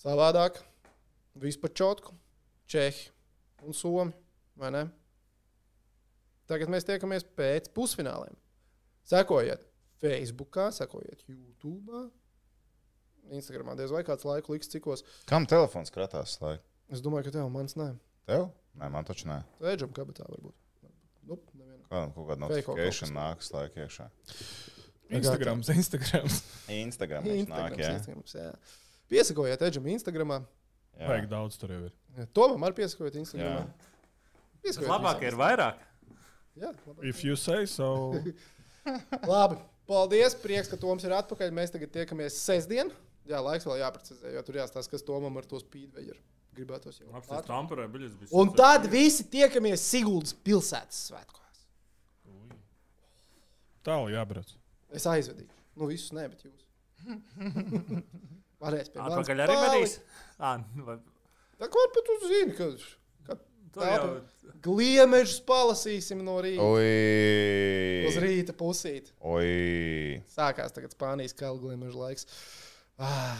A: Savādāk, vispār čotku, čehi un somi, vai ne? Tagad mēs tiekamies pēc pusfināliem. Sekojiet Facebook, sekojiet YouTube, Instagram. Diez vai kāds laiku liks cikos.
B: Kam telefons kratās? Lai?
A: Es domāju, ka tev mans nē.
B: Tev? Nē, man taču nē.
A: Redzam, kabatā varbūt. Nu, nevienam.
B: Kādam kaut kāda
A: Fake kaut
B: notifikēšana nāks laika iekšā.
D: Instagrams, Instagrams.
B: Instagram viņš nāk,
A: Instagrams,
B: jā.
A: Instagrams, jā. Piesakojiet Edžam Instagramā.
B: jā.
D: Vajag daudz tur jau ir.
A: Tomam arī piesakojiet Instagramā.
B: Jā.
C: Bet
A: Piesakojiet
C: labāk ir vairāk.
A: visam. Jā, labāk.
D: If you say so.
A: Labi. Paldies. Prieks, ka Toms ir atpakaļ. Mēs tagad tiekamies sestdien. Jā, laiks vēl jāprecizē, jo tur jāstāsta, kas Tomam ar to spīdveju ir. Gribētos jau
C: Apstāties Trumpā, biļets bija.
A: Un tad visi tiekamies Siguldas pilsētas svētkos.
D: Tālu jābrauc.
A: Es aizvedīšu. Nu, visus nē, bet jūs. Varēs pie manis
C: Atpakaļ arī
A: palikt.
C: vadīs. Ā, nu, vai-
A: Tā kā pat jūs zināt, ka
C: tu
A: Tā,
C: jau-
A: gliemežus palasīsim no rīta. Uz
B: Oi!
A: rīta pusīt.
B: Oi!
A: Sākās tagad Spānijas kalgliemežu laiks. Ah,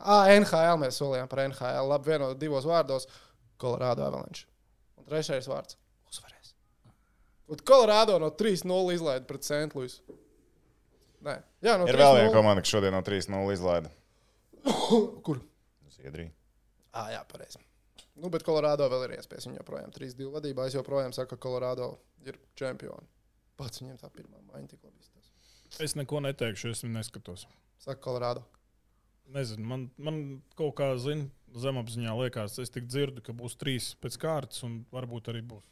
A: ah, NHL mēs solījām par NHL. Labi, vienot divos vārdos - Colorado Avalanche. Un trešais vārds - uzvarēs. Un Colorado no 3-0 izlaida pret St. Louis. Nē, jā, no
B: Ir vēl
A: 3:0.
B: viena komanda, kas šodien no 3-0 izlaida.
A: Kur?
B: Ziedrija.
A: Ah, jā, pareizi. Nu, bet Kolorādo vēl ir iespējas. Viņa joprojām 3-2 vadībā. Es joprojām saku, ka Kolorādo ir čempioni. Pats viņiem tā pirmā maiņa tik labi izstāsta.
D: Es neko neteikšu, es neskatos.
A: Saka Kolorādo.
D: Nezinu, man, man kaut kā zina, zemapziņā liekas, es tik dzirdu, ka būs trīs pēc kārtas, un varbūt arī būs.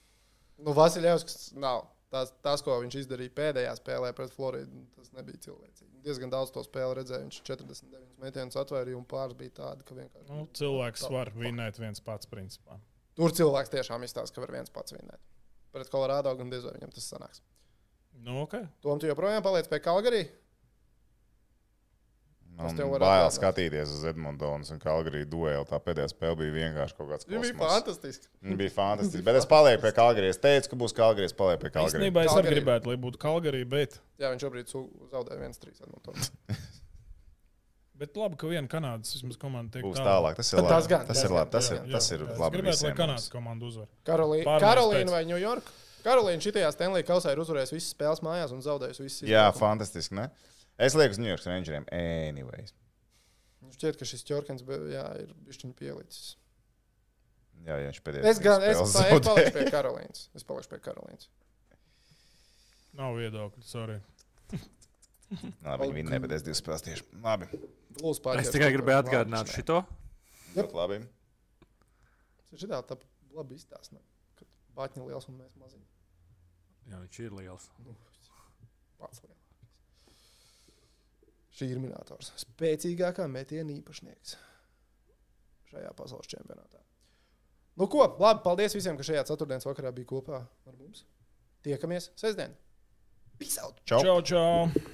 A: Nu, Vasiljevskis nav. Tas, tas, ko viņš izdarīja pēdējā spēlē pret Floridu, tas nebija cilvēcīgi. Diezgan daudz to spēli redzēju. Viņš 49 metienus atvērīja, un pāris bija tādi, ka vienkārši.
D: Nu, cilvēks var vinēt viens pats, principā.
A: Tur cilvēks tiešām izstāsta, ka var viens pats vinēt. Pret Kolorādo gan diez vai viņam tas sanāks.
D: Nu, okay.
A: Tom, tu joprojām paliec pie Kalgarī?
B: Man
A: tev varētu
B: Bail
A: atnākt?
B: skatīties uz Edmunds un Kalgarī dueli. Tā pēdējā spēle bija vienkārši kaut kāds.
A: Viņš bija
B: kosmos.
A: fantastisks.
B: Viņa bija fantastiska. Bet es palieku pie Kalgarī. Es teicu, ka būs Kalgarī. Es palieku pie Kalgarī.
D: Īstenībā es arī
A: Calgary.
D: gribētu, lai būtu Kalgarī, bet,
A: Jā, viņš šobrīd su- zaudēja 1-3. Edmontonam.
D: bet labi, ka viena Kanādas vismaz komanda tiek
B: Būs tālāk. Tas ir
A: Tas
B: labi.
A: gan,
B: Tas
A: tas
B: ir labi. Tas
A: gan,
B: ir, tas ir labi.
D: Gribētu, lai
B: visiem mums.
D: Kanādas komanda uzvar.
A: Karolī-
D: Pārmaiņas
A: Karolīna
D: pēc.
A: vai New York? Karolīna šitajā Stanley kausā ir uzvarējusi visas spēles mājās un zaudējusi visas
B: Jā, fantastiski. Ne? Es lieku uz New York Rangeriem. Anyways.
A: Man Nu, šķiet, ka šis ķorkins be- jā, ir bišķiņ pielicis.
B: Jā, jā, viņš pēdējais.
A: Es gan es, es
B: zaudēju.
A: palieku pie Karolīnas. Es palieku pie Karolīnas.
D: Nav viedokļu, sorry.
B: Nē, Viņi vinnēja pēdējās divas spēles tieši. Labi.
A: Lūdzu, pārdzīvot.
C: Es tikai gribēju atgādināt šo.
A: Jep.
B: Ļoti labi.
A: Šitā tā labi izstāsta, ka Bāķiņa liels un mēs maziņi.
C: Jā, viņš ir liels.
A: Nu, pats lielākais. Šī ir minētājs. Spēcīgākā metiena īpašnieks šajā pasaules čempionātā. Nu, ko? Labi, paldies visiem, ka šajā ceturtdienas vakarā bija kopā ar mums. Tiekamies sestdien! Peace out!
B: Čau.
D: Čau, čau!